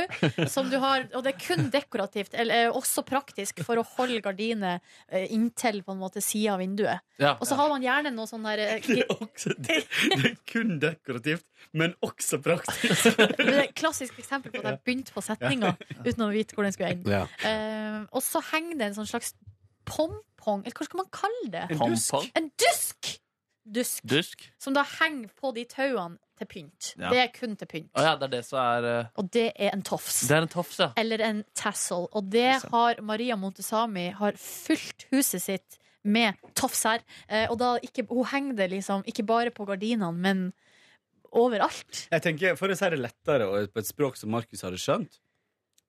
S3: Som du har, og det er kun dekorativt, eller eh, også praktisk, for å holde gardinet eh, inntil på en måte sida av vinduet.
S4: Ja.
S3: Og så har man gjerne noe sånn der eh,
S6: Det
S3: gi-
S6: er, også, det, det er kun dekorativt, men også praktisk.
S3: det er et Klassisk eksempel på at jeg begynte på setninga uten å vite hvor den skulle ende.
S2: Mm. Ja.
S3: Eh, og så henger det en sånn slags pompong, eller hva skal man kalle det?
S4: Pompong?
S3: En dusk! Dusk.
S4: Dusk?
S3: Som da henger på de tauene til pynt.
S4: Ja.
S3: Det er kun til pynt.
S4: Å ja, det er det som er eh,
S3: Og det er en tofs.
S4: Det er en tofs, ja.
S3: eller en tassel. Og det har Maria Montesami har fylt huset sitt med tofser. Eh, og da ikke, hun henger det liksom ikke bare på gardinene, men overalt.
S6: Jeg tenker, For å si det lettere og på et språk som Markus hadde skjønt,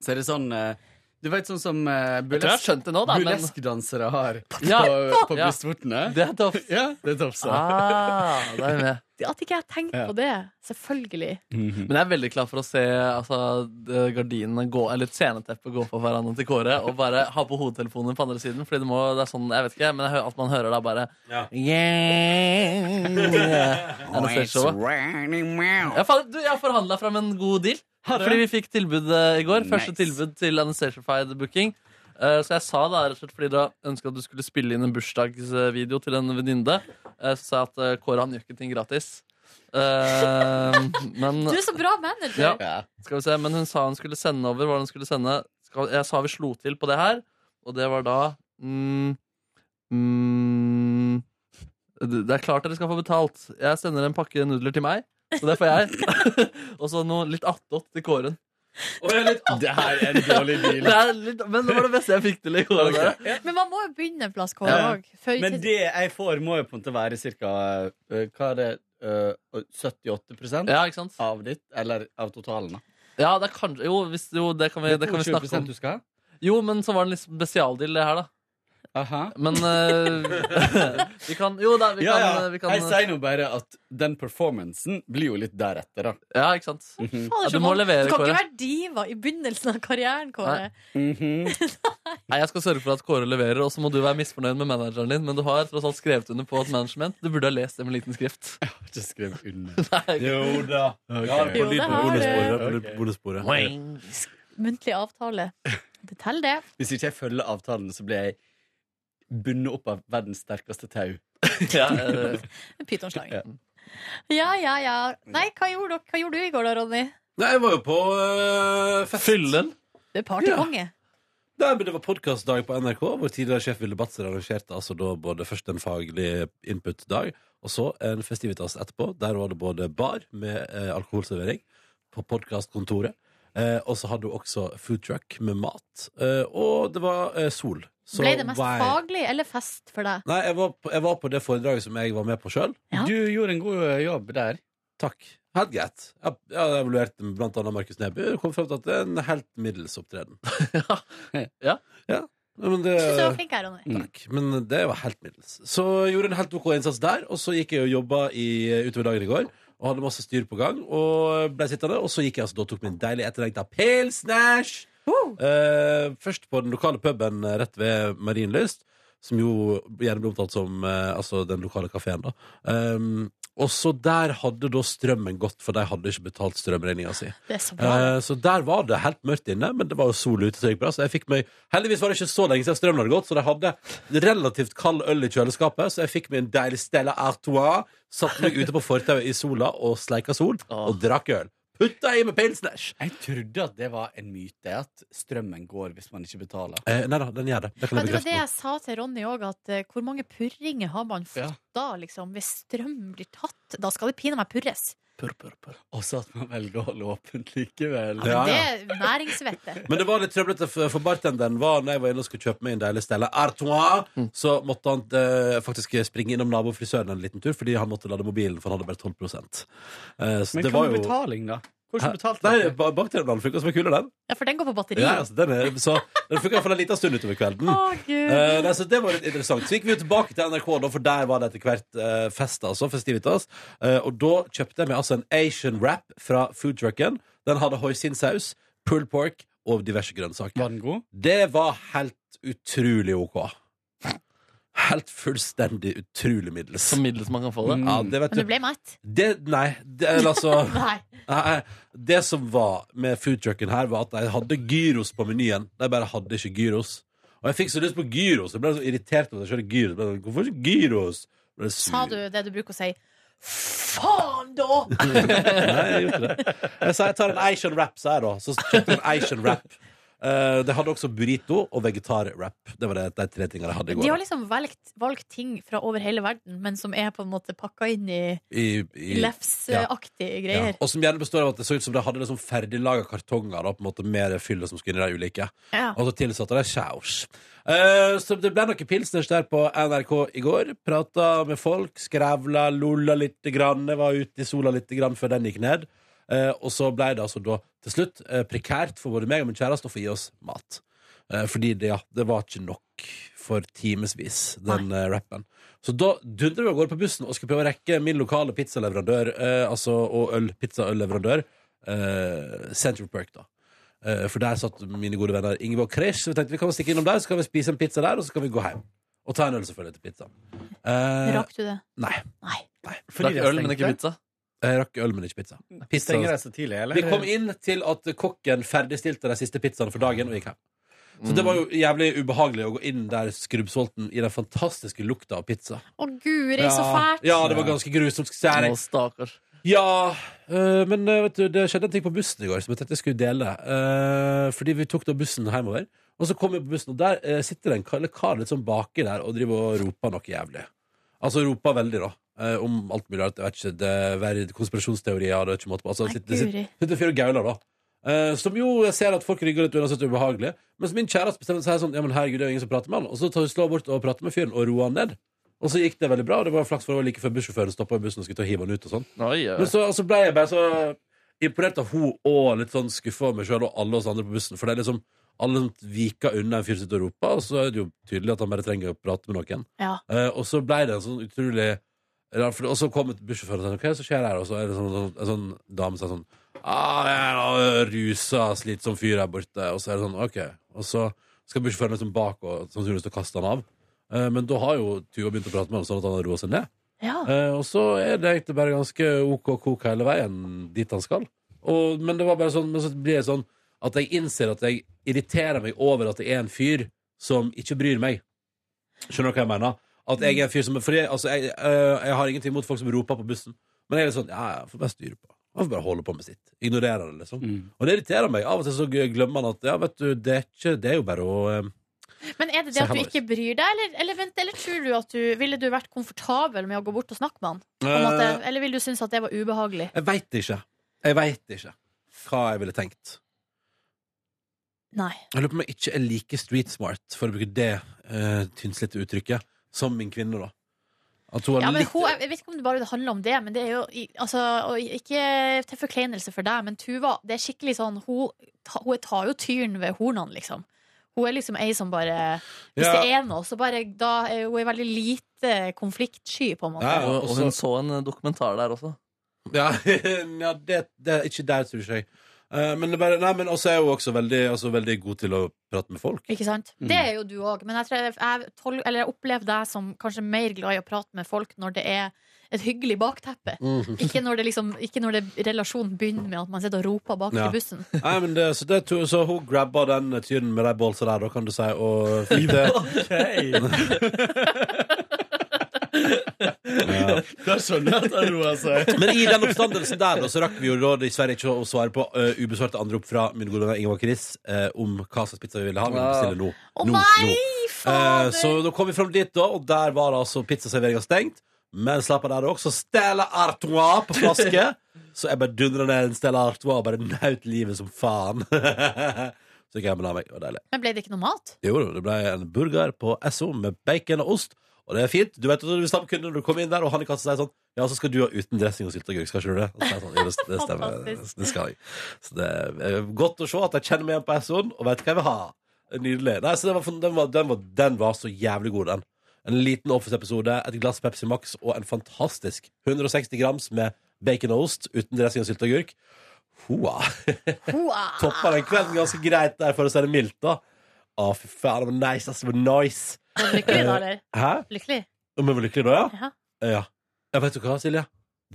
S6: så er det sånn eh, Du vet sånn som eh,
S4: Jeg tror jeg har
S6: burlesk-
S4: skjønt det nå, da, men
S6: burleskdansere har
S4: Ja.
S6: på, på
S4: Ja.
S6: brystvortene?
S4: det er tofs.
S6: Ja, det er tofsa.
S4: Ah, da er vi med.
S3: At ikke jeg tenkte
S6: Ja.
S3: på det. Selvfølgelig.
S4: Men jeg er veldig klar for å se altså, de- gardinene gå, eller sceneteppet gå på hverandre til Kåre, og bare ha på hodetelefonen på andre siden. Fordi det, må, det er sånn, jeg vet ikke, men jeg hører, alt man hører da, bare
S2: Ja.
S4: yeah. Er det største showet? jeg, faen, du, jeg har forhandla fram en god deal. Fordi vi fikk tilbud eh, i går. Første
S6: Nice.
S4: tilbud til Anastacified Booking. Eh, Så jeg sa da, rett og slett fordi da ønska at du skulle spille inn en bursdagsvideo til en venninne. eh, Så sa jeg at eh, Kåre han gjør ikke ting gratis. Eh, Men
S3: Du er så bra manager!
S4: Ja. skal vi se, men hun sa hun skulle sende over hva hun skulle sende. Skal, jeg sa vi slo til på det her, og det var da mm, mm, Det det er klart dere skal få betalt. Jeg sender en pakke nudler til meg, så det får jeg. og så noe litt attåt til Kåren.
S6: Det her er en dårlig
S4: Det
S6: deal.
S4: er litt, men det var det beste jeg fikk til i går.
S6: Ok.
S3: Men man må jo begynne en plass, Kåre.
S6: Ja.
S3: også. Før-
S6: Men det jeg får, må jo på en måte være ca. Hva er det eh, 78
S4: Ja, ikke sant?
S6: av ditt? Eller av totalen, da.
S4: Ja, det er kanskje, jo, hvis, jo, det kan vi, det kan vi snakke om.
S6: du skal ha?
S4: Jo, men så var det en litt spesialdeal, det her, da.
S6: Aha.
S4: Men eh, vi kan Jo da, vi
S6: Ja,
S4: kan, eh,
S6: ja.
S4: Vi kan
S6: Jeg sier nå bare at den performancen blir jo litt deretter, da.
S4: Ja, ikke sant?
S3: Fader,
S4: Ja, du
S3: så
S4: må
S3: man-
S4: levere,
S3: du kan
S4: Kåre.
S3: ikke være diva i begynnelsen av karrieren, Kåre.
S6: Mhm.
S4: Nei, Jeg skal sørge for at Kåre leverer, og så må du være misfornøyd med manageren din. Men du har tross alt skrevet under på et management. Du burde ha lest det med liten skrift.
S6: Ikke skriv under.
S4: Nei.
S2: Jo da. Ja, på
S3: Jo, det
S2: lyd på
S3: har
S2: bonussporet.
S6: du.
S2: på lyd på
S6: Ok.
S2: bonussporet.
S3: Muntlig avtale. Det teller, det.
S6: Hvis ikke jeg følger avtalen, så blir jeg bundet opp av verdens sterkeste tau.
S4: Ja, eh,
S3: En Pytonslange. Ja, ja, ja. Nei, hva gjorde, dere- hva gjorde du i går da, Ronny?
S2: Nei, jeg var jo på øh, fest.
S4: Fyllen.
S3: Du er partykonge.
S2: Nei, men Det var podkastdag på NRK, hvor tidligere sjef Vilde Batzer arrangerte altså da både først en faglig input-dag, og så en festivitas etterpå. Der var det både bar med eh, alkoholservering på podkastkontoret, eh, og så hadde hun også food truck med mat, eh, og det var eh, sol. Så
S3: Ble det mest
S2: var jeg-
S3: faglig eller fest for deg?
S2: Nei, jeg var, på, jeg var på det foredraget som jeg var med på sjøl.
S3: Ja.
S6: Du gjorde en god jobb der.
S2: Takk. Helt greit. Jeg, jeg evaluerte blant annet Markus Neby og kom frem til at det er en helt middels opptreden.
S4: Ja.
S2: ja. Nei, Men det,
S3: Jeg synes du var flink her, Ronny.
S2: Takk. Men det var helt middels. Så jeg gjorde en helt OK innsats der, og så gikk jeg og jobba i, eh, utover dagen i går. Og hadde masse styr på gang, og ble sittende. Og så gikk jeg altså da og tok min deilige etterlengta pilsnæsj! Eh, først på den lokale puben eh, rett ved Marienlyst, som jo gjerne blir omtalt som eh, altså den lokale kafeen, da. Um, Og så der hadde da strømmen gått, for de hadde ikke betalt strømregninga si.
S3: Det er så bra.
S2: Eh, Så der var det helt mørkt inne, men det var jo sol ute, så det gikk bra. Så jeg fikk meg, heldigvis var det ikke så lenge siden strømmen hadde gått, så de hadde relativt kald øl i kjøleskapet, så jeg fikk meg en deilig Stella Artois, satte meg ute på fortauet i sola og sleika sol, og drakk øl. Putta i med pilsners!
S6: Jeg trodde at det var en myte, at strømmen går hvis man ikke betaler.
S2: Eh, nei da, den gjør det. Det kan
S3: Men
S2: jeg
S3: det var det
S2: bekrefte. nå.
S3: jeg sa til Ronny òg, at eh, hvor mange purringer har man fått
S6: Ja.
S3: da, liksom? Hvis strøm blir tatt, da skal det pinadø meg purres.
S2: Purr, purr, purr.
S6: Og så at man velger å holde åpent likevel.
S2: Ja,
S3: Det
S2: ja.
S3: er næringsvettet.
S2: Men det var litt trøblete, for for bartenderen var når jeg var inne og skulle kjøpe meg en deilig stelle Artois, så måtte han eh, faktisk springe innom nabofrisøren en liten tur, fordi han måtte lade mobilen, for han hadde bare 12 Eh, Så
S6: Men
S2: det
S6: hva
S2: var jo
S6: med betaling, da?
S2: Hæ?
S6: Hvordan betalte
S2: Nei,
S6: dere?
S2: ba- bakteriebladet funka som en kule, den.
S3: Ja, for den går på batteri.
S2: Ja, altså, den, er, så, den funka for en liten stund utover kvelden.
S3: Å, gud.
S2: Eh, nei, så det var litt interessant. Så gikk vi jo tilbake til NRK, da, for der var det etter hvert eh, fest. altså, festivitas. Eh, og da kjøpte jeg meg altså en Asian wrap fra food trucken. Den hadde hoisinsaus, pulled pork og diverse grønnsaker.
S6: Var den god?
S2: Det var helt utrolig OK. Helt fullstendig utrolig middels.
S4: Så middels man kan få det.
S6: Mm.
S2: Ja, det vet
S3: Men du
S2: du.
S3: ble mett?
S2: Det, nei, det, eller altså
S3: Nei.
S2: Nei, nei. Det som var med foodtrucken her, var at de hadde gyros på menyen. De bare hadde ikke gyros. Og jeg fikk så lyst på gyros. Jeg ble så irritert over at jeg kjørte gyros. Jeg Ble sånn, Hvorfor ikke gyros? Jeg Ble sur.
S3: Sa du det du bruker å si? Faen, da!
S2: Nei, jeg gjorde ikke det. Jeg sa jeg tar en Asian wrap, sa jeg da. Så kjøpte jeg en Asian wrap. Eh, de hadde også burrito og vegetarwrap. Det var det, de tre tingene de hadde i går.
S3: De har liksom valgt, valgt ting fra over hele verden, men som er på en måte pakka inn i
S2: I- i-
S3: lefseaktige
S2: Ja.
S3: greier.
S2: Og som gjerne består av at det så ut som de hadde liksom ferdiglaga kartonger da, på en måte, med det fyllet som skulle inn i de ulike.
S3: Ja.
S2: Og så tilsatte de saus. Eh, så det ble noen pilsners der på NRK i går. Prata med folk, skravla, lolla lite grann. Jeg var ute i sola lite grann før den gikk ned. Eh, og så ble det altså da til slutt eh, prekært for både meg og min kjæreste å få gi oss mat. Eh, fordi det, ja, det var ikke nok for timevis, den eh, rappen. Så da dundra vi av gårde på bussen og skulle prøve å rekke min lokale pizzaleverandør, eh, altså, og øl, pizzaølleverandør, eh, Central Perk, da. Eh, for der satt mine gode venner Ingeborg Kresch. Så vi tenkte vi kan stikke innom der, så kan vi spise en pizza der, og så kan vi gå hjem. Og ta en øl, selvfølgelig, til pizzaen. Eh,
S3: Rakk du det?
S2: nei.
S3: Nei.
S4: Drakk
S6: de
S4: øl, men ikke
S6: stengte?
S4: pizza.
S2: Jeg rakk øl, men ikke pizza. Pizza-
S6: Stenger de så tidlig, eller?
S2: Vi kom inn til at kokken ferdigstilte de siste pizzaene for dagen og gikk hjem. Så
S6: Mm.
S2: det var jo jævlig ubehagelig å gå inn der skrubbsulten i den fantastiske lukta av pizza.
S3: Å, guri, så fælt!
S2: Ja, det var ganske grusomt. skal jeg
S4: Å,
S2: si deg.
S4: stakkars.
S2: Ja, øh, men øh, vet du, det skjedde en ting på bussen i går som jeg tenkte jeg skulle dele. Øh, fordi vi tok da bussen hjemover, og så kom vi på bussen, og der øh, sitter det en kar, eller kar litt sånn baki der og driver og roper noe jævlig. Altså roper veldig, da. øh, om alt mulig rart. Jeg vet ikke, det er verre konspirasjonsteorier. Det er ikke måte på. Altså,
S3: Nei,
S2: sitter, sitter,
S3: guri.
S2: sitter en fyr og gauler, da. Eh, som jo jeg ser at folk rygger litt unna, så det er ubehagelig. Men så min kjæreste bestemte seg sånn Ja, men herregud, det er jo ingen som prater med han. Og så tar hun slår hun bort og prater med fyren og roer han ned. Og så gikk det veldig bra, og det var flaks for det var like før bussjåføren stoppa i bussen og skulle ta og hive han ut og sånn.
S4: Oi, oi.
S2: Men så altså, ble jeg bare så imponert av hun og litt sånn skuffa over meg sjøl og alle oss andre på bussen. For det er liksom alle som viker unna en fyr som sitter og roper, og så er det jo tydelig at han bare trenger å prate med noen.
S3: Ja.
S2: Eh, og så ble det en sånn utrolig rar- for- Og så kom et bussjåfør og sa hva er det som skjer her? Og så er det sånn, sånn, en sånn dame som sa sånn ah, det er en rusa, slitsom fyr her borte. Og så er det sånn, ok. Og så skal bussjåføren liksom bak og sannsynligvis til å kaste han av. Eh, men da har jo Tuva begynt å prate med ham sånn at han har roa seg ned.
S3: ja.
S2: Eh, og så er det egentlig bare ganske OK kok hele veien dit han skal. Og, men det var bare sånn, men så blir det sånn at jeg innser at jeg irriterer meg over at det er en fyr som ikke bryr meg. Skjønner du hva jeg mener? At jeg er en fyr som Fordi altså, jeg, eh, jeg har ingenting imot folk som roper på bussen, men jeg er litt sånn Ja, ja, får bare styre på. Han får bare holde på med sitt. Ignorere det, liksom.
S6: Mm.
S2: Og det irriterer meg. Av og til så glemmer han at ja, vet du, det er, ikke, det er jo bare å eh,
S3: Men er det
S2: Så
S3: det
S2: her
S3: at du
S2: var det.
S3: ikke bryr deg, eller, eller, vent, eller tror du at du Ville du vært komfortabel med å gå bort og snakke med han? På en måte,
S2: eh,
S3: eller vil du synes at det var ubehagelig?
S2: Jeg veit ikke. Jeg veit ikke hva jeg ville tenkt.
S3: Nei.
S2: Jeg lurer på om jeg ikke er like street smart, for å bruke det uh, tynnslitte uttrykket, som min kvinne, da. At hun har
S3: Ja, men
S2: litt
S3: hun, jeg vet ikke om det bare handler om det, men det er jo i- altså, og Ikke til forkleinelse for deg, men Tuva det er skikkelig sånn Hun, ta- hun tar jo tyren ved hornene, liksom. Hun er liksom ei som bare Hvis
S2: Ja.
S3: det er noe, så bare da, er Hun er veldig lite konfliktsky, på en måte.
S2: Ja,
S4: Og, og hun
S2: også-
S4: så en eh, dokumentar der også.
S2: Ja, ja det, det er ikke der, tror jeg. Eh, men det er bare, nei, men også er hun også veldig, altså, veldig god til å prate med folk.
S3: Ikke sant?
S6: Mm.
S3: Det er jo du òg. Men jeg, tror jeg, jeg, tol- eller jeg opplever deg som kanskje mer glad i å prate med folk når det er et hyggelig bakteppe.
S2: Mm.
S3: Ikke når, det liksom, ikke når det relasjonen begynner med at man sitter og roper bak
S2: Ja.
S3: i bussen.
S2: Nei, men det, så, det, to- så hun grabba den tyren med de bolsa der, da, kan du si, og fikk det.
S6: Ok.
S2: Ja.
S6: Da skjønner jeg at det roer seg.
S2: Men i den oppstandelsen der, da, så rakk vi jo da dessverre ikke å svare på eh, ubesvarte anrop fra min gode venn Ingvar Chris eh, om hva slags pizza vi ville ha. Vi vil bestille nå.
S3: Å
S2: Nå,
S3: nei,
S2: Eh,
S3: fader!
S2: så da kom vi fram dit, da, og der var det altså pizzaserveringa stengt. Men slapp av der også. Stella Artois på flaske. Så jeg bare dundra ned en Stella Artois og bare nøt livet som faen. så gikk jeg og la meg. Det var deilig.
S3: Men ble det ikke noe mat?
S2: Jo, jo, det ble en burger på SO med bacon og ost. Og det er fint. Du vet at du er stamkunde når du kommer inn der, og han i kassa sier sånn Ja, så skal du ha uten dressing og sylteagurk, skal ikke du det? Og så er jeg sånn, jo, det, det stemmer.
S3: Fantastisk.
S2: Det skal jeg. Så det er godt å se at jeg kjenner meg igjen på SO-en og vet hva jeg vil ha. Nydelig. Nei, så den var, den var, den var, den var så jævlig god, den. En liten Office-episode, et glass Pepsi Max og en fantastisk 160 grams med bacon og ost uten dressing og sylteagurk. Hoa
S3: Hoa!
S2: toppa den kvelden ganske greit der, for å si det mildt, da. Å, fy faen, det var nice, ass. Det var nice.
S3: Var du lykkelig da, eller?
S2: Hæ?
S3: Lykkelig?
S2: Om jeg var lykkelig da, ja?
S3: Ja.
S2: Ja. ja vet du hva, Silje?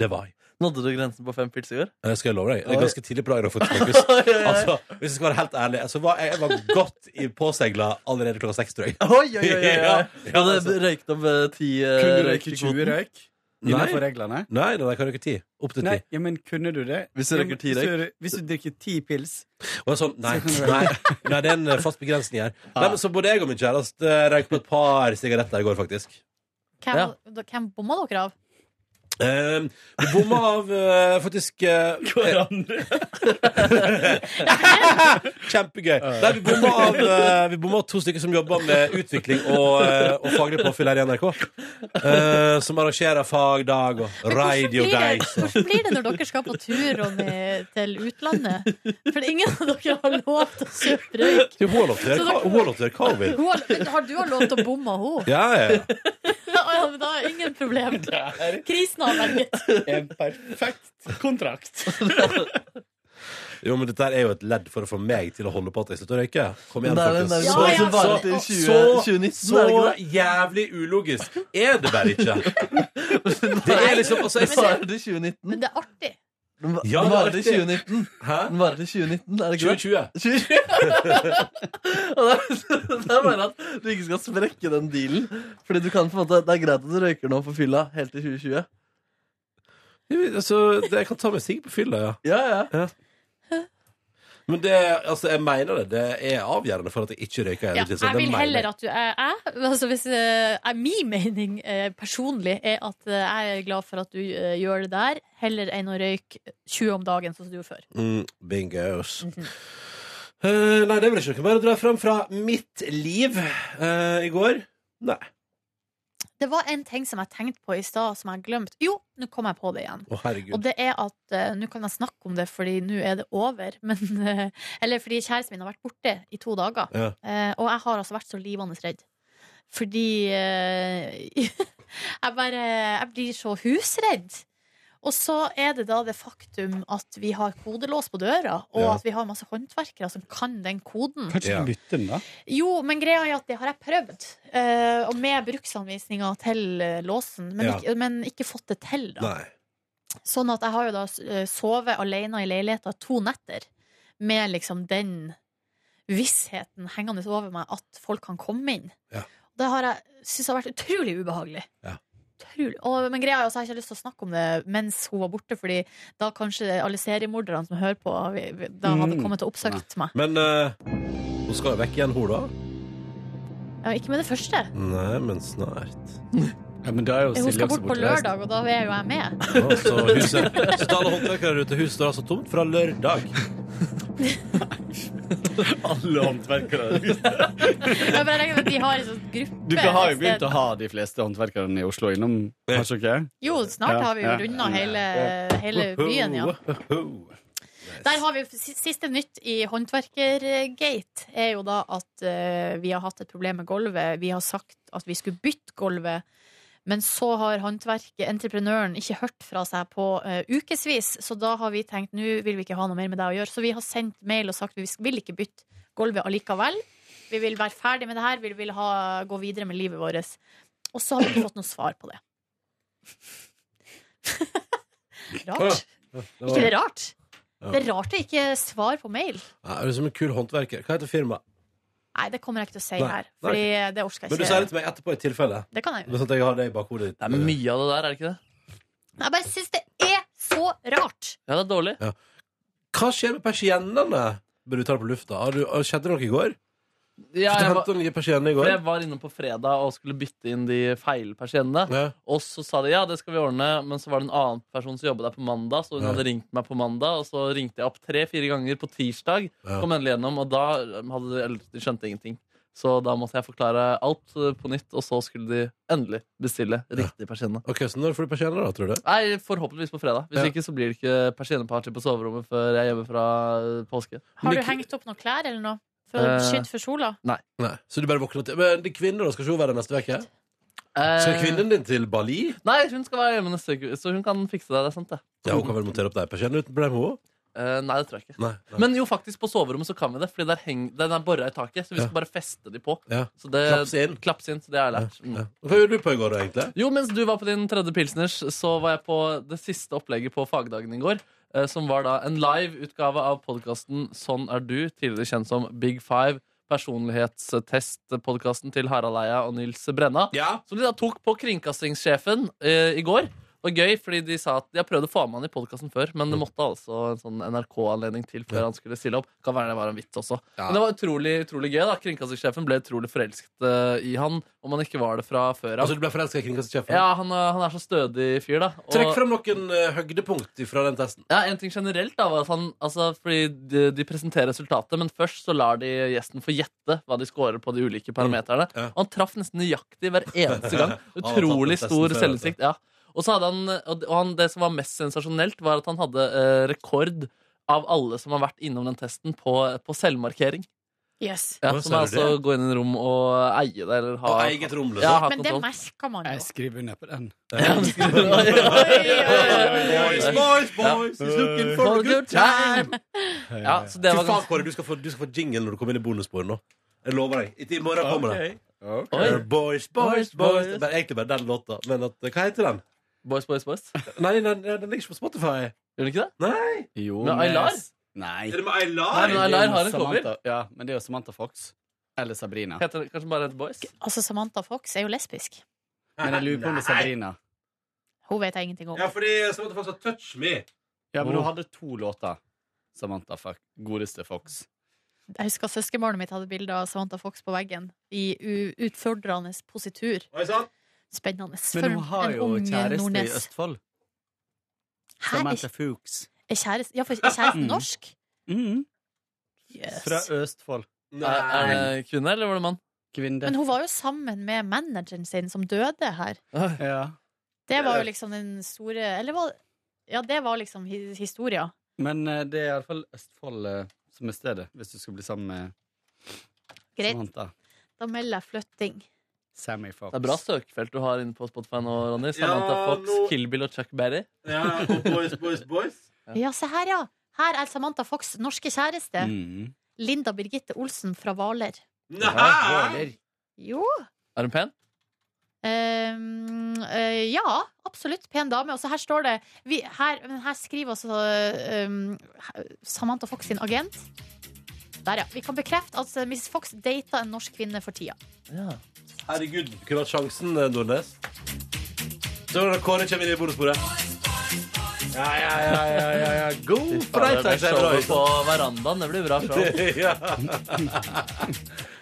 S2: Det var jeg.
S4: Nådde du grensen på fem pils i går?
S2: Det skal jeg love deg. Det
S4: Oi.
S2: er ganske tidlig på dagen å få fokus. Altså, hvis jeg skal være helt ærlig, så var jeg, jeg var godt i påsegla allerede klokka seks, tror jeg.
S4: Oi, oi, oi, oi,
S2: Ja,
S4: oi.
S2: ja,
S4: Hadde
S2: altså.
S4: røykt opp eh, ti eh,
S6: Kunne
S4: røyk
S6: du
S4: i
S6: røyke 20
S4: kvoten.
S6: røyk
S2: Nei.
S6: innenfor reglene?
S2: Nei, nei, nei, kan du ikke ti? Opp til ti.
S6: Nei, ja, men kunne du det?
S4: Hvis du
S6: Ja,
S4: røyker
S6: men
S4: ti
S6: hvis
S4: røyk.
S6: du- Hvis du drikker ti pils
S2: Og jeg sånn, nei,
S6: Så kan du
S2: nei, nei, det er en eh, fast begrensning her. Nei, men så både jeg og min kjæreste eh, røyk på et par sigaretter i går, faktisk.
S3: Hvem,
S4: Ja.
S3: da- hvem bomma dere av?
S2: Eh, vi bomma av eh, faktisk eh,
S6: Hverandre.
S2: Kjempegøy. Nei, vi bomma av eh, Vi bomma av to stykker som jobber med utvikling og, eh, og faglig påfyll her i NRK. Eh, som arrangerer fagdag og
S3: Men hvordan blir
S2: radiodag.
S3: det- Hvordan blir det når dere skal på tur Ronny, til utlandet? For ingen av dere har lov til å kjøpe røyk.
S2: Jo, Hun har lov til å gjøre hva- hun har lov til å gjøre hva hun vil.
S3: Hun har, har du har lov til å bomme av henne?
S2: Ja, ja.
S3: Ja, men da er ingen problem. Krisen har velget.
S6: En perfekt kontrakt.
S2: Jo, men dette her er jo et ledd for å få meg til å holde på at jeg slutter å røyke. Kom igjen,
S4: Men det er den
S2: folkens.
S4: der
S3: Ja,
S4: så,
S3: ja,
S4: som varer
S3: så-
S4: til 20,
S2: så-
S4: 2019, er det
S2: Så
S4: ikke det?
S2: jævlig ulogisk er det bare ikke. Det er liksom altså, jeg
S4: Den
S2: ser,
S4: varer til 2019.
S3: Men det er artig.
S4: Den va-
S2: Ja,
S4: den
S2: det er
S4: varer til
S2: riktig.
S4: 2019.
S2: Hæ?
S4: Den varer til 2019, er det ikke det?
S2: 2020.
S4: Og det er- det er bare at du ikke skal sprekke den dealen. Fordi du kan på en måte, Det er greit at du røyker nå på fylla helt til 2020.
S2: Altså, det- jeg kan ta meg sigg på fylla, ja.
S4: Ja, ja.
S2: Men det, altså, jeg mener det. Det er avgjørende for at jeg ikke røyker. hele
S3: Ja,
S2: tiden, så
S3: jeg
S2: det
S3: vil
S2: mener
S3: heller
S2: jeg.
S3: at du er jeg. Altså hvis, eh, er min mening eh, personlig er at eh, jeg er glad for at du eh, gjør det der, heller enn å røyke 20 om dagen, sånn som du gjorde før.
S2: mm, Bingos.
S3: Mhm.
S2: Eh, nei, det blir ikke noe mer å dra fram fra mitt liv eh, i går. Nei.
S3: Det var en ting som jeg tenkte på i stad, som jeg glemte. Jo, nå kom jeg på det igjen.
S2: Å, herregud.
S3: Og det er at eh, Nå kan jeg snakke om det, fordi nå er det over. Men, eh, eller fordi kjæresten min har vært borte i to dager.
S2: Ja.
S3: Eh, og jeg har altså vært så livende redd. Fordi eh, jeg bare Jeg blir så husredd. Og så er det da det faktum at vi har kodelås på døra, og
S2: Ja.
S3: at vi har masse håndverkere som kan den koden.
S6: Kanskje
S2: Ja.
S6: du bytter den, da?
S3: Jo, men greia er at det har jeg prøvd. eh, og med bruksanvisninga til eh, låsen, men,
S2: Ja.
S3: ikke, men ikke fått det til, da.
S2: Nei.
S3: Sånn at jeg har jo da eh, sovet alene i leiligheten to netter med liksom den vissheten hengende over meg at folk kan komme inn.
S2: Ja.
S3: Det har jeg syntes har vært utrolig ubehagelig.
S2: Ja.
S3: Utrolig. Og, men greia er altså, jeg har ikke lyst til å snakke om det mens hun var borte, fordi da kanskje alle seriemorderne som hører på, vi- vi- da hadde
S6: Mm.
S3: kommet og oppsøkt meg.
S2: Men eh, hun skal jo vekk igjen, hun, da?
S3: Ja, ikke med det første.
S2: Nei, men snart.
S6: Ja, men da er jo
S3: Hun
S6: Silje
S3: skal
S6: også
S3: bort på
S6: borte. resten.
S3: lørdag, og da er jo jeg med.
S2: Ja, så huset Så til alle håndverkere der ute, huset står altså tomt fra lørdag.
S6: Alle håndverkere.
S3: Jeg bare regner med at de har en sånn gruppe.
S6: Du har jo
S3: et
S6: begynt
S3: sted.
S6: å ha de fleste håndverkerne i Oslo innom, har du ikke?
S3: Jo, snart
S6: Ja,
S3: har vi jo
S6: ja.
S3: runda hele, hele byen, ja. Der har vi s- Siste nytt i Håndverkergate er jo da at eh, vi har hatt et problem med gulvet. Vi har sagt at vi skulle bytte gulvet, Men så har håndverket, entreprenøren, ikke hørt fra seg på eh, ukevis, så da har vi tenkt nå vil vi ikke ha noe mer med deg å gjøre. Så vi har sendt mail og sagt vi vil ikke bytte gulvet allikevel. Vi vil være ferdig med det her, vi vil ha, gå videre med livet vårt. Og så har vi ikke fått noe svar på det. rart.
S2: Det
S3: Ikke
S2: var,
S3: det er rart? Det er rart det ikke er svar på mail.
S2: ja, er du som en kul håndverker. Hva heter firmaet?
S3: Nei, det kommer jeg ikke til å si
S2: Nei,
S3: her.
S2: nei.
S3: Fordi det orker
S2: Men du
S3: jeg
S2: sier det
S3: ikke.
S2: til meg etterpå i tilfelle.
S3: Det kan jeg gjøre.
S2: Sånn at jeg har det i bakhodet ditt.
S4: Det er mye av det der, er det ikke det?
S3: Jeg bare syns det er så rart.
S4: Ja, det er dårlig.
S2: Hva skjer med persiennene? Bør du ta det på lufta? Har du, har- skjedde det noe i går?
S4: Ja,
S2: Du
S4: jeg,
S2: hentet
S4: var,
S2: nye persienner i
S4: for
S2: går?
S4: jeg var innom på fredag og skulle bytte inn de feilpersiennene.
S2: Ja.
S4: Og så sa de ja, det skal vi ordne, men så var det en annen person som jobbet der på mandag. Så hun
S2: Ja.
S4: hadde ringt meg på mandag, og så ringte jeg opp tre-fire ganger på tirsdag.
S2: Ja.
S4: Kom endelig gjennom, og da um, hadde de, eller, de skjønte ingenting. Så da måtte jeg forklare alt eh, på nytt, og så skulle de endelig bestille riktig persienne.
S2: Ok, Så når får du persienner, da, tror du?
S4: Nei, Forhåpentligvis på fredag. Hvis
S2: Ja.
S4: ikke så blir det ikke persienneparty på soverommet før jeg er hjemme fra eh, påske.
S3: Har du
S2: Men-
S3: hengt opp noen klær eller noe? For å
S4: Eh.
S3: beskytte for sola?
S2: Nei. Så du bare våkner til Men de kvinner da skal se være neste uke? Skal
S4: Eh,
S2: kvinnen din til Bali?
S4: Nei, hun skal være hjemme neste uke, så hun kan fikse det. Det er sant, det.
S2: Ja, Hun kan vel montere opp deg persienner uten problem, hun òg?
S4: Eh, nei, det tror jeg ikke.
S2: Mm. Nei. nei.
S4: Men jo, faktisk, på soverommet så kan vi det, Fordi der heng, den er borra i taket. Så vi
S2: Ja.
S4: skal bare feste de på.
S2: Ja.
S4: Så det,
S2: Klapse inn.
S4: Klapse inn, så det har jeg lært. Mm.
S2: Ja. Hva gjorde du på i går, da, egentlig?
S4: Jo, mens du var på din tredje pilsners, så var jeg på det siste opplegget på fagdagen i går. eh, Som var da en live-utgave av podkasten Sånn er du, tidligere kjent som Big Five. Personlighetstest-podkasten til Harald Eia og Nils Brenna.
S2: Ja.
S4: Som de da tok på kringkastingssjefen eh, i går. Det var gøy, fordi de sa at de har prøvd å få med han i podkasten før, men det måtte altså en sånn NRK-anledning til før han skulle stille opp. Kan være det var en vits også.
S2: Ja.
S4: Men det var utrolig, utrolig gøy. da Kringkastingssjefen ble utrolig forelsket eh, i han, om han ikke var det fra før av.
S2: Altså, du ble forelska i kringkastingssjefen?
S4: Ja, han, er- han er så stødig fyr, da. Og-
S2: Trekk frem noen eh, høydepunkt fra den testen.
S4: ja, en ting generelt da var at han, altså, Fordi de, de presenterer resultatet Men først så lar de gjesten få gjette Hva de scorer på de ulike parameterne
S2: Ja.
S4: Og han traff nesten nøyaktig hver eneste gang
S2: Han har tatt
S4: Utrolig
S2: den testen
S4: stor
S2: før,
S4: selvinnsikt ja. Og så hadde han, og han, det som var mest sensasjonelt Var at han hadde eh, rekord Av alle som har vært innom den testen På, på selvmarkering
S3: Yes.
S4: ja,
S2: Hva
S4: Som
S2: sa
S4: er
S2: du
S4: altså å gå inn i en rom og eie det eller ha,
S2: Og eget rom, liksom.
S4: ja, ha
S3: Men det
S4: kontroll
S3: merker man
S6: sånn. Jeg
S3: jo.
S6: skriver under på den.
S2: Boys, boys, boys, is looking for a good time.
S4: ja, så
S2: Fy
S4: det var
S2: faen,
S4: ganske
S2: Kåre, du skal få, du skal få jingle når du kommer inn i bonussporet nå. Jeg lover deg. Etter i morgen kommer det.
S4: Oi.
S2: Eh, Boys, boys, boys. Det er bare- egentlig bare den låta. Men at, hva heter den?
S4: Boys, boys, boys
S2: Nei, den, den ligger ikke på Spotify.
S4: Gjør det ikke det?
S2: Nei!
S6: Jo,
S4: Men Aylar?
S6: Nei.
S2: Er det med Aylar?
S4: Nei, men Aylar har en
S6: Samantha-
S4: cover.
S6: Ja, men det er jo Samantha Fox. Eller Sabrina.
S4: Heter det kanskje bare et boys?
S3: Altså, Samantha Fox er jo lesbisk.
S6: Men jeg lurer på om det er Sabrina.
S3: Hun vet jeg ingenting om.
S2: Ja, fordi som at det faktisk var Touch Me.
S6: Ja, men hun hadde to låter. Samantha Fox. Godeste Fox.
S3: Jeg husker søskenbarnet mitt hadde bilde av Samantha Fox på veggen i u- utfordrende positur.
S2: Oi sann!
S3: Spennende.
S6: Men hun har jo kjæreste i Østfold.
S3: Her er,
S6: Samantha Fox.
S3: er kjæreste, ja, for er kjæresten
S6: Mm.
S3: norsk?
S6: Mm. Fra
S3: Yes.
S6: Østfold.
S4: Er, er det kvinne, eller var det mann?
S6: Kvinne.
S3: Men hun var jo sammen med manageren sin, som døde her.
S6: Ja.
S3: Det var jo liksom den store Eller var Ja, det var liksom hi- historia.
S6: Men eh, det er iallfall Østfold eh, som er stedet, hvis du skal bli sammen med
S3: Greit,
S6: Samantha.
S3: da melder jeg flytting.
S6: Sammy Fox.
S4: Det er bra søkefelt du har inne på Spotify nå, Ronny. Samantha
S2: Ja,
S4: Fox,
S2: nå-
S4: Kill Bill og Chuck Berry.
S2: Ja, og boys, boys, boys.
S3: Ja, se her, ja. Her er Samantha Fox' norske kjæreste.
S6: Mm.
S3: Linda Birgitte Olsen fra Hvaler.
S2: Ah! Nei!
S3: Jo.
S4: Er hun pen?
S3: ehm, eh, ja, absolutt. Pen dame. Og så her står det vi, her, men her skriver også ehm, Samantha Fox sin agent. Der, ja. Vi kan bekrefte at Miss Fox data en norsk kvinne for tida.
S4: Ja.
S2: Herregud, du kunne hatt sjansen, eh, Nordnes. Så er det Kåre kommer inn i bonussporet. Ja, ja, ja, ja, ja, ja. God
S4: Det
S2: fredag, sier Roy.
S4: showet på verandaen. Det blir bra show.
S2: ja.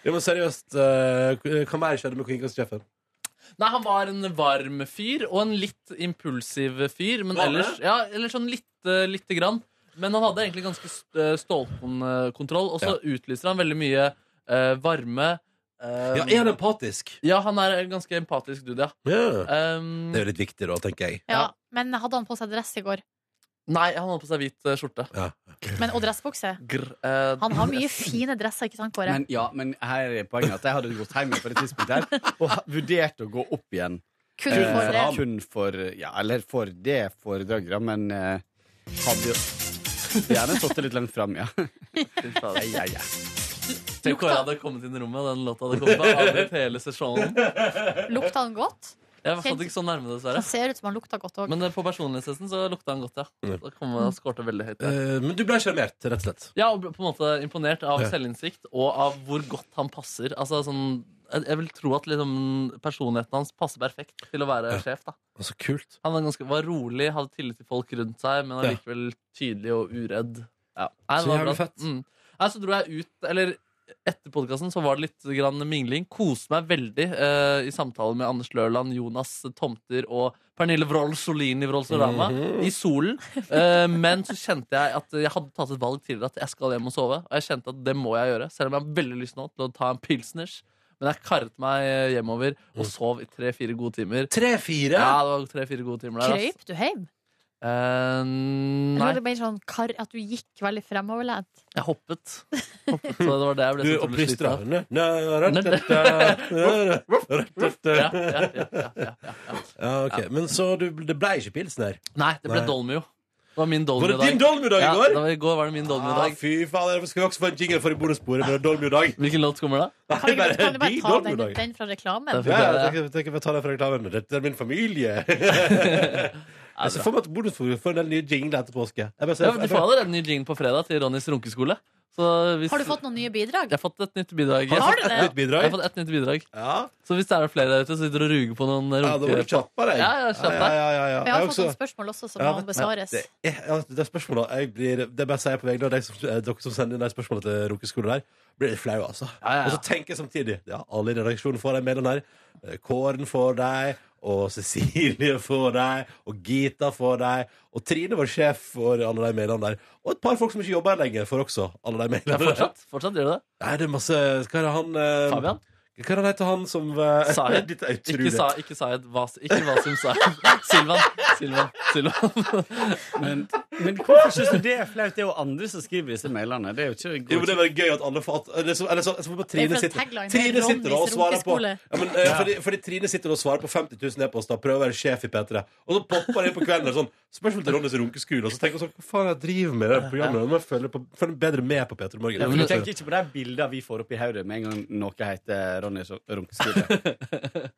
S2: ja, men seriøst, eh, hva mer skjedde med kringkastingssjefen?
S4: Nei, han var en varm fyr, og en litt impulsiv fyr. Men
S2: Var det?
S4: ellers, ja, eller sånn lite, lite grann. Men han hadde egentlig ganske st- eh, stålkontroll, og så utlyser han veldig mye eh, varme. eh,
S2: Ja, er han empatisk?
S4: ja, han er en ganske empatisk dude, ja.
S2: Ja.
S4: Um,
S2: Det er jo litt viktig, da, tenker jeg.
S3: Ja,
S4: Ja.
S3: Men hadde han på seg dress i går?
S4: nei, han hadde på seg hvit eh, skjorte.
S3: Men, og dressbukse?
S4: Grr, eh,
S3: Han har mye fine dresser, ikke sant, Kåre?
S6: Men, ja, men her er poenget at jeg hadde gått hjem på det tidspunktet her og ha- vurdert å gå opp igjen
S3: Kun for det.
S6: Eh, kun for Ja, eller for det foredraget, da, men eh, hadde jo Gjerne sittet litt langt fram, ja.
S4: Fy faen.
S6: ja, ja.
S4: Tenk hvor jeg hadde kommet inn i rommet, og den låta hadde kommet. Da hadde jeg hele sesjonen.
S3: Lukta han godt?
S4: Jeg var faktisk ikke så nærme, dessverre.
S3: Han ser ut som han lukta godt òg.
S4: Men eh, på personlighetstesten så lukta han godt, ja. Da kom han og skårte veldig høyt. Ja.
S2: Eh, men du ble sjarmert, rett og slett.
S4: Ja, og ble på en måte imponert av
S2: Ja.
S4: selvinnsikt og av hvor godt han passer. Altså sånn jeg jeg vil tro at liksom, personligheten hans passer perfekt til å være sjef. da
S2: Og Så kult.
S4: Han var, ganske, var rolig, hadde tillit til folk rundt seg, men
S2: Ja.
S4: allikevel tydelig og uredd. Ja. Nei,
S2: Så
S4: det var
S2: jævlig
S4: bra.
S2: fett.
S4: Mm. Nei, så dro jeg ut, eller etter podkasten så var det litt grann mingling. Koste meg veldig eh, i samtalen med Anders Løland, Jonas Tomter og Pernille Wrold Solin i Wroldsorama
S2: Mhm.
S4: i solen. Eh, men så kjente jeg at jeg hadde tatt et valg tidligere at jeg skal hjem og sove. Og jeg kjente at det må jeg gjøre, selv om jeg har veldig lyst nå til å ta en pilsners. Men jeg karret meg eh, hjemover
S2: Mm.
S4: og sov i tre-fire gode timer.
S2: Tre-fire?
S4: Ja, det var tre-fire gode timer der. ass.
S3: Krøyp du hjem?
S4: Eh,
S3: Eller var
S4: nei,
S3: det mer sånn kar at du gikk veldig fremoverlent?
S4: jeg hoppet. hoppet. Så det var det jeg ble
S2: Du
S4: så
S2: og
S4: utrolig sliten
S2: plystra.
S4: av. Ja,
S2: Ja,
S4: ja, ja, ja, ja, ja.
S2: ok. Men så du, det ble ikke pilsner?
S4: Nei, det ble
S2: Nei.
S4: dolmio. Det var min
S2: Var
S4: dolmio
S2: det din dolmiodag i går?
S4: Ja, det var, I går var det min dolmio
S2: Ah, fy faen, derfor skal vi også få en jingle for i bonusbordet med dolmiodag.
S4: Hvilken låt kommer da?
S3: Kan du bare, kan du bare
S2: din
S3: ta den,
S2: dolmiodag.
S3: den fra
S4: Det
S3: reklamen?
S4: er
S2: Ja, jeg tenker- tenker vi tar det fra reklamen. Dette er min familie.
S4: Ja,
S2: Jeg ser for meg at bonusbordet får en del nye jingler etter påske. Jeg bare ser-
S4: Ja, men du får allerede en ny jingle på fredag til Ronnys runkeskole. Så hvis,
S3: Har du fått noen nye bidrag?
S4: Jeg har fått et nytt bidrag. Jeg
S3: Har du det?
S2: Et nytt bidrag?
S4: Jeg har fått et nytt bidrag.
S2: Ja,
S4: Så hvis det er flere der ute som sitter og ruger på noen
S2: ja, da må du
S4: runker...
S2: kjappe deg.
S4: Ja, ja, kjapp deg.
S2: Ja, ja, ja, ja.
S3: Vi har
S2: Jeg
S3: fått
S2: også-
S3: noen spørsmål også som
S2: Ja,
S3: må
S2: det-
S3: besvares.
S2: Det, er, ja, det er spørsmålet jeg blir, Det er bare å si på vegne av deg som, eh, dere som sender inn de spørsmålene til Runkeskole der. Blir litt flau, altså.
S4: Ja, ja, ja.
S2: Og så tenker jeg samtidig Ja, alle i redaksjonen får de medlemmene her. Eh, Kåren får deg, og Cecilie får deg, og Gita får deg, og Trine, vår sjef, får alle de medlemmene der. Og et par folk som ikke jobber her lenger, får også alle de
S4: Ja,
S2: medlemmene.
S4: fortsatt, fortsatt gjør du det?
S2: Nei, det er masse Hva er det han eh,
S4: Fabian?
S2: Hva er det han heter han som eh,
S4: Zaid?
S2: Dette er
S4: Ikke
S2: utrolig.
S4: sa, ikke sa et vas, ikke Vasim sa Silvan. Silvan. Silvan.
S6: Men, men hvorfor syns du det er flaut? Det er jo andre som skriver disse mailene. Det er jo ikke
S2: Jo, men Det var gøy at alle får at, eller så, eller så, så får
S3: Det er
S2: Trine
S3: for at
S2: sitter,
S3: tagline
S2: Trine
S3: er
S2: sitter da og
S3: Ronnys
S2: svarer på
S3: runkeskole.
S2: ja, men, eh, fordi, fordi Trine sitter da og svarer på 50 000 e-poster, prøver å være sjef i P3, og så popper det på kvelden og sånn Spørsmål til Ronnys runkeskole, og så tenker hun sånn Hva faen er det jeg driver med i det programmet? Nå må jeg følge, på, følge bedre med på P3 Morgen.
S6: Ja, men du tenker
S2: Ja,
S6: ikke på de bildene vi får opp i hodet med en gang noe heter Ronny Runkeskole.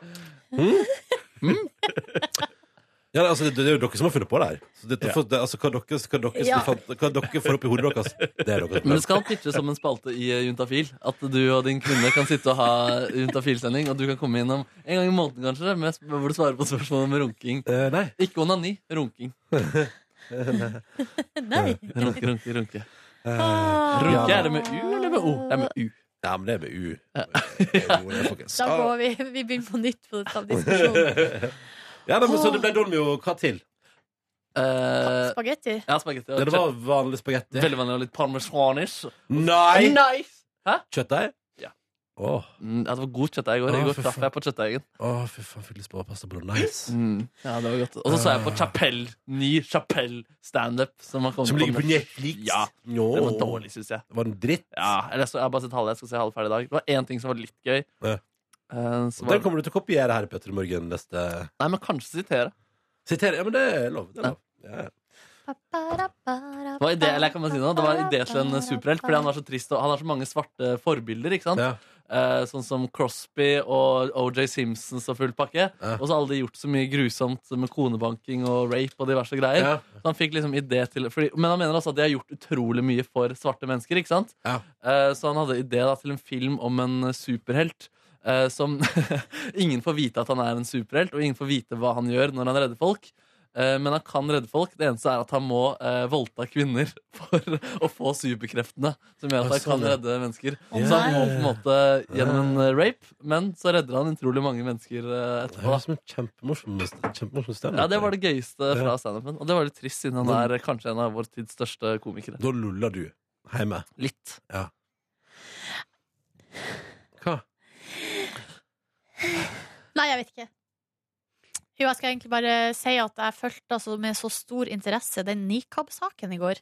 S2: nei, altså, det, det er jo dere som har funnet på det her. Så dette får- det, altså, hva dere, hva dere,
S3: Ja.
S2: fant- hva dere får opp i hodet deres, det er
S4: Men
S2: dere.
S4: det skal pitches som en spalte i eh, Juntafil. At du og din kvinne kan sitte og ha Juntafil-sending, og du kan komme innom en gang i måneden kanskje, med, sp- hvor du svarer på spørsmål om runking.
S2: Eh, nei.
S4: Ikke onani, runking. Eh,
S3: Nei.
S4: Runke, runke, runke.
S3: Ah,
S4: Runke, er det med U eller med O? Det er med U.
S2: Ja, men det er med U. Det er jo det, folkens.
S3: Da går vi, vi begynner på nytt på denne diskusjonen.
S2: Ja, nei, men Så det ble Dolmio. Hva til?
S4: Eh,
S3: Spagetti?
S4: ja, spagetti. og
S2: Det
S4: kjøtt.
S2: var vanlig spagetti.
S4: Veldig vanlig og litt parmesanis.
S2: Nei!
S4: Nice!
S2: Kjøttdeig?
S4: Ja.
S2: Åh.
S4: Mm, ja, det var god kjøttdeig i går. I
S2: Å,
S4: går
S2: for
S4: traff jeg på kjøttdeigen.
S2: Å, fy faen, fikk lyst på pasta bolognese.
S4: Mm. Ja, det var godt. Og så så jeg på Chapelle. Ny Chapelle standup. Som, har kommet
S2: Som ligger på
S4: nett.
S2: Netflix?
S4: Ja.
S2: Nå.
S4: Det var dårlig, syns jeg.
S2: Det var en dritt.
S4: Ja, eller så, jeg har bare sett halve. Jeg skal se halve ferdig i dag. Det var én ting som var litt gøy.
S2: Ja.
S4: Eh, så
S2: Og
S4: var,
S2: Den kommer du til å kopiere her i Petter i Morgen neste
S4: nei, men kanskje sitere.
S2: Sitere. Ja, men det er lov. Det er lov. Ja.
S4: Det var idé, eller jeg kan bare si noe. Det var idé til en superhelt, fordi han var så trist. Og han har så mange svarte forbilder. ikke sant?
S2: Ja.
S4: Eh, sånn som Crosby og OJ Simpsons og full pakke.
S2: Ja.
S4: Og så har alle de gjort så mye grusomt med konebanking og rape og diverse greier.
S2: Ja.
S4: Så han fikk liksom idé til fordi, Men han mener også at de har gjort utrolig mye for svarte mennesker. ikke sant?
S2: Ja.
S4: Eh, Så han hadde idé da, til en film om en eh, superhelt. eh, Som Ingen får vite at han er en superhelt, og ingen får vite hva han gjør når han redder folk. Eh, Men han kan redde folk. Det eneste er at han må eh, voldta kvinner for å få superkreftene. Som
S2: Å,
S4: gjør at han
S2: sånn,
S4: kan
S2: ja.
S4: redde mennesker.
S3: Å,
S4: Så han
S3: nei.
S4: må på en måte gjennom en eh, rape, men så redder han utrolig mange mennesker eh,
S2: Det
S4: etterpå.
S2: høres ut som en kjempemorsom kjempemorsom standup.
S4: Ja, Det var det gøyeste
S2: Ja.
S4: fra standupen. Og det var litt trist, siden han er eh, kanskje en av vår tids største komikere.
S2: Da luller du hjemme.
S4: Litt.
S2: Hva?
S3: Nei, jeg vet ikke. Jo, jeg skal egentlig bare si at jeg fulgte altså, med så stor interesse den nikab-saken i går.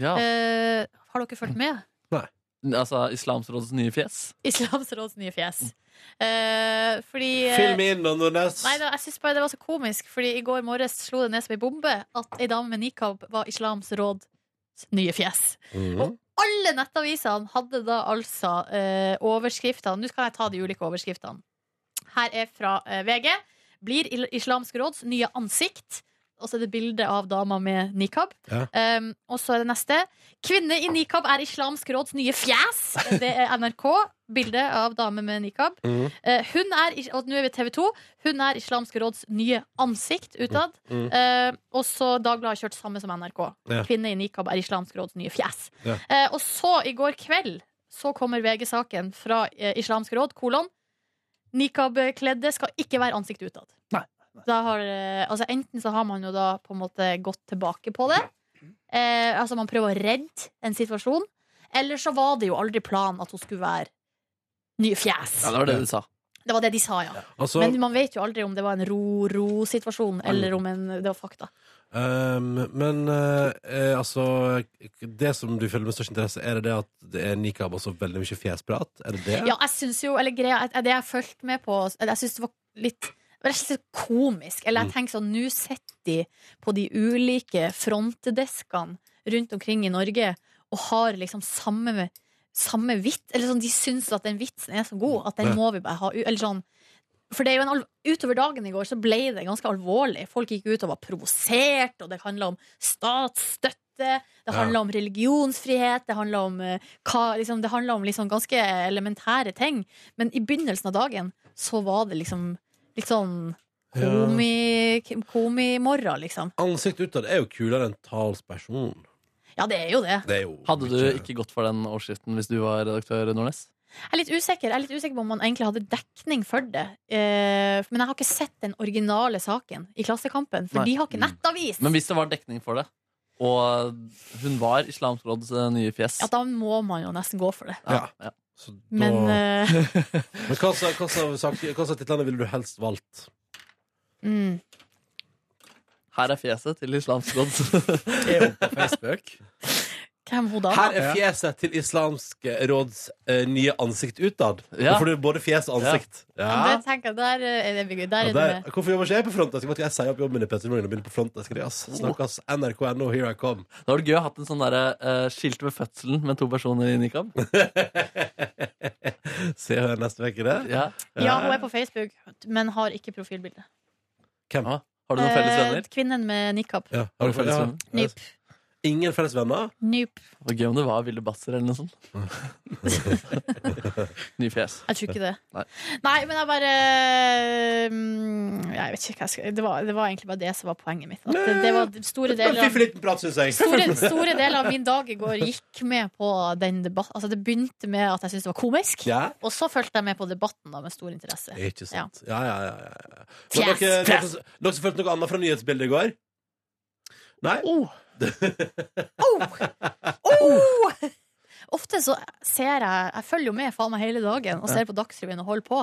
S4: Ja,
S3: Eh, har dere fulgt med?
S4: altså Islamsrådets nye fjes.
S3: Islamsråds nye fjes. Eh, fordi eh,
S2: Film inn, Nonnes.
S3: Nei, da, jeg synes bare det var så komisk, fordi i går morges slo det ned som ei bombe at ei dame med nikab var Islams råds nye fjes.
S2: Mhm.
S3: Alle nettavisene hadde da altså eh, overskriftene. Nå skal jeg ta de ulike overskriftene. Her er fra eh, VG. Blir Il- Islamsk råds nye ansikt. Og så er det bilde av dama med nikab.
S2: Ja.
S3: Um, og så er det neste. Kvinne i nikab er Islamsk råds nye fjes. Det er NRK. Bilde av dame med nikab.
S2: Mhm.
S3: Eh, hun er, is- og nå er vi TV 2. Hun er Islamsk råds nye ansikt utad.
S2: Mm.
S3: Eh, og så Dagbladet har kjørt samme som NRK.
S2: Ja.
S3: Kvinne i nikab er Islamsk råds nye fjes.
S2: Ja.
S3: Eh, og så, i går kveld, så kommer VG-saken fra eh, Islamsk råd, kolon. Nikab-kledde skal ikke være ansikt utad.
S4: Nei,
S3: Da har, eh, altså enten så har man jo da på en måte gått tilbake på det. Eh, altså man prøver å redde en situasjon. Eller så var det jo aldri planen at hun skulle være nye fjes.
S4: Ja, det var det du sa.
S3: Det var det de sa, ja.
S2: Altså,
S3: Men man vet jo aldri om det var en ro-ro-situasjon, eller om en, det var fakta.
S2: ehm, men eh, eh, altså Det som du følger med størst interesse, er det det at det er nikab og så veldig mye fjesprat? Er det det?
S3: Ja, jeg syns jo, eller greia, at- det jeg fulgte med på eller Jeg syns det var litt det var rett og slett komisk. Eller jeg tenker sånn, nå sitter de på de ulike frontdeskene rundt omkring i Norge og har liksom samme, samme vits Eller sånn, de syns at den vitsen er så god at den må vi bare ha u- Eller sånn for det er jo en alv Utover dagen i går så ble det ganske alvorlig. Folk gikk ut og var provosert, og det handla om statsstøtte. Det handla om religionsfrihet, det handla om, eh, hva, liksom, det handla om liksom ganske elementære ting. Men i begynnelsen av dagen så var det liksom litt sånn komi- komimorra, liksom.
S2: Ansikt utad er jo kulere enn talsperson.
S3: Ja, det er jo det.
S2: Det er jo
S4: Hadde du
S2: mye-
S4: ikke gått for den overskriften hvis du var redaktør, Nordnes?
S3: Jeg er litt usikker Jeg er litt usikker på om man egentlig hadde dekning for det. Eh, men jeg har ikke sett den originale saken i Klassekampen, for
S4: Nei.
S3: de har ikke nettavis.
S4: Men hvis det var dekning for det, og hun var Islamsk råds eh, nye fjes
S3: Ja, da må man jo nesten gå for det.
S2: Ja.
S4: Ja.
S2: Så da,
S3: Men
S2: men
S3: eh,
S2: hva sa- hva sa sak- hva sa titlene ville du helst valgt?
S3: Mm.
S4: Her er fjeset til Islamsk råds.
S6: Er hun på Facebook?
S3: Hvem hun da?
S2: Her er fjeset til Islamsk råds eh, nye ansikt utad.
S4: Ja.
S2: Da får du både fjes og ansikt.
S3: Det
S2: Ja.
S3: tenker jeg, der eh, er det mye gøy. Der
S2: Ja,
S3: er det
S2: der.
S3: med.
S2: Hvorfor jobber ikke jeg på frontdesk? Jeg, jeg sier opp jobben min i Petter Morgen og begynner på frontdesk. ass.
S4: Oh.
S2: Snakkes NRK.no, here I come.
S4: Da var det gøy å ha hatt en sånn derre eh, skilt ved fødselen med to personer i nikab.
S2: Se og hør neste uke, det.
S4: Ja.
S3: Ja, hun er på Facebook, men har ikke profilbilde.
S2: Hvem?
S4: Ah, Har du noen felles venner?
S3: Eh, Kvinnen med nikab.
S2: Ja.
S4: Har du felles venner?
S3: Nyp.
S2: Ingen felles venner?
S3: Nyp.
S4: Det var gøy om det var Ville Basser eller noe sånt. Ny fjes.
S3: Jeg tror ikke det.
S4: Nei.
S3: Nei, men jeg bare mm, Jeg vet ikke hva jeg skal det var, det var egentlig bare det som var poenget mitt. At det, det var store
S2: Det var en
S3: deler av
S2: Fiffig liten prat, syns jeg.
S3: Store, store deler av min dag i går gikk med på den debatten. Altså, det begynte med at jeg syntes det var komisk,
S2: Ja.
S3: og så fulgte jeg med på debatten da, med stor interesse.
S2: Ikke sant. Ja, ja, ja. ja, ja. Men
S3: Fjes,
S2: dere, dere,
S3: fjes.
S2: som- dere som følte noe annet fra nyhetsbildet i går? Nei?
S3: Oh! Ofte så ser jeg Jeg følger jo med faen meg hele dagen og ser på Dagsrevyen og holder på.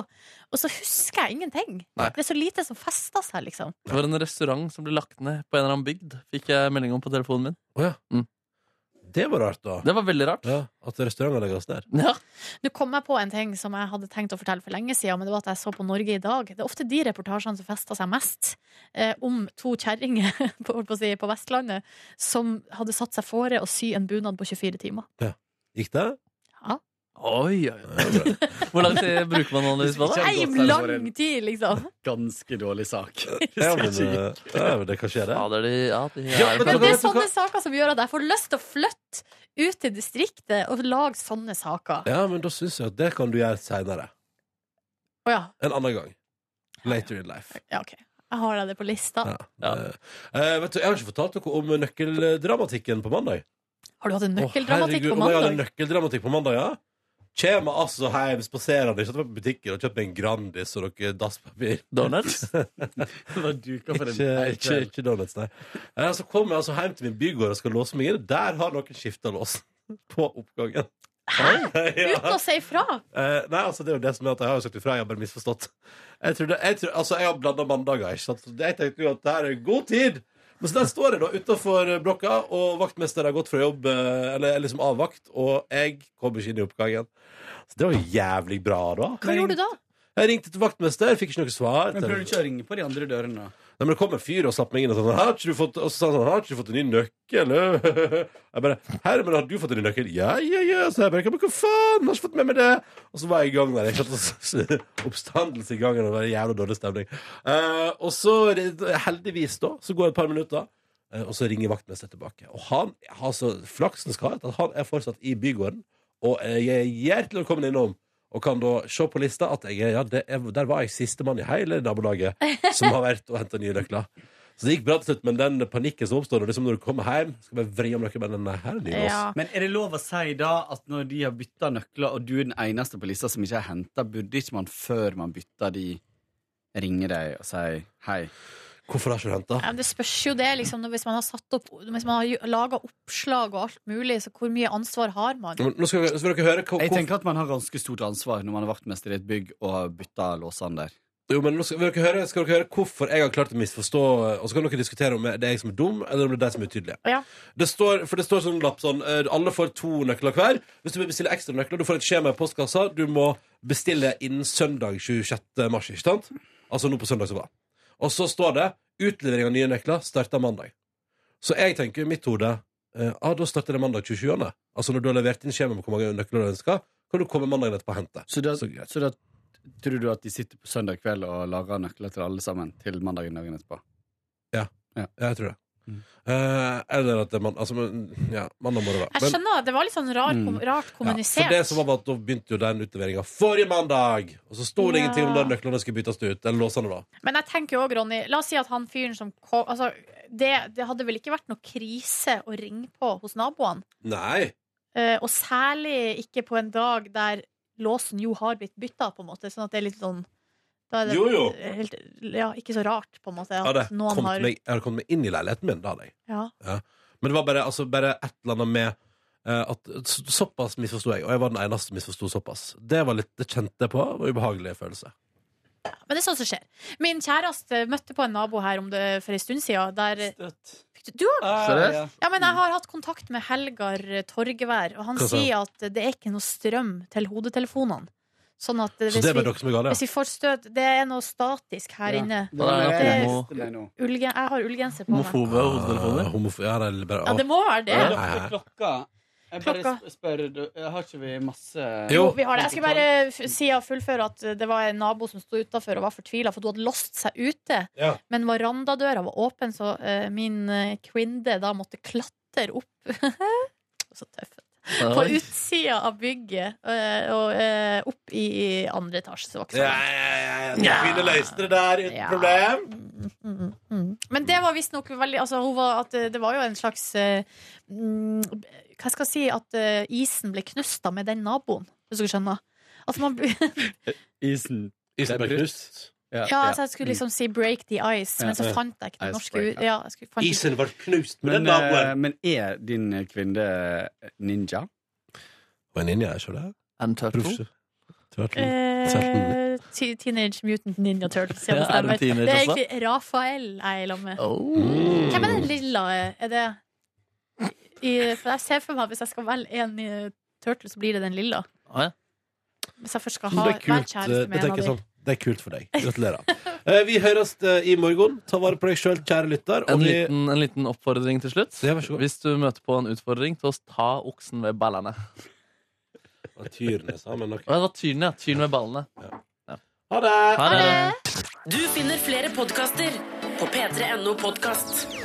S3: Og så husker jeg ingenting. Det er så lite som fester seg, liksom.
S4: Det var en restaurant som ble lagt ned på en eller annen bygd. Fikk jeg melding om på telefonen min.
S2: Å ja.
S4: Mm.
S2: Det var rart, da.
S4: Det var veldig rart.
S2: Ja, at restauranter legges ned.
S4: Ja.
S3: Nå kom jeg på en ting som jeg hadde tenkt å fortelle for lenge siden, men det var at jeg så på Norge i dag. Det er ofte de reportasjene som fester seg mest, eh, om to kjerringer på, holdt på, å si, på Vestlandet som hadde satt seg fore å sy en bunad på 24 timer.
S2: Gikk det?
S4: Oi, oi, oi. Hvor lang tid bruker man analyse på det?
S6: Ikke-
S3: Ei
S6: godt seg for
S3: lang
S6: en-
S3: tid, liksom!
S6: Ganske dårlig sak.
S2: Ja, men, eh, ja, men det kan skje, det.
S4: Ja, det er de, ja, de
S2: Ja, men
S4: er
S3: Men
S2: da
S3: det
S2: vet
S3: er
S2: du
S3: sånne
S2: hva-
S3: saker som gjør at jeg får lyst til å flytte ut til distriktet og lage sånne saker.
S2: Ja, men da syns jeg at det kan du gjøre seinere.
S3: Å ja.
S2: En annen gang. Later in life.
S3: ja, ok. Jeg har deg det på lista.
S2: Ja.
S4: Ja.
S2: Eh, vet du, jeg har ikke fortalt dere om nøkkeldramatikken på mandag.
S3: Har du hatt en
S2: Å,
S3: nøkkeldramatikk
S2: herregud,
S3: på
S2: om jeg hadde
S3: mandag?
S2: nøkkeldramatikk på mandag, ja. Kjema altså hjem spaserende, ikke at jeg var på butikken og kjøpte meg en Grandis og noe dasspapir.
S4: Donuts?
S6: Det var duka for en
S2: Ikke,
S6: hel
S2: ikke,
S6: kveld.
S2: ikke donuts, nei. Eh, så kom jeg altså hjem til min bygård og skal låse meg inn. Der har noen skifta låsen på oppgangen. Hæ?
S3: Uten å si ifra!
S2: Eh, nei, altså det er jo det som er at jeg har jo sagt ifra, jeg har bare misforstått. Jeg, trodde, jeg, tror- altså, jeg har blanda mandager, ikke sant. Så Jeg tenkte jo at det her er god tid. Men så der står jeg da utenfor eh, blokka, og vaktmester har gått fra jobb, eh, eller er liksom av vakt, og jeg kommer ikke inn i oppgangen. Så det var jo jævlig bra, da.
S3: Hva gjorde du da?
S2: Jeg ringte til vaktmester, fikk ikke noe svar.
S6: Men prøver du ikke å ringe på de andre dørene, da?
S2: Nei, men det kom en fyr og slapp meg inn og sånn, har ikke du fått, og så sa han sånn, har ikke du fått en ny nøkkel? ø?» Jeg bare, herre, men har du fått en ny nøkkel? Ja, ja, ja, så jeg bare, «Men hva faen, har ikke fått med meg det? Og så var jeg i gang der, jeg satt og s- oppstandelse i gangen, og det var en jævla dårlig stemning. Eh, og så, heldigvis da, så går det et par minutter, eh, og så ringer vaktmester tilbake. Og han, altså, flaksen skal ha, at han er fortsatt i bygården, og eh, jeg er hjertelig velkommen innom. Og kan da se på lista at jeg, er- ja, det er, der var jeg siste mann i hele nabolaget som har vært og henta nye nøkler. Så det gikk bra til slutt, men den panikken som oppstår når, liksom når du kommer hjem Skal bare vri om nøkkelen, men nei, her er nye lås.
S3: Ja.
S6: Men er det lov å si da at når de har bytta nøkler, og du er den eneste på lista som ikke er henta, burde ikke man før man bytter de, ringe deg og si hei?
S2: Hvorfor har ikke du henta?
S3: Ja, men det spørs jo det, liksom, hvis man har, satt opp- hvis man har laga oppslag og alt mulig, så hvor mye ansvar har man?
S2: Nå skal, dere- skal dere høre hva,
S6: Jeg
S2: hvor,
S6: tenker at man har ganske stort ansvar når man er vaktmester i et bygg og har bytta låsene der.
S2: jo, men nå skal, dere høre, skal dere høre hvorfor jeg har klart å misforstå, og så kan dere diskutere om det er jeg som er dum, eller om det er de som er utydelige.
S3: Ja.
S2: Det står, for det står sånn lapp sånn eh, Alle får to nøkler hver. Hvis du vil bestille ekstra nøkler, du får et skjema i postkassa. Du må bestille innen søndag 26. mars, ikke sant? Altså nå på søndag som var. Og så står det utlevering av nye nøkler starter mandag. Så jeg tenker i mitt hode eh, ah, da starter det mandag 27. Altså når du har levert inn skjema med hvor mange nøkler du ønsker, kan du komme mandagen etterpå og hente.
S6: Så da,
S2: Så greit.
S6: så da tror du at de sitter på søndag kveld og lager nøkler til alle sammen til mandagen dagen etterpå?
S2: Ja, jeg tror det.
S6: Mm.
S2: Eh, eller at det er mandag Altså, men, ja, mandag må det være.
S3: Jeg
S2: Men-
S3: skjønner at det var litt sånn rar,
S6: Mm.
S3: kom, rart
S2: Ja,
S3: kommunisert.
S2: for det som var bare at Da begynte jo den utleveringa forrige mandag, og så sto det
S3: Ja.
S2: ingenting om når nøklene skulle byttes ut. Eller låsene, da.
S3: Men jeg tenker jo òg, Ronny, la oss si at han fyren som kom altså, det, det hadde vel ikke vært noe krise å ringe på hos naboene?
S2: Nei.
S3: Eh, og særlig ikke på en dag der låsen jo har blitt bytta, på en måte. Sånn at det er litt sånn da er det
S2: Jo, jo.
S3: Helt, ja, ikke så rart, på en måte.
S2: Jeg
S3: At
S2: hadde,
S3: noen
S2: kommet
S3: har
S2: meg, jeg hadde kommet meg inn i leiligheten min. Da hadde jeg.
S3: ja.
S2: Men det var bare, altså, bare et eller annet med eh, at så- Såpass misforsto jeg, og jeg var den eneste som misforsto såpass. Det var litt, det kjente jeg på. Det var en ubehagelig følelse.
S3: Men det er sånt som skjer. Min kjæreste møtte på en nabo her om det, for en stund siden. Der, du har
S6: Seriøst?
S3: Ja, men jeg har hatt kontakt med Helgar Torgevær, og han
S2: Hva sa han?
S3: sier at det er ikke noe strøm til hodetelefonene. Sånn at eh,
S2: Så
S3: hvis,
S2: det var
S3: vi,
S2: dere som ga det?
S3: hvis vi får støt Det er noe statisk her inne.
S4: Da er det
S3: det-
S4: nok homo-
S3: Ullge, jeg har ullgenser på meg.
S4: homofobe hodetelefoner.
S2: Ah, homof- ja, det er bare,
S3: Ja, det må være det.
S2: Ja. Nei.
S6: Klokka Jeg bare
S3: Klokka.
S6: sp- spør du- Har ikke vi masse
S2: Jo.
S3: Jo, vi har det. Jeg skulle bare f- si og fullføre at det var en nabo som sto utafor og var fortvila, for hun hadde låst seg ute.
S2: Ja.
S3: Men verandadøra var åpen, så eh, min eh, kvinne da måtte klatre opp Så tøff. På
S4: Oi.
S3: utsida av bygget eh, og eh, opp i i andre etasje. Så det var ikke så
S2: Ah. ja, ja, ja,
S3: langt.
S2: ja. Kvinner løste det der uten
S3: Ja.
S2: problem.
S3: Mm, mm, mm. Men det var visstnok veldig altså, hun var, at, eh, Det var jo en slags eh, mm, Hva skal jeg si At eh, isen ble knusta med den naboen, hvis du skjønner. At man, ja,
S6: Isen
S2: Isen ble
S6: Det er
S2: knust.
S3: altså, jeg skulle liksom si 'break the ice', men så
S2: Ja.
S3: fant jeg ikke det
S6: Ice
S3: norske
S6: break,
S3: ut. Ja, jeg skulle- fant ikke-
S2: Isen ble knust med
S6: men,
S2: den naboen.
S6: eh, men er din kvinne ninja?
S2: Og en ninja, ikke det?
S4: And turtle.
S2: Professor. Turtle.
S3: Eh, ti- Teenage Mutant Ninja Turtles. Ja, det,
S4: Ja, er det
S3: stemmer.
S4: en teenager
S3: det er
S4: også?
S3: egentlig Rafael jeg er i lag med.
S4: Oh.
S2: Mm.
S3: Hvem er den lilla? eh, Er det i, For jeg ser for meg at hvis jeg skal velge en i Turtle, så blir det den lilla.
S4: Ah, ja.
S3: Hvis jeg først skal ha
S2: Det er
S3: være
S2: kult,
S3: kjæreste
S2: det
S3: med en
S2: tenker
S3: av
S2: jeg
S3: dem.
S2: sånn. Det er kult for deg. Gratulerer. Eh, Vi høres eh, i morgen. Ta vare på deg sjøl, kjære lytter.
S4: En
S2: Og vi
S4: liten, en liten oppfordring til slutt.
S2: Ja, vær så god.
S4: Hvis du møter på en utfordring, til å ta oksen ved ballene.
S2: Tyrene sammen. ok.
S4: Å, det var tyren, ja. Tyren ved ballene.
S2: Ha det!
S4: Ha det!
S1: Du finner flere podkaster på p3.no podkast.